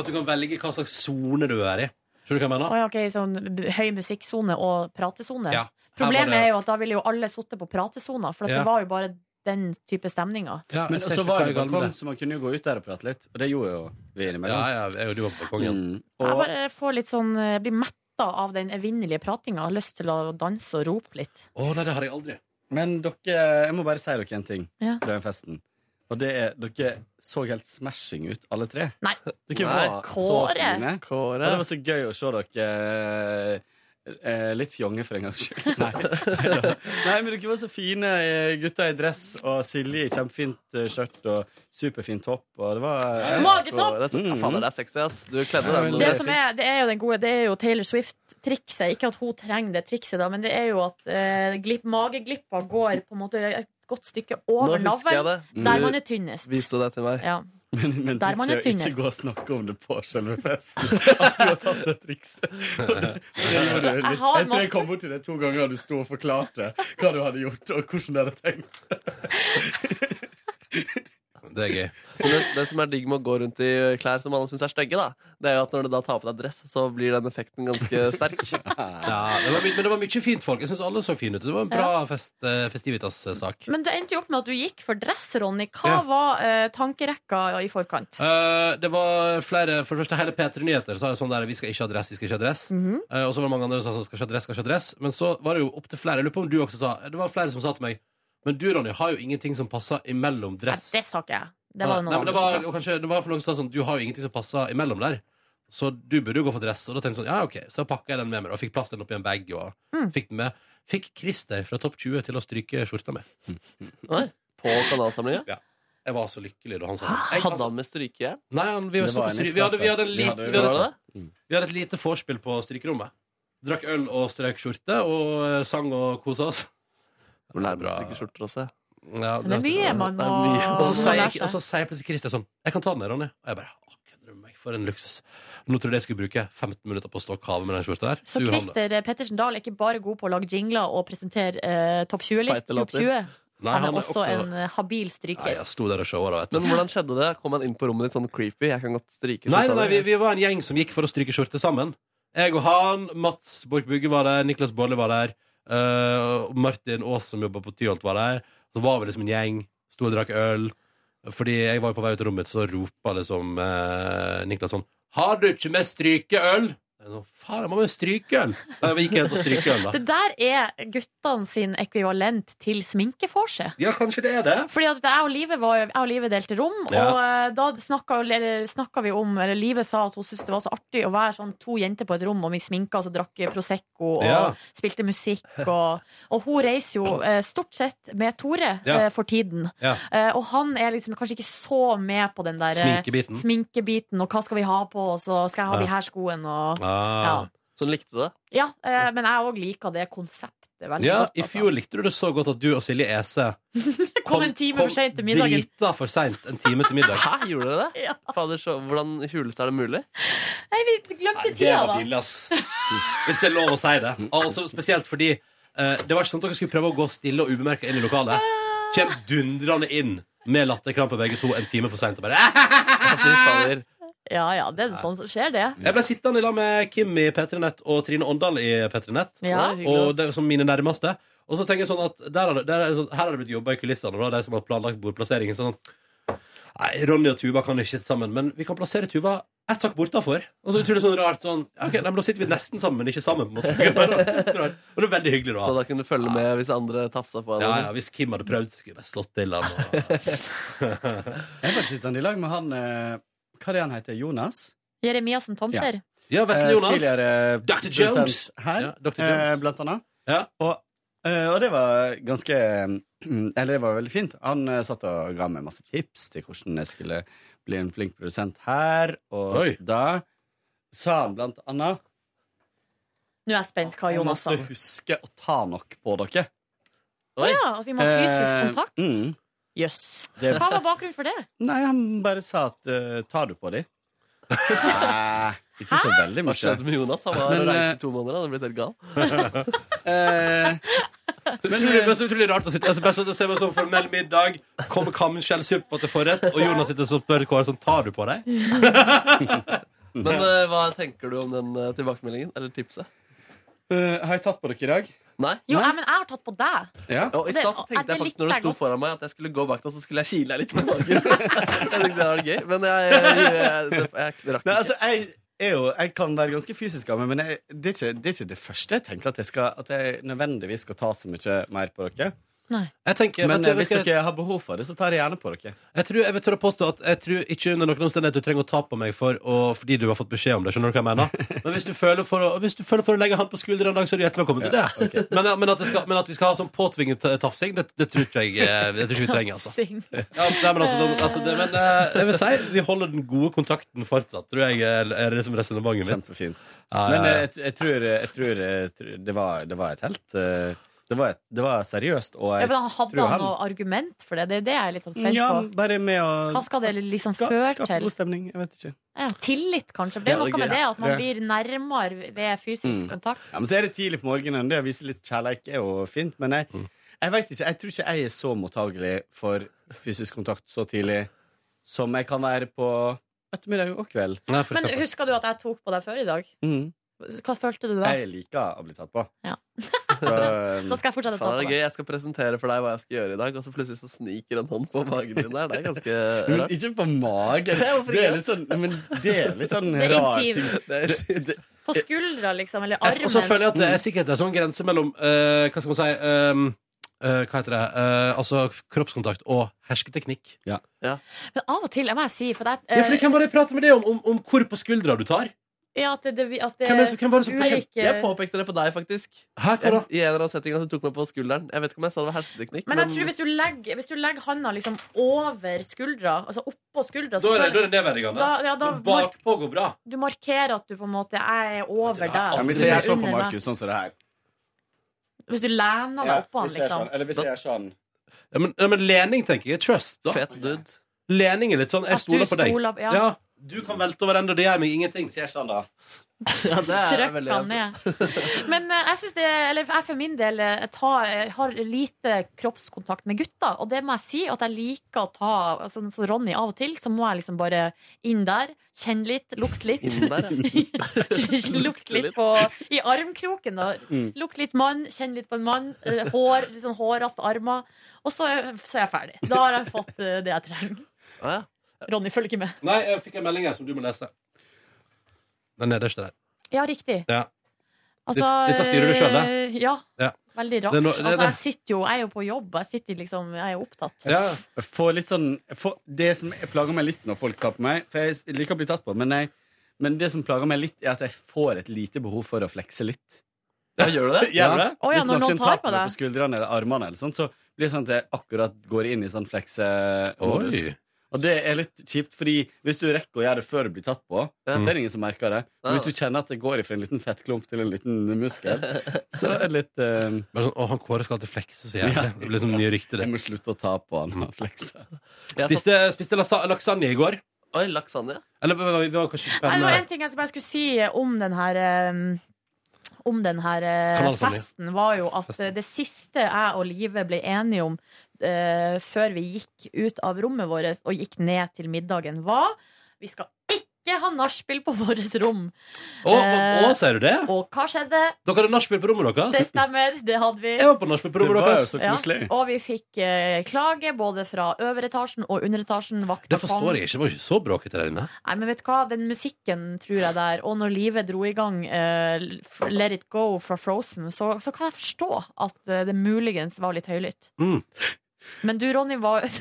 B: At du kan velge hva slags sone du er i. Skjønner du hva jeg
C: Å
B: mener?
C: ja, ok, sånn b- høy musikksone og pratesone.
B: Ja.
C: Problemet er jo at da ville jo alle sittet på pratesona, for at
B: Ja.
C: det var jo bare den type stemninger.
G: Men så var det balkong, så man kunne jo gå ut der og prate litt. Og det gjorde jo vi
B: Ja,
G: innimellom.
B: ja, jeg og du var på balkongen.
G: Mm.
C: Jeg
G: Og
C: bare får litt sånn Jeg blir metta av den evinnelige pratinga. Har lyst til å danse og rope litt.
B: Å, nei, det har jeg aldri.
G: Men dere, jeg må bare si dere en ting
C: Ja.
G: fra den festen. Og det er, dere så helt smashing ut, alle tre.
C: Nei.
D: Nei.
G: Dere var så
C: Kåre.
G: fine. Og
D: Kåre
G: det var så gøy å se dere eh, litt fjonge for en gangs skyld. Nei. Nei, men dere var så fine eh, gutter i dress, og Silje i kjempefint eh, skjørt og superfint topp. Og det var eh,
C: Magetopp!
D: Kåre,
G: Mm.
D: Fader, det er sexy, ass. Du kledde
G: Ja,
D: den.
G: men
C: Det
G: Yes.
C: som er, det er jo den gode, det er jo Taylor Swift-trikset. Ikke at hun trenger det trikset, da, men det er jo at eh, glipp, mageglippa går på en måte et godt stykke
D: Nå
C: over
D: husker jeg
C: navlen.
D: det.
C: Der man
D: Du
C: er tynnest.
D: viste det til meg.
C: Ja.
G: Men, men
C: Der man
G: trikset
C: er
G: er å ikke
C: tynnest.
G: gå og snakke om det på selve festen. At du har tatt det trikset. Det gjorde du litt.
C: Jeg
G: Jeg
C: har
G: tror
C: masse-
G: jeg kom bort til deg to ganger og du sto og forklarte hva du hadde gjort, og hvordan du hadde tenkt.
B: Det er gøy.
D: Men det, det som er digg med å gå rundt i klær som alle syns er stygge, da, det er jo at når du da tar på deg dress, så blir den effekten ganske sterk.
B: Ja, det var, my- men det var mye fint folk. Jeg syns alle så fine ut. Det var en bra fest, eh, festivitas-sak.
C: Men det endte jo opp med at du gikk for dress, Ronny. Hva
B: Ja.
C: var eh, tankerekka i forkant?
B: Eh, det var flere For det første, hele P3 Nyheter sa jo sånn der Vi skal ikke ha dress, vi skal ikke ha dress. Eh, og så var det mange andre som sa sånn Skal ikke ha dress, skal ikke ha dress. Men så var det jo opptil flere. Jeg lurer på om du også sa Det var flere som sa til meg Men du, Ronny, har jo ingenting som passer imellom
C: Nei,
B: dress.
C: det sa ikke jeg. Det var det
B: Nei,
C: noen
B: men det
C: andre
B: var,
C: som sa.
B: og kanskje, det var for noen som sa sånn Du har jo ingenting som passer imellom der. Så du burde jo gå for dress. Og da tenkte jeg sånn Ja, OK. Så da pakka jeg den med meg, og fikk plass til den oppi en bag, og
C: Mm.
B: fikk den med. Fikk Christer fra Topp 20 til å stryke skjorta mi.
D: Oi, på kanalsamlinga.
B: Jeg var så lykkelig da han
C: Ah,
B: sa sånn. Jeg,
D: Hadde han med strykejern?
B: Nei, han, vi,
G: Det
B: sto
G: var
B: på
G: en i
B: stry- vi, hadde, vi hadde en
G: skapet. Vi
B: liten
G: hadde-
B: vi,
D: Var
B: hadde-
D: det det?
B: vi hadde et lite vorspiel på strykerommet. Drakk øl og strøk skjorte, og eh, sang og kosa oss.
D: Hvor
B: Nei,
D: nærmest
B: bra.
D: strykeskjorter også. ja.
B: Ja,
C: Men det er mye man
D: Det
C: må
D: er mye.
B: Og så
C: må
B: sier
C: lære
B: jeg- og så
C: seg.
B: sier jeg plutselig Christer sånn Jeg kan ta den, her, Ronny. Og jeg bare Å, kødder du med meg? For en luksus. Nå trodde jeg jeg skulle bruke 15 minutter på å stå og kave med den skjorta der.
C: Så
B: Du, Hanne.
C: Christer eh, Pettersen Dahl er ikke bare god på å lage jingler og presentere eh, topp 20-list.
D: Feite latter.
C: Topp 20.
B: Nei,
C: Han er også en eh, habil
B: Nei,
C: stryker.
B: jeg sto der og showa, da. vet du.
D: Men hvordan skjedde det? Kom han inn på rommet ditt sånn creepy? Jeg kan godt stryke
B: Nei, nei,
D: skjorta
B: nei vi,
D: di.
B: vi var en gjeng som gikk for å stryke skjorte sammen. Jeg og han, Mats Borch Bugge var der, Niklas Baarli var der, eh, og Martin Aas som jobba på Tyholt, var der. Så var vi liksom en gjeng. Sto og drakk øl. Fordi jeg var jo på vei ut av rommet, så ropa liksom eh, Niklas sånn Har du ikke med strykeøl? Jeg sånn, Faen, jeg må med strykeøl! Nei, vi gikk helt og strykeøl, da.
C: Det der er guttene sin ekvivalent til sminkeforse.
B: Ja, kanskje det er det.
C: Fordi at jeg og Live, var, jeg og Live delte rom,
B: Ja.
C: og eh, da snakka, eller, snakka vi om Eller Live sa at hun syntes det var så artig å være sånn to jenter på et rom, og vi sminka oss og drakk Prosecco og
B: Ja.
C: spilte musikk. Og, og hun reiser jo eh, stort sett med Tore
B: Ja.
C: eh, for tiden.
B: Ja.
C: Eh, og han er liksom kanskje ikke så med på den der eh,
B: Sminkebiten.
C: sminkebiten, og hva skal vi ha på oss, og skal jeg ha
B: Ja.
C: de her skoene, og
B: Ah.
D: Så hun Sånn likte det?
C: Ja, eh, men jeg òg liker det konseptet veldig
B: Ja,
C: godt.
B: i fjor likte du det så godt at du og Silje Ese
C: Altså. Kom en time for seint til middagen.
B: Drita for seint en time til middag.
D: Hæ, gjorde dere det?
C: Ja.
D: Fader, så hvordan i huleste er det mulig?
C: Nei, vi glemte
B: det
C: tida,
B: var
C: da.
B: billig, ass. Mm. Hvis det er lov å si det. Og også spesielt fordi
C: Ah.
B: eh, det var ikke sånn at dere skulle prøve å gå stille og ubemerka inn i lokalet. Kjem dundrende inn med latterkrampe begge to en time for seint og bare
D: Å, Fy fader.
C: Ja ja, det er sånn som skjer, det.
B: Jeg ble sittende i lag med Kim i P3 Nett og Trine Åndal i P3 Nett.
C: Ja.
D: Det er hyggelig,
B: Og det er som mine nærmeste. Og så tenker jeg sånn at der har det, der er det sånn, Her har det blitt jobba i kulissene, da, de som har planlagt bordplasseringen. Sånn at Nei, Ronny og Tuva kan ikke sitte sammen, men vi kan plassere Tuva ett hakk bortafor. Og så utrolig sånn rart sånn ja, ok, nei, men Da sitter vi nesten sammen, men ikke sammen. på en måte Det var rart, det var rart. Og det er veldig hyggelig,
D: Så
B: da.
D: da kunne du følge med hvis andre tafsa på
B: Ja,
D: henne.
B: ja, Hvis Kim hadde prøvd, skulle jeg bare slått til han. Og...
G: Jeg var sittende i lag med han eh, Hva er det han heter? Jonas?
C: Jeremiassen Tomter.
B: Ja,
G: Eh,
B: Vesle Jonas.
G: Tidligere
B: Dr.
G: produsent
B: Jones.
G: her,
B: Ja, Dr. Jones.
G: eh, blant annet.
B: Ja.
G: Og, eh, og det var ganske Eller det var veldig fint. Han eh, satt og ga meg masse tips til hvordan jeg skulle bli en flink produsent her, og
B: Oi.
G: da sa han blant annet
C: Nå er jeg spent hva Jonas sa.
G: Jeg måtte huske å ta nok på dere.
C: Å ja, at vi må ha fysisk
G: Eh,
C: kontakt?
G: mm.
C: Jøss.
G: Det,
C: Hva var bakgrunnen for det?
G: nei, han bare sa at eh, tar du på de? Ah, Nei, ikke så veldig
D: Hva
G: mye.
D: skjedde med Jonas? Han var
G: Men,
D: og
G: eh,
D: reiste i to måneder. Han hadde blitt helt gal.
B: Men,
G: Eh,
B: eh, utrolig, men så utrolig rart å sitte altså, bare så- Det ser meg som formell middag Kommer kamskjellsuppa til forrett Og Jonas sitter og spør hva er det som tar du på deg
D: Men eh, hva tenker du om den eh, tilbakemeldingen? Eller tipset?
G: eh, har jeg tatt på dere i dag?
D: Nei?
C: Jo, jeg, men jeg har tatt på deg.
G: Ja.
D: Og I
C: Det-
D: stad så
C: ja,
D: tenkte
C: det
D: jeg faktisk
C: likte
D: når det
C: jeg
D: sto
C: godt.
D: foran meg, at jeg skulle gå bak deg, så skulle jeg kile deg litt med magen. jeg tenkte det var gøy, men jeg, jeg, jeg, jeg, rakk
G: Nei,
D: ikke.
G: altså, jeg, er jo, jeg kan være ganske fysisk av meg, men jeg, det, er ikke, det er ikke det første jeg tenker at jeg, skal, at jeg nødvendigvis skal ta så mye mer på dere.
B: Jeg tenker
G: Men
B: vet du,
G: eh, hvis
B: jeg,
G: dere har behov for det, så tar jeg gjerne på dere.
B: jeg, tror, jeg vil tørre å påstå at Jeg tror ikke under noen omstendighet du trenger å ta på meg for å, Fordi du har fått beskjed om det, skjønner du hva jeg mener Men hvis du føler for å, hvis du føler for å legge hand på skulderen en dag Så er du hjertelig velkommen til det men, men, at det skal, men at vi skal ha sånn påtvinget eh, tafsing Det, det tror ikke jeg, eh, det tror ikke vi trenger altså.
C: Sing.
B: ja, nei, men, altså, sånn- altså, det, men eh, jeg vil si Vi holder den gode kontakten fortsatt Tror jeg er, er det som resonemanget mitt
G: Kjempefint.
B: Ja, ja, ja.
G: Men eh, jeg, jeg, tror, jeg, tror, jeg tror det var, det var et helt eh, det var, et, det var seriøst, og
C: Ja,
G: jeg
C: men han hadde
G: tror
C: han
G: han-
C: noe argument for det? Det er det jeg er litt sånn spent
G: Ja,
C: på.
G: bare med å
C: Hva skal det liksom
G: ska-
C: føre
G: skape
C: til?
G: god stemning. Jeg vet ikke.
C: Ja, tillit, kanskje. For det er
D: Ja, det er
C: noe med
D: gøy.
C: det at man
G: Ja.
C: blir nærmere ved fysisk
G: Mm.
C: kontakt.
G: Ja, men så er det tidlig på morgenen. Det å vise litt kjærlighet er jo fint. Men jeg, jeg vet ikke, jeg tror ikke jeg er så mottagelig for fysisk kontakt så tidlig som jeg kan være på ettermiddag og kveld.
B: Nei, for
C: Men
B: eksempel.
C: husker du at jeg tok på deg før i dag?
B: Mm.
C: Hva følte du da?
G: Jeg liker å bli tatt på.
C: Ja.
G: så
C: Da skal jeg fortsette å ta
D: Faen, det er
C: på
D: gøy.
C: deg.
D: Jeg skal presentere for deg hva jeg skal gjøre i dag, og så plutselig så sniker en hånd på magen din der. Det er ganske
G: men
D: rart.
G: ikke på magen.
D: Nei, hvorfor
G: Det
D: ikke?
G: er litt sånn, men det er litt sånn
C: Det er
G: rar ting.
C: intim.
D: Det er, det,
C: På skuldra, liksom. Eller
B: Jeg- Og så
C: armen.
B: føler jeg at det er sikkert en sånn grense mellom eh, Hva skal man si ehm, eh, Hva heter det? Eh, altså kroppskontakt og hersketeknikk.
C: Men av og til, jeg må jeg si, for det
B: Ja,
C: er
B: fordi Hvem var det jeg pratet med det om? Om, om hvor på skuldra du tar?
C: ja, at det, det, at
B: Hvem, er, det som-
C: det
B: hvem var det som
C: Ulike-
D: jeg påpekte det på deg, faktisk.
B: Hæ, hva da?
D: Jeg, I en eller annen setting at du tok meg på skulderen. Jeg vet ikke om jeg sa det var hersketeknikk,
C: Men jeg tror hvis du legger, hvis du legger handa liksom over skuldra, altså oppå skuldra,
B: Da
C: så
B: er det- da
C: føler
B: er det nedverdigende.
C: da, ja, da
B: Men
C: mark,
B: Bakpå går bra.
C: du markerer at du på en måte er over
B: Ja,
C: der.
G: Ja, men
C: Du
G: hvis jeg
C: er
G: gjør sånn på
C: under meg.
G: Markus, sånn som det her
C: Hvis du lener deg oppå han,
G: hvis jeg gjør
C: liksom.
G: sånn, Eller hvis jeg gjør sånn
B: Ja, men, ja, men lening, tenker jeg. Trust, da.
D: Fett dude.
B: Lening er litt sånn Jeg
C: At du
B: stoler på deg.
C: stoler-
B: ja.
C: ja.
B: Du kan velte over ende, det gjør meg ingenting.
G: Hvis jeg gjør sånn, da.
D: Ja, det er
C: Trykk
D: veldig- altså.
C: han ned. Men eh, jeg synes det, eller jeg for min del eh, tar, eh, har lite kroppskontakt med gutter. Og det må jeg si at jeg liker å ta altså, sånn Som Ronny av og til, så må jeg liksom bare inn der, kjenne litt, lukte litt.
D: Inn der, ja.
C: Lukt litt på I armkroken, da.
B: Mm.
C: Lukt litt mann, kjenn litt på en mann. eh, Hår, litt sånn hårete armer. Og så er, så er jeg ferdig. Da har jeg fått eh, det jeg trenger.
D: Ah, ja.
C: Ronny følger ikke med.
B: Nei, jeg fikk en melding her som du må lese. Den nederste der.
C: Ja, riktig.
B: Ja.
C: Altså,
B: Dette styrer du selv, da?
C: eh, Ja.
B: Ja.
C: Veldig rart.
B: Det er noe- det-
C: altså,
B: det-
C: jeg sitter jo, jeg er jo på jobb. Jeg sitter liksom, jeg er jo opptatt.
B: Ja.
G: Jeg får litt sånn jeg får, Det som jeg plager meg litt når folk tar på meg For jeg liker å bli tatt på, men, jeg, men det som plager meg litt, er at jeg får et lite behov for å flekse litt.
D: ja, gjør du det?
B: Gjør du det?
C: Å ja,
G: Hvis
C: når noen tar på
G: meg
C: deg.
G: på skuldrene eller armene, eller sånt, så blir det sånn at jeg akkurat går inn i sånn fleksemodus.
B: Oi.
G: Og det er litt kjipt, fordi hvis du rekker å gjøre det før du blir tatt på,
D: Ja.
G: så er det ingen som merker det.
D: Ja.
G: Men hvis du kjenner at det går fra en liten fettklump til en liten muskel, så er det litt eh,
B: Bare sånn, å, han Kåre skal til Flekke, så sier jeg det. Det blir liksom nye rykter,
G: Jeg
B: det.
G: må slutte å ta på han og flekse.
D: Jeg satt,
B: Spiste, spiste lasa- lasagne i går.
D: oi, laksanje.
B: Eller vi var- vi var kanskje ikke
C: Nei,
B: fem
C: det var en ting jeg bare skulle si om den her eh, om den her eh,
B: Kanalsamling.
C: festen, var jo at
B: Festen.
C: eh, det siste jeg og Live ble enige om eh, før vi gikk ut av rommet vårt og gikk ned til middagen, var Vi skal ikke ha nachspiel på vårt rom.
B: Å, å, å, sier du det?
C: Og hva skjedde?
B: Dere hadde nachspiel på rommet
C: Det
B: deres?
C: stemmer, det hadde vi.
B: Jeg var på nachspiel på
I: Det
B: rommet
I: var jo
B: deres.
I: så
C: Ja,
I: koselig.
C: og vi fikk eh, klage både fra øvre etasjen og underetasjen. Vakta
B: Det forstår jeg ikke. Det var ikke så bråkete der inne.
C: Nei, men vet du hva? Den musikken tror jeg der, og når livet dro i gang eh, f- Let It Go fra Frozen, så, så kan jeg forstå at eh, det muligens var litt høylytt.
B: Mm.
C: Men du, Ronny, var
I: Jeg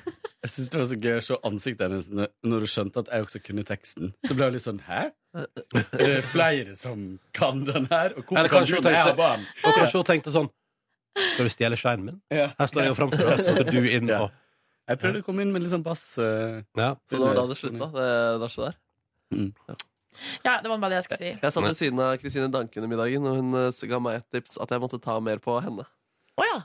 I: synes det var så gøy å se ansiktet hennes når- når hun skjønte at jeg også kunne teksten. Så ble hun litt sånn 'hæ?' Det er flere som kan den her? Og hvorfor
B: Eller
I: kan
B: kanskje
I: ikke
B: hun
I: jeg
B: tenkte-
I: ha barn?
B: Og kanskje hun tenkte sånn Skal du stjele steinen min?
I: Ja.
B: Her står jeg jo framfor deg, så skal du inn
I: Ja.
B: og
I: Jeg prøvde å komme inn med litt sånn bass. eh,
B: ja.
D: Så det var da det slutta, det nachet der.
C: Ja, det var bare det jeg skulle si.
D: Jeg satt ved siden av Kristine Danke under middagen, og hun eh, ga meg et tips at jeg måtte ta mer på henne.
C: Å ja!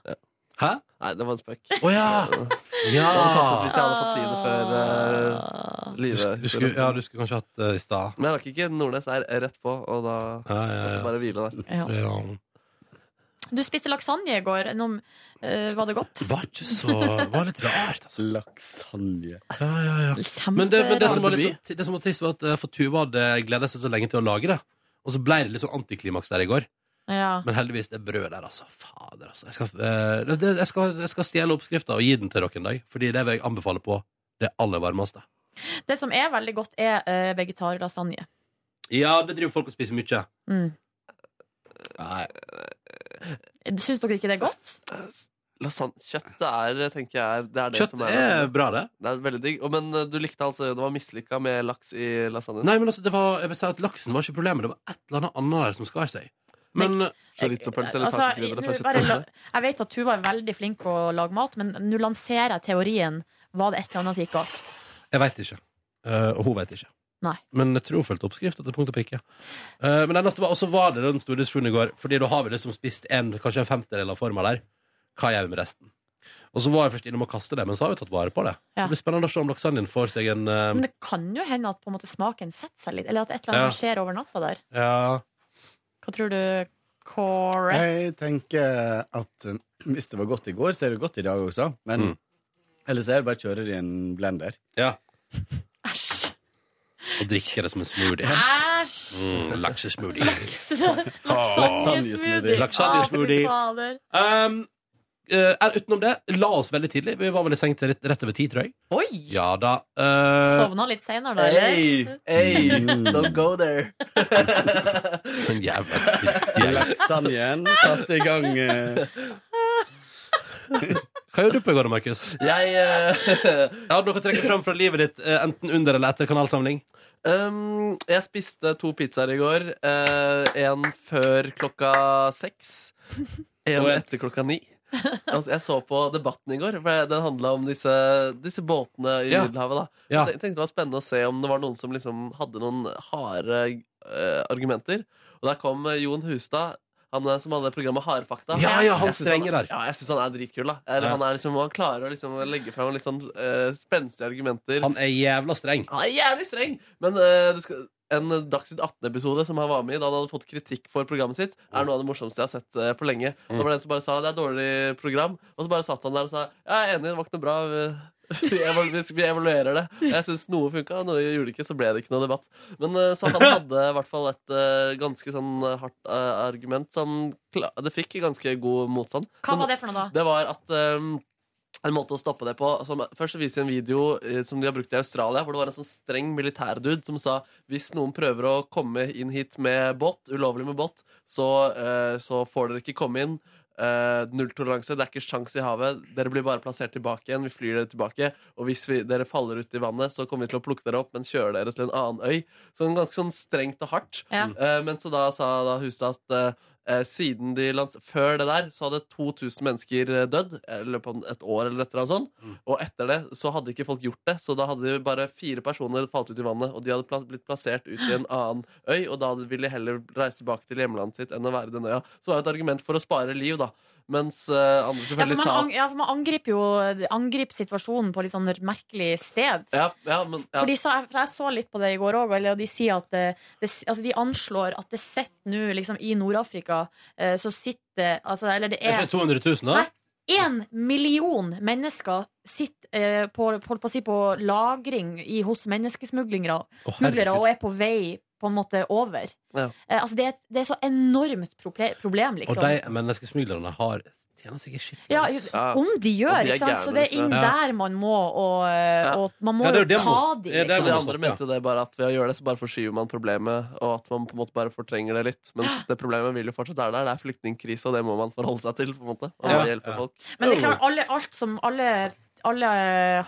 B: Hæ?
D: Nei, det var en spøk.
B: Å ja!
D: Det hadde passet
B: ja.
D: hvis jeg hadde fått si det før uh,
C: Ah.
B: Du, sk- du skulle, ja, du skulle kanskje hatt det i stad.
D: Men jeg rakk ikke Nordnes er rett på, og da
B: Ja, ja,
D: måtte jeg bare
B: ja.
D: hvile der.
C: Ja.
B: Ja.
C: Du spiste lasagne i går. Noe, eh, var det godt?
B: Det var ikke så Det var litt rart, altså.
I: Lasagne.
B: Ja, ja, ja.
C: Kjemperart.
B: Men det, men det, som var litt
I: vi?
B: sånn, det som var trist, var at eh, for Tuva hadde gleda seg så lenge til å lage det. Og så ble det litt sånn antiklimaks der i går.
C: ja.
B: Men heldigvis, det brødet der, altså. Fader, altså. Jeg skal, eh, det- det, jeg skal, jeg skal stjele oppskrifta og gi den til dere en dag. Fordi det vil jeg anbefale på det aller varmeste.
C: Det som er veldig godt, er eh, vegetarlasagne.
B: Ja, det driver folk og spiser mye.
C: Mm.
I: Nei.
C: Syns dere ikke det er godt?
D: Lasagne, kjøttet er, tenker jeg, er- det er det
B: Kjøtt
D: som er
B: er
D: lasagne.
B: bra, det.
D: Det er veldig digg. Og, Men eh, du likte altså Det var mislykka med laks i lasagnen.
B: Nei, men altså, det var, jeg vil si at laksen var ikke problemet. Det var et eller annet annet der som skar seg. Men eh,
D: Chorizo-pølse eller
C: Altså,
D: tacokrydder
C: nå
D: eller
C: bare la-
D: pølse.
C: Jeg vet at Tuva er veldig flink på å lage mat, men nå lanserer jeg teorien. Var det et eller annet som gikk galt?
B: jeg veit ikke. Eh, og hun veit ikke.
C: Nei.
B: Men jeg tror hun fulgte oppskrifta til punkt og prikke. Eh, men det neste var, og så var det den store diskusjonen i går, Fordi da har vi liksom spist en, kanskje en femtedel av forma der. Hva gjør vi med resten? Og så var jeg først innom å kaste det, men så har vi tatt vare på det.
C: Ja.
B: Det blir spennende å se om laksanjen får seg en eh,
C: Men det kan jo hende at på en måte smaken setter seg litt, eller at et eller annet
B: Ja.
C: som skjer over natta der.
B: Ja.
C: Hva tror du, Kåre?
I: Jeg tenker at
G: eh,
I: um, hvis det var godt i går, så er det godt i dag også. Men
B: Mm.
I: ellers er det bare å kjøre det i en blender.
B: ja.
C: Æsj!
B: Og drikke det som en smoothie.
C: Æsj!
B: Mm, Laksesmoothie.
C: Laksagnesmoothie.
B: Laksagnesmoothie.
C: Ah, fy fader.
B: Um, eh, er- utenom det, la oss veldig tidlig. Vi var vel i seng til rett, rett over ti, tror jeg.
C: Oi!
B: Ja da. eh,
C: Sovna litt seinere, da, eller?
D: hey,
I: Mm.
D: go there.
B: men jævla dritt.
I: Laksanjen satte i gang eh,
B: Hva gjør du på i går, Markus?
D: Jeg eh,
B: Ja, dere trekker fram fra livet ditt, eh, enten under eller etter kanalsamling.
D: um, Jeg spiste to pizzaer i går. eh, en før klokka seks. En
B: Og en-
D: etter klokka ni. Altså, jeg så på debatten i går, for jeg- den handla om disse, disse båtene i
B: Ja.
D: Middelhavet. da
B: Ja.
D: Jeg tenkte det var spennende å se om det var noen som liksom hadde noen harde eh, argumenter. Og der kom eh, Jon Hustad, han eh, som hadde programmet Hardfakta.
B: Ja, ja, han
D: Jeg synes han-
B: strenger der.
D: Ja, jeg syns han er dritkul. da Eller,
B: Ja.
D: han, er liksom, han klarer å liksom legge fram litt sånn eh, spenstige argumenter. Han,
B: Han er jævla streng.
D: er jævlig streng! Men eh, du skal, en Dagsnytt 18-episode som han var med i, da han hadde fått kritikk for programmet sitt,
C: Mm.
D: er noe av det morsomste jeg har sett eh, på lenge. Det var det en som bare sa det er et dårlig program, og så bare satt han der og sa ja, jeg er enig, det var ikke noe bra. vi- Vi, evalu vi evaluerer det. Jeg syns noe funka, noe gjorde det ikke, så ble det ikke noe debatt. Men eh, så han hadde i hvert fall et eh, ganske sånn eh, hardt eh, argument som kla Det fikk ganske god motstand.
C: Hva
D: Men-
C: var det for noe, da?
D: det var at um, en måte å stoppe det på som, Først så viser de en video eh, som de har brukt i Australia, hvor det var en sånn streng militærdude som sa hvis noen prøver å komme inn hit med båt, ulovlig med båt, så, eh, så får dere ikke komme inn. Eh, Nulltoleranse. Det er ikke sjans i havet. Dere blir bare plassert tilbake igjen. Vi flyr dere tilbake. Og hvis vi, dere faller ut i vannet, så kommer vi til å plukke dere opp, men kjøre dere til en annen øy. Så en ganske sånn strengt og hardt.
C: Ja.
D: Eh, men så da sa da Hustad at eh, eh, siden de lans Før det der så hadde 2000 mennesker eh, dødd eh, i løpet av et år eller et eller annet sånt. Og etter det så hadde ikke folk gjort det, så da hadde bare fire personer falt ut i vannet, og de hadde pla blitt plassert ut i en annen øy, og da hadde- ville de heller reise tilbake til hjemlandet sitt enn å være i den øya. Så det var jo et argument for å spare liv, da. Mens eh, andre
C: Ja, for
D: selvfølgelig
C: man,
D: sa
C: ang, ja, for man angriper jo angriper situasjonen på litt sånn merkelig sted.
D: ja, ja, men, ja.
C: For, de sa, for jeg så litt på det i går òg, og de sier at eh, det, altså de anslår at det sitter nå liksom, i Nord-Afrika eh, så sitter altså, Eller det
B: Er
C: er
B: ikke 200 000, da?
C: Nei. Én million mennesker sitter eh, på, holdt på, å si, på lagring i, hos menneskesmuglere
B: Å,
C: smuglere og
B: herregud.
C: er på vei på en måte over.
D: Ja.
C: Eh, altså det, er et- det er så enormt proble- problem,
B: Og
C: liksom.
B: de menneskesmuglerne har tjener seg i skitt.
C: ja,
D: Ja.
C: om de gjør,
D: Og de er
C: ikke sant? Så
D: gærne,
C: det er inn
B: liksom. Ja.
C: der man må, og, eh,
D: Ja.
C: og man må
B: Ja, det er
C: jo
B: jo det man
C: ta
B: må-
C: de,
B: det er
D: Så
B: det
D: de
C: liksom.
B: man
D: andre
B: stoppe,
D: mente jo det bare at ved å gjøre det, så bare forskyver man problemet, og at man på en måte bare fortrenger det litt. Mens det problemet vil jo fortsatt være der. Det er flyktningkrise, og det må man forholde seg til. på en måte Og
B: Ja,
D: bare hjelpe
B: ja.
D: folk
C: Men det er klart, alle, alt som, alle, alle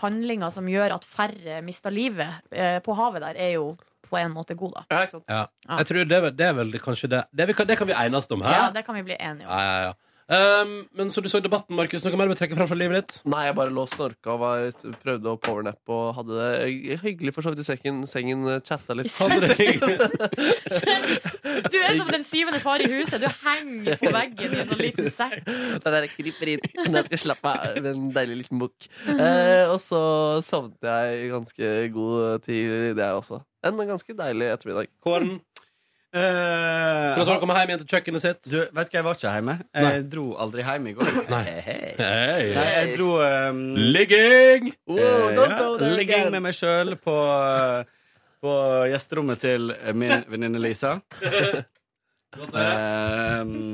C: handlinger som gjør at færre mister livet eh, på havet der, er jo på en måte god, da.
D: Ja, ikke sant?
B: Ja.
C: Ja.
B: Jeg tror det er vel, det er vel kanskje det det, vi kan, det kan vi enes om her.
C: Ja, det kan vi bli enige om.
B: Ja, ja, ja. Um, men så du så i debatten, Markus. Noe mer du vil trekke fram fra livet ditt?
D: Nei, jeg bare lå og snorka og var, prøvde å powernappe og hadde det hyggelig for så vidt i sengen. sengen chatta litt.
B: Hadde det-
C: Du er som den syvende far i huset. Du henger på veggen i en sånn liten sekk.
D: Det der kryper inn når jeg skal slappe av med en deilig liten bok. Eh, og så sovnet jeg i ganske god tid, det jeg også. En ganske deilig ettermiddag.
B: Kåren,
G: Eh,
B: hvordan var det å komme hjem igjen til kjøkkenet sitt?
G: du, vet du hva, jeg var ikke hjemme.
B: Nei.
G: Jeg dro aldri hjem i går.
B: Nei.
G: Nei,
B: Hei.
G: jeg dro um,
B: Ligging!
D: Wow,
G: Eh,
D: don't
G: ja,
D: go there
G: Ligging
D: again.
G: med meg sjøl på, eh, på gjesterommet til min venninne Lisa. Ehm,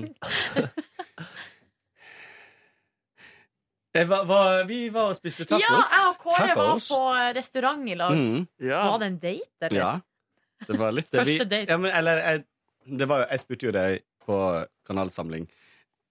G: jeg var, var, Eh, vi var og spiste
C: Ja,
G: tacos.
C: jeg og Kåre var
G: Tacos.
C: på restaurant i lag.
G: Mm,
D: Ja.
C: Var det en date, eller?
G: ja. Det var litt
C: Første
G: vi-
C: date.
G: Ja, men, eller, jeg, det var, jo- jeg spurte jo deg på kanalsamling.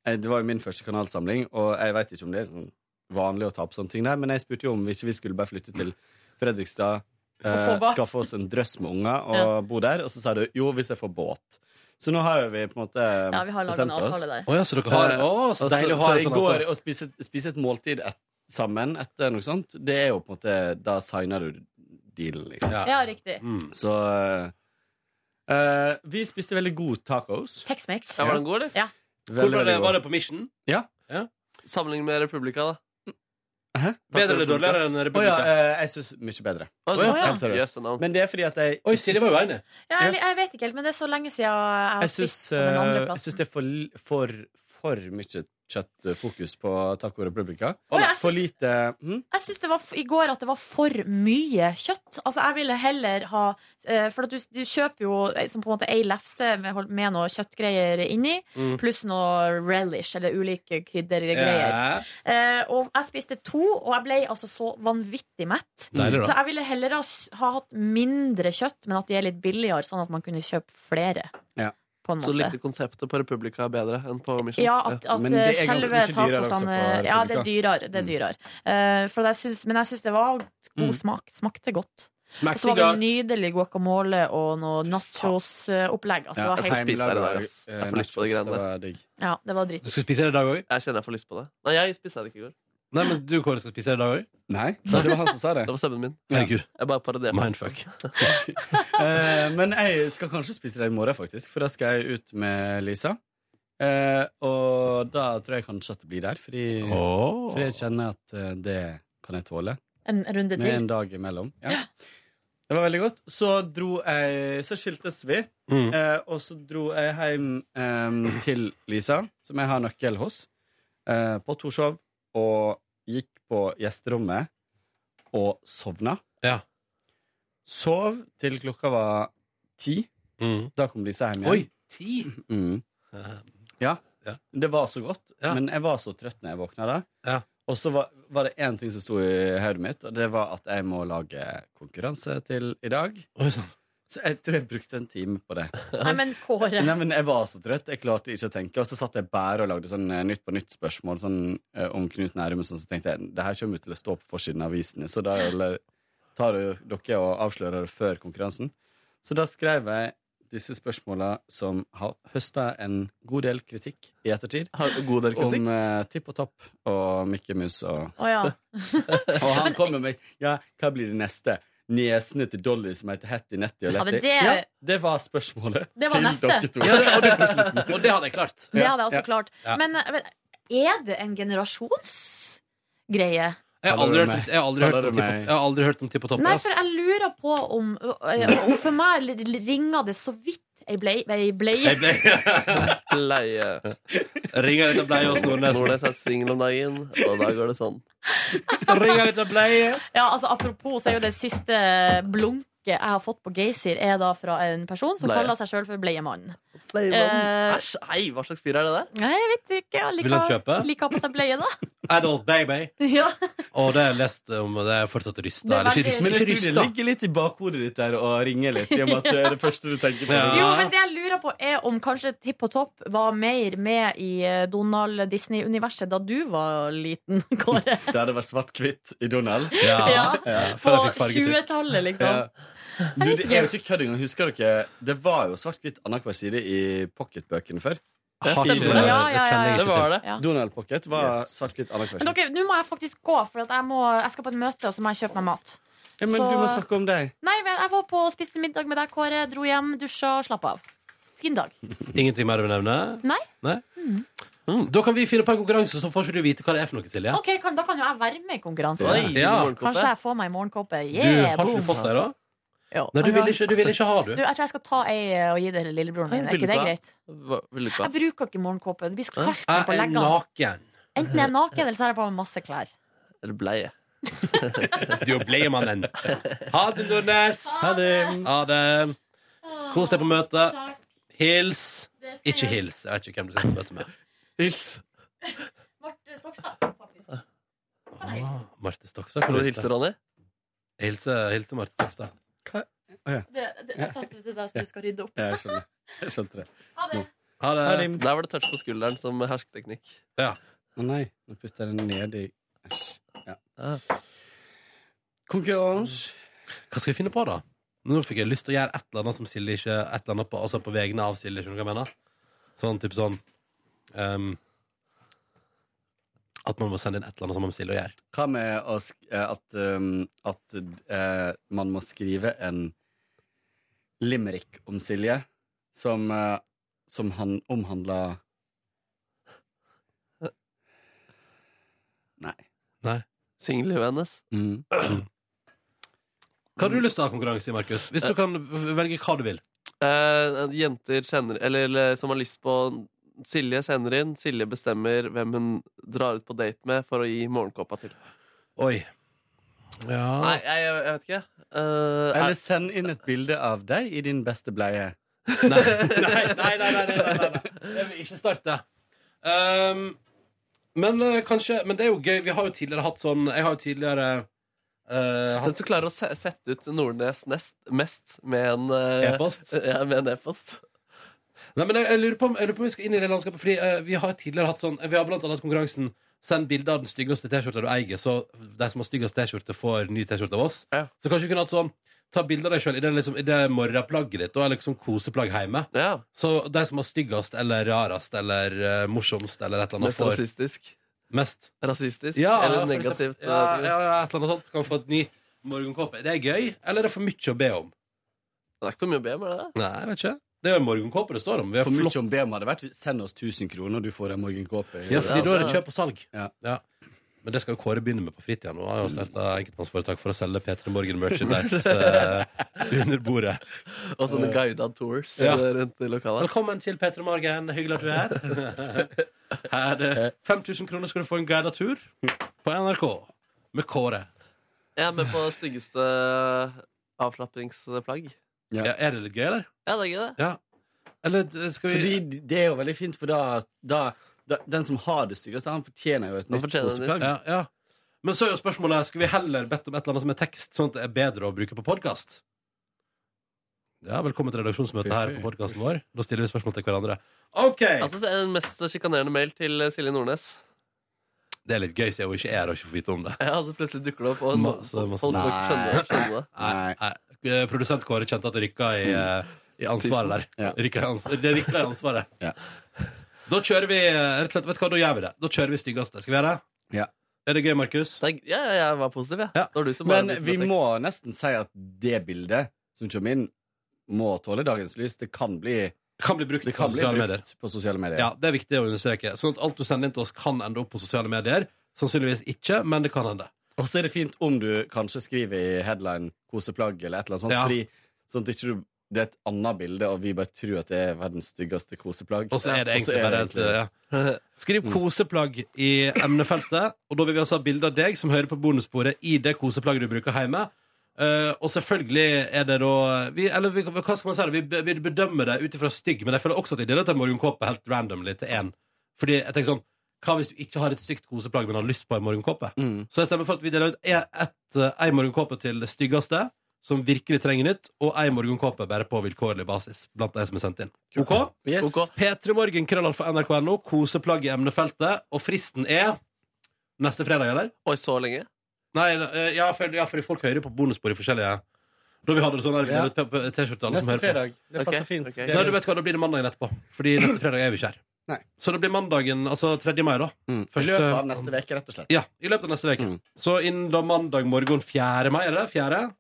G: Eh, Det var jo min første kanalsamling, og jeg veit ikke om det er sånn vanlig å ta opp sånne ting der, men jeg spurte jo om vi ikke vi skulle bare flytte til Fredrikstad, eh,
C: få barn.
G: skaffe oss en drøss med unger og bo der, og så sa du jo, hvis jeg får båt. Så nå har jo vi på en måte
C: Ja, vi har laget en
G: bestemt oss.
C: avtale der.
B: Å ja, så dere har Å, så
G: Og så,
B: deilig å ha
G: så
B: en
G: i
B: sånn
G: går
B: avtale.
G: å spise, spise et måltid et, sammen etter noe sånt, det er jo på en måte Da signer du dealen, liksom.
B: Ja.
C: Ja, riktig.
B: Mm.
G: Så eh, Vi spiste veldig god tacos.
C: Tex-Mex.
D: Ja, var den god, eller?
G: Veldig,
B: Hvordan
G: veldig
B: var
G: god.
B: det på Mission?
D: Sammenlignet med Republika, da.
G: Hæ?
B: Bedre eller dårligere enn
G: Å ja,
B: Republika?
G: eh, jeg syns mye bedre.
D: Å,
C: Å, ja.
D: Helt seriøst. Jøsse navn.
G: Men det er fordi at jeg
B: Oi, Silje var jo enig.
C: Ja, eller, jeg vet ikke helt, men det er så lenge siden jeg har
G: Jeg syns,
C: spist på den andre
G: eh, jeg
C: plassen.
G: syns det er for, l- for, for mye kjøttfokus på Taco Republica.
C: Å, jeg syns-
G: For lite hm?
C: Jeg syns det var f- i går at det var for mye kjøtt. Altså, jeg ville heller ha eh, For at du, du kjøper jo eh, som på en måte ei lefse med, hold- med noe kjøttgreier inni,
B: Mm.
C: pluss noe relish, eller ulike kryddergreier.
B: Ja.
C: Eh, og jeg spiste to, og jeg ble altså så vanvittig mett.
B: Deilig,
C: Så
B: da.
C: jeg ville heller ha, s- ha hatt mindre kjøtt, men at de er litt billigere, sånn at man kunne kjøpe flere.
G: Ja.
C: På en
D: Så
C: måte.
D: likte konseptet på Republika bedre enn på Mission.
C: Ja, at, at
G: Men det er ganske
C: selve
G: mye dyrere også
C: tacosene
G: på
C: Ja, det er dyrere. Det er
G: Mm.
C: dyrere. Eh, for jeg syns- men jeg syns det var god
G: Mm.
C: smak. Smakte godt. Og
G: Smakte
C: så var det nydelig guacamole og noe nachos-opplegg. Altså, det,
G: Ja,
C: var helt,
D: spise det der, ass.
G: eh,
D: Jeg får lyst på det
G: nachos,
D: greiene
G: var digg.
C: ja, det var dritt.
B: Du skal spise det i dag òg?
D: Jeg kjenner jeg får lyst på det. Nei, jeg spiste det ikke i går.
B: Nei, men du, Kåre, skal spise det i dag òg?
G: Nei, det var han som sa det.
D: Det var stemmen min.
B: Herregud.
D: Jeg bare parodierte.
B: Mindfuck.
G: Eh, men jeg skal kanskje spise det i morgen, faktisk, for da skal jeg ut med Lisa. Eh, og da tror jeg kanskje at det blir der, fordi,
B: Åh.
G: fordi jeg kjenner at eh, det kan jeg tåle.
C: En runde
G: Med
C: til.
G: en dag imellom. Ja. Det var veldig godt. Så dro jeg Så skiltes vi,
B: Mm.
G: eh, og så dro jeg hjem eh, til Lisa, som jeg har nøkkel hos, eh, på Torshov, og gikk på gjesterommet og sovna.
B: Ja.
G: Sov til klokka var ti.
B: Mm.
G: Da kom Lisa hjem
B: Oi,
G: igjen.
B: ti? Eh,
G: Mm. Det var så godt,
B: Ja.
G: men jeg var så trøtt når jeg våkna da.
B: Ja.
G: Og så var, var det én ting som sto i hodet mitt, og det var at jeg må lage konkurranse til i dag.
B: Oi sånn. sann.
G: Så jeg tror jeg brukte en time på det.
C: Nei, men Kåre.
G: Nei, men Jeg var så trøtt, jeg klarte ikke å tenke. Og så satt jeg bare og lagde sånn eh, Nytt på nytt-spørsmål sånn, eh, om Knut Nærum. og Sånn, så tenkte jeg det her kommer jo til å stå på forsiden av avisene, så da er det- tar jo dere og avslører det før konkurransen. Så da skrev jeg disse spørsmåla som har høsta en god del kritikk i ettertid.
D: Har du god del kritikk.
G: Om eh, Tipp og Topp og Mikke Mus og
C: Å ja.
G: Og han kommer med Ja, hva blir det neste? Niesene til Dolly som heter Hetty Netty og
C: Ja, men
G: Letty.
C: det-
G: det var spørsmålet
C: Det var
G: til
C: neste.
G: dere to.
B: Ja, det, og, det, og det hadde jeg klart.
C: Det hadde jeg også
G: Ja.
C: klart.
B: Ja.
C: Men, men er det en generasjonsgreie?
B: Jeg har aldri
G: Kaller du
B: hørt,
G: meg?
B: jeg har aldri hørt om
G: Kaller du
B: Tipp og-
G: meg?
B: jeg har aldri hørt om Tipp og Topp.
C: Nei,
B: ass.
C: for jeg lurer på om og For meg eh, ringer det så vidt Ei blei, ei blei.
B: Jeg ble,
D: Bleie.
B: ringer litt av bleie og Nordnes.
D: Nordnes er singel om dagen, og da går det sånn.
C: Eh,
B: Ringer litt av bleie.
C: Ja, altså Apropos, så er jo det siste blunket jeg har fått på Geysir, er da fra en person som
D: Bleie.
C: kaller seg sjøl for Bleiemannen.
D: Bleiemann. Æsj, ei, hva slags fyr er det der?
C: Nei, jeg vet ikke. Jeg
B: Vil han kjøpe?
C: liker å ha på seg bleie, da.
B: Adult baby.
C: Ja.
B: Og det har jeg lest om, og det er fortsatt rysta.
C: Det er
B: Eller ikke
C: veldig-
B: rysta,
G: Men jeg
B: ikke
G: tror det
B: rysta.
G: ligger litt i bakhodet ditt der og ringer litt, i og med at det er det første du tenker på.
B: Ja.
C: Jo, men det jeg lurer på, er om kanskje Tipp og Topp var mer med i eh, Donald Disney-universet da du var liten, Kåre.
G: Der det var svart-hvitt i Donald.
B: Ja.
C: Ja,
B: før
C: På
B: jeg fikk fargetrykk.
C: 20-tallet, liksom.
G: Ja. Du, det er jo ikke kødd engang. Husker dere, det var jo svart-hvitt annenhver side i pocketbøkene før.
B: Har
D: stemmer.
B: ikke-
D: Ja,
C: ja,
B: kjenner
C: ja,
B: jeg
C: ja.
B: ikke
D: Det var det.
C: Ja.
G: Donald Pocket var
B: Yes.
G: svart-hvitt annenhver
C: Men
G: side.
C: dere, nå må jeg faktisk gå, for at jeg, må, jeg skal på et møte, og så må jeg kjøpe meg mat.
G: Ja, men
C: så-
G: du må snakke om deg.
C: Nei, men jeg var på og spiste middag med deg, Kåre. Dro hjem, dusja, slapp av. Fin dag.
B: til. Ingenting mer du vil nevne?
C: Nei.
B: Mm. Da kan vi finne på en konkurranse, så får ikke du vite hva det er for noe, Silje.
C: Ok, kan, Da kan jo jeg være med i konkurransen.
D: Oi,
B: Ja.
C: Kanskje
D: morgenkåpe.
C: jeg får meg morgenkåpe.
B: Du, har
C: Yeah,
B: ikke du
C: boom.
B: fått det, da?
C: Jo.
B: Nei, du vil ikke, du vil ikke ha, du.
C: Du, jeg tror jeg skal ta ei eh, og gi det til lillebroren min.
D: Nei,
C: Er ikke det
D: vil du
C: greit?
D: Hva- Vil du ikke
C: Jeg
D: ha?
C: bruker ikke morgenkåpe. Det blir så kaldt
B: Jeg
C: på
B: er
C: leggene.
B: naken.
C: Enten jeg er naken, eller så har jeg på meg masse klær.
D: Eller bleie?
B: Du er bleiemannen. Ha det, Nordnes.
G: Ha det.
B: Ha det. Kos deg på møtet. Hils. Ikke hils. Jeg vet ikke hvem du skal på møte med.
G: Hils.
C: Marte Stokstad, faktisk.
B: Ah, Marte Stokstad.
D: Kan
B: Kan
D: du
B: du
D: hilse,
B: hilse?
D: Ronny?
B: Hilse, hilse Marte Stokstad.
C: Det, det, jeg satte det der så du skal rydde opp.
G: Ja, jeg skjønner. Jeg skjønte det.
C: Ha det.
B: Ha det.
G: Ha det.
D: Der var det touch på skulderen som hersketeknikk.
G: Å nei, nå putter jeg den ned i Æsj. Ja.
D: Ah.
G: Konkurranse.
B: Hva skal vi finne på, da? Nå fikk jeg lyst til å gjøre et eller annet som Silje ikke Et eller annet på, altså på vegne av Silje, skjønner du hva jeg mener? Sånn type sånn ehm, At man må sende inn et eller annet som man Silje å gjøre.
G: Hva med å sk eh, at, um, at eh, man må skrive en limerick om Silje som, eh, som han omhandler Nei.
D: Singellivet hennes.
G: Mm.
B: Hva har du lyst til å ha konkurranse i, Markus? Hvis
G: Eh.
B: du kan velge hva du vil.
D: Eh, jenter sender Eller eller som har lyst på Silje sender inn. Silje bestemmer hvem hun drar ut på date med for å gi morgenkåpa til.
B: Oi. Ja
D: Nei, jeg, jeg vet ikke. Eh,
G: Eller
D: er,
G: send inn et bilde av deg i din beste bleie.
B: Nei, nei, nei, nei, nei, nei, nei, nei. Jeg vil ikke starte. Ehm, men eh, kanskje Men det er jo gøy. Vi har jo tidligere hatt sånn Jeg har jo tidligere eh,
D: den
B: hatt
D: som klarer å se, sette ut Nordnes nest, mest med en eh,
B: e-post.
D: Ja, med en e-post.
B: Nei, men jeg, jeg, lurer på om, jeg lurer på om vi skal inn i det landskapet, fordi eh, vi har tidligere hatt sånn Vi har blant annet hatt konkurransen Send bilde av den styggeste T-skjorta du eier, så de som har styggest T-skjorte, får ny T-skjorte av oss.
D: Ja.
B: Så kanskje vi kunne hatt sånn Ta bilde av deg sjøl i det, liksom, i det morgenplagget ditt, da, eller liksom koseplagg hjemme.
D: Ja,
B: Så de som har styggest eller rarest eller eh, morsomst eller et eller annet,
D: Mest
B: får
D: rasistisk.
B: mest.
D: Rasistisk
B: Ja,
D: eller
B: for
D: negativt.
B: eksempel. Ja, ja, ja, et eller annet sånt. Kan få et ny morgenkåpe. Det er gøy, eller er det for mye å be om?
D: Det er ikke for mye å be om, er det det?
B: Nei, jeg vet ikke. Det er jo en morgenkåpe det står om. Vi har
G: For mye
B: flott-
G: om BM hadde vært send oss 1000 kroner, du får en morgenkåpe.
B: Ja, fordi
D: Ja,
B: da er det
D: altså-
B: kjøp og salg.
G: Ja.
B: Men det skal jo Kåre begynne med på fritida nå. Han har jo starta enkeltmannsforetak for å selge P3 Morgen Merchandise eh, under bordet.
D: Og sånne guided tours
B: Ja.
D: eh, rundt i lokalet.
B: Velkommen til P3 Morgen, hyggelig at du er her. Her er det 5000 kroner skal du få en guidet tur på NRK med Kåre.
D: Jeg er med på styggeste avslappingsplagg.
B: Ja, er det litt gøy, eller?
D: Ja, det er ikke det.
B: Ja. Eller eh, skal vi
G: Fordi det er jo veldig fint, for da, da, da Den som har det styggeste, han fortjener jo et
D: Han
G: nytt
D: fortjener det.
G: koseplagg.
B: ja, ja. Men så er jo spørsmålet Skulle vi heller bedt om et eller annet som er tekst, sånn at det er bedre å bruke på podkast? Ja, velkommen til redaksjonsmøtet her på podkasten vår. Nå stiller vi spørsmål til hverandre. OK!
D: Altså, så er Den mest sjikanerende mail til eh, Silje Nordnes.
B: Det er litt gøy, siden jeg ikke er her og ikke får vite om det.
D: Ja, altså Plutselig dukker det opp, og no-
B: Masse, masse-
D: folk må ikke skjønne det. skjønne det.
G: Nei.
B: Nei. Eh, Produsent Kåre kjente at det rykka i, eh, i ansvaret der.
G: Ja.
B: Rykka i ans det rykka i ansvaret.
G: Ja.
B: Da kjører vi eh, rett og slett, vet du hva, da gjør vi det. Da kjører vi styggeste. Skal vi gjøre det?
G: Ja.
B: Er det gøy, Markus?
D: Det er- Ja, ja, jeg var positiv, jeg.
B: Ja.
D: Det var du som bare
G: Men
D: begynte
G: vi
D: med tekst.
G: må nesten si at det bildet som kommer inn, må tåle dagens lys. Det kan bli,
B: Kan bli brukt
G: det
B: på
G: kan bli
B: sosiale
G: brukt
B: medier.
G: på sosiale medier.
B: Ja, Det er viktig å understreke. Sånn at alt du sender inn til oss, kan ende opp på sosiale medier. Sannsynligvis ikke, men det kan hende.
G: Og så er det fint om du kanskje skriver i headline 'koseplagg' eller et eller annet sånt,
B: Ja.
G: fordi, sånn at ikke du det er et annet bilde, og vi bare tror at det er verdens styggeste koseplagg.
B: Og så er det
G: Og så
B: egentlig
G: er
B: bare
G: det
B: et ja. Skriv 'koseplagg' i emnefeltet, og da vil vi altså ha bilde av deg som hører på bonussporet i det koseplagget du bruker hjemme. Eh, og selvfølgelig er det da vi, Eller vi, hva skal man si? da? Vi, be- vi bedømmer det ut ifra stygg, men jeg føler også at jeg deler ut en morgenkåpe helt randomly til én. Fordi jeg tenker sånn Hva hvis du ikke har et stygt koseplagg, men har lyst på en morgenkåpe?
G: Mm.
B: Så jeg stemmer for at vi deler ut en- ett, eh, en morgenkåpe til det styggeste, som virkelig trenger nytt, og en morgenkåpe bare på vilkårlig basis blant de som er sendt inn. OK?
G: Yes.
D: Ok.
B: P3morgen, krøllalfa, nrk.no, koseplagg i emnefeltet, og fristen er neste fredag, eller?
D: Oi, så lenge?
B: Nei, eh, ja, for, ja, for folk hører på bonusbord i forskjellige Da vi hadde det sånn her, vi
G: Ja.
B: delte ut p- p- T-skjorte til alle som hører
G: Neste
B: på.
G: fredag. Det passer
D: Ok,
G: fint.
D: ok.
G: Det er-
B: Nei, du vet hva, Da blir det mandagen etterpå. Fordi neste fredag er vi ikke her.
G: Nei.
B: Så det blir mandagen, altså 3. mai, da.
G: Mm. I
B: Første-
G: løpet av neste uke, rett og slett.
B: Ja, I løpet av neste uke.
G: Mm.
B: Så innen da mandag morgen 4. mai, er det? 4.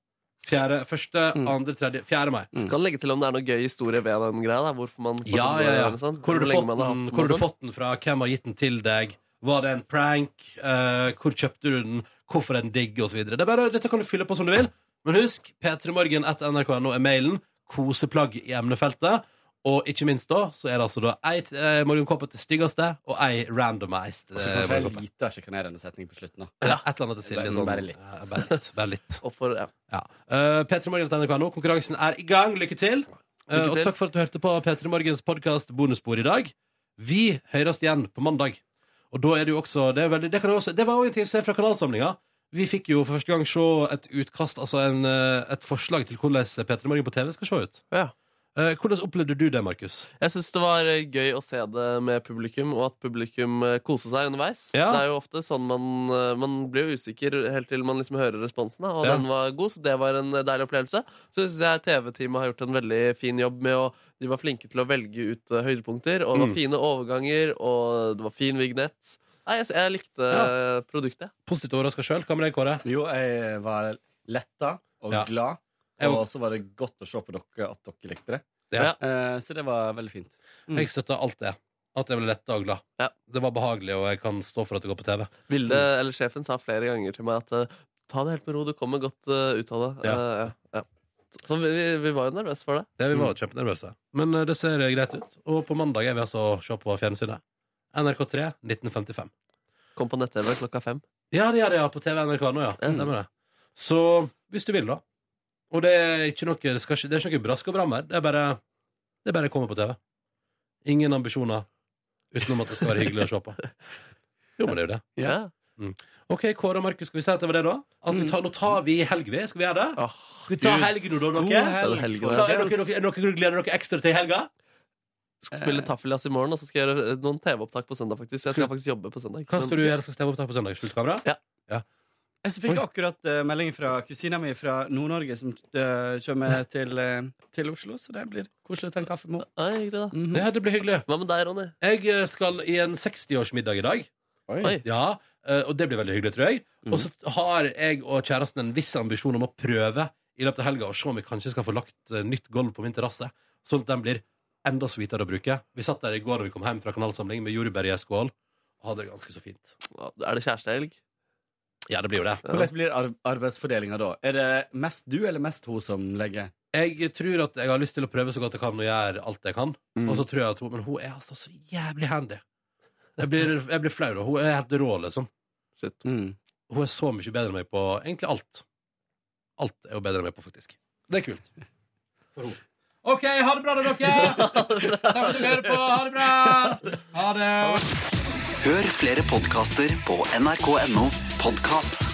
B: Fjerde, første,
G: Mm.
B: andre, tredje 4. mai.
D: Du kan legge til om det er noe gøy historie ved den greia. Da. Hvorfor man
B: Ja, ja, ja.
D: Sånn.
B: Hvor har du,
D: lenge
B: fått
D: man har hatt
B: den,
D: den
B: hvor har
D: og
B: du
D: sånn.
B: fått den fra? Hvem har gitt den til deg? Var det en prank? Eh, hvor kjøpte du den? Hvorfor er den digg? Og så videre. det er bare, dette kan du fylle på som du vil. Men husk, p3morgen etter nrk.no er mailen. Koseplagg i emnefeltet. Og ikke minst da, så er det altså da ei eh, morgenkåpe til styggeste og ei randomized.
G: Og så
B: eh,
G: kanskje jeg
B: morgenkåpe.
G: lite sjikanerende setning på slutten. da.
B: Eller et eller annet til Silje.
G: Bare-
B: Sånn.
G: bare litt.
B: Ja, bare litt. Bare litt.
D: Opp for- ja.
B: Ja. Uh, P3morgen etter nrk.no. Konkurransen er i gang. Lykke til. Eh,
D: Lykke
B: og
D: til.
B: takk for at du hørte på P3 Morgens podkast Bonusbord i dag. Vi høres igjen på mandag. Og da er det jo også Det, er veldig, det, kan jo også, det var jo en ting som er fra kanalsamlinga. Vi fikk jo for første gang se et utkast, altså en, eh, et forslag til hvordan P3 Morgen på TV skal se ut.
D: Ja.
B: Eh, hvordan opplevde du det, Markus?
D: Jeg syns det var eh, gøy å se det med publikum, og at publikum eh, koser seg underveis.
B: Ja.
D: Det er jo ofte sånn man, eh, man blir jo usikker helt til man liksom hører responsen, da, og
B: Ja.
D: den var god, så det var en eh, deilig opplevelse. Så syns jeg TV-teamet har gjort en veldig fin jobb med å De var flinke til å velge ut eh, høydepunkter, og det var
B: Mm.
D: fine overganger, og det var fin vignett. Nei, jeg, jeg likte eh, produktet.
B: Positivt overraska sjøl? Hva med deg, Kåre?
G: Jo, jeg var letta og
B: Ja.
G: glad.
B: Jeg
G: Og
B: var-
G: så var det godt å se på dere at dere likte det.
B: Ja.
G: Eh, så det var veldig fint. Mm.
B: Jeg støtter alt det. At jeg ble letta og glad.
D: Ja.
B: Det var behagelig, og jeg kan stå for at det går på TV.
D: Vilde, eller sjefen, sa flere ganger til meg at eh, ta det helt med ro, du kommer godt eh, ut av det.
B: Ja.
D: Eh, ja. Så, så vi, vi var jo nervøse for det.
B: Ja, vi var kjempenervøse. Men eh, det ser greit ut. Og på mandag er vi altså å se på fjernsynet. NRK3 1955.
D: Kom på nett-TV klokka fem.
B: Ja, det gjør det, ja. På TV NRK nå, ja.
D: Mm.
B: Stemmer det. Så hvis du vil, da. Og det er ikke noe, det skal, ikke- det er ikke noe brask og bram her. Det er bare det er bare å komme på TV. Ingen ambisjoner utenom at det skal være hyggelig å se på. Jo, men det er jo det.
G: Ja.
D: Ja.
B: OK, Kåre og Markus, skal vi si at det var det, da? At vi tar, nå tar vi helg, vi. Skal vi gjøre det?
D: Åh,
B: Skal vi ta helg nå, da, dere?
D: det er helg,
B: Hva- Er dere, er dere, er dere gleder dere ekstra til i helga?
D: skal spille taffeljazz i morgen, og så skal jeg gjøre eh, noen TV-opptak på søndag. faktisk Jeg skal faktisk jobbe på søndag.
B: Hva skal du gjøre? Skal du stemme opptak på søndag? Skjult kamera?
G: Jeg så fikk akkurat eh, melding fra kusina mi fra Nord-Norge som eh, kommer til, eh, til Oslo, så det blir koselig å ta en kaffe med henne.
D: Oi, hyggelig da
G: Mhm.
B: Ja, det blir hyggelig.
D: Hva med deg, Ronny?
B: Jeg eh, skal i en 60-årsmiddag i dag.
D: Oi.
B: Ja, eh, Og det blir veldig hyggelig, tror jeg. Og så har jeg og kjæresten en viss ambisjon om å prøve i løpet av helga og se om vi kanskje skal få lagt eh, nytt gulv på min terrasse, sånn at den blir enda sweetere å bruke. Vi satt der i går da vi kom hjem fra kanalsamling med jordbær i ei skål, og hadde det ganske så fint.
D: Er det kjærestehelg?
B: Ja, det blir jo det.
G: Hvordan blir ar arbeidsfordelinga da? Er det mest du eller mest hun som legger?
B: Jeg tror at jeg har lyst til å prøve så godt jeg kan og gjøre alt jeg kan. Og så tror jeg at hun Men hun er altså så jævlig handy. Jeg blir, jeg blir flau, da. Hun er helt rå, liksom.
D: Shit.
G: Mm.
B: Hun er så mye bedre enn meg på egentlig alt. Alt er hun bedre enn meg på, faktisk. Det er kult. For hun. OK, ha det bra, da, dere! Takk for at dere hører på. Ha det bra! Ha det.
K: Hør flere podkaster på nrk.no podkast.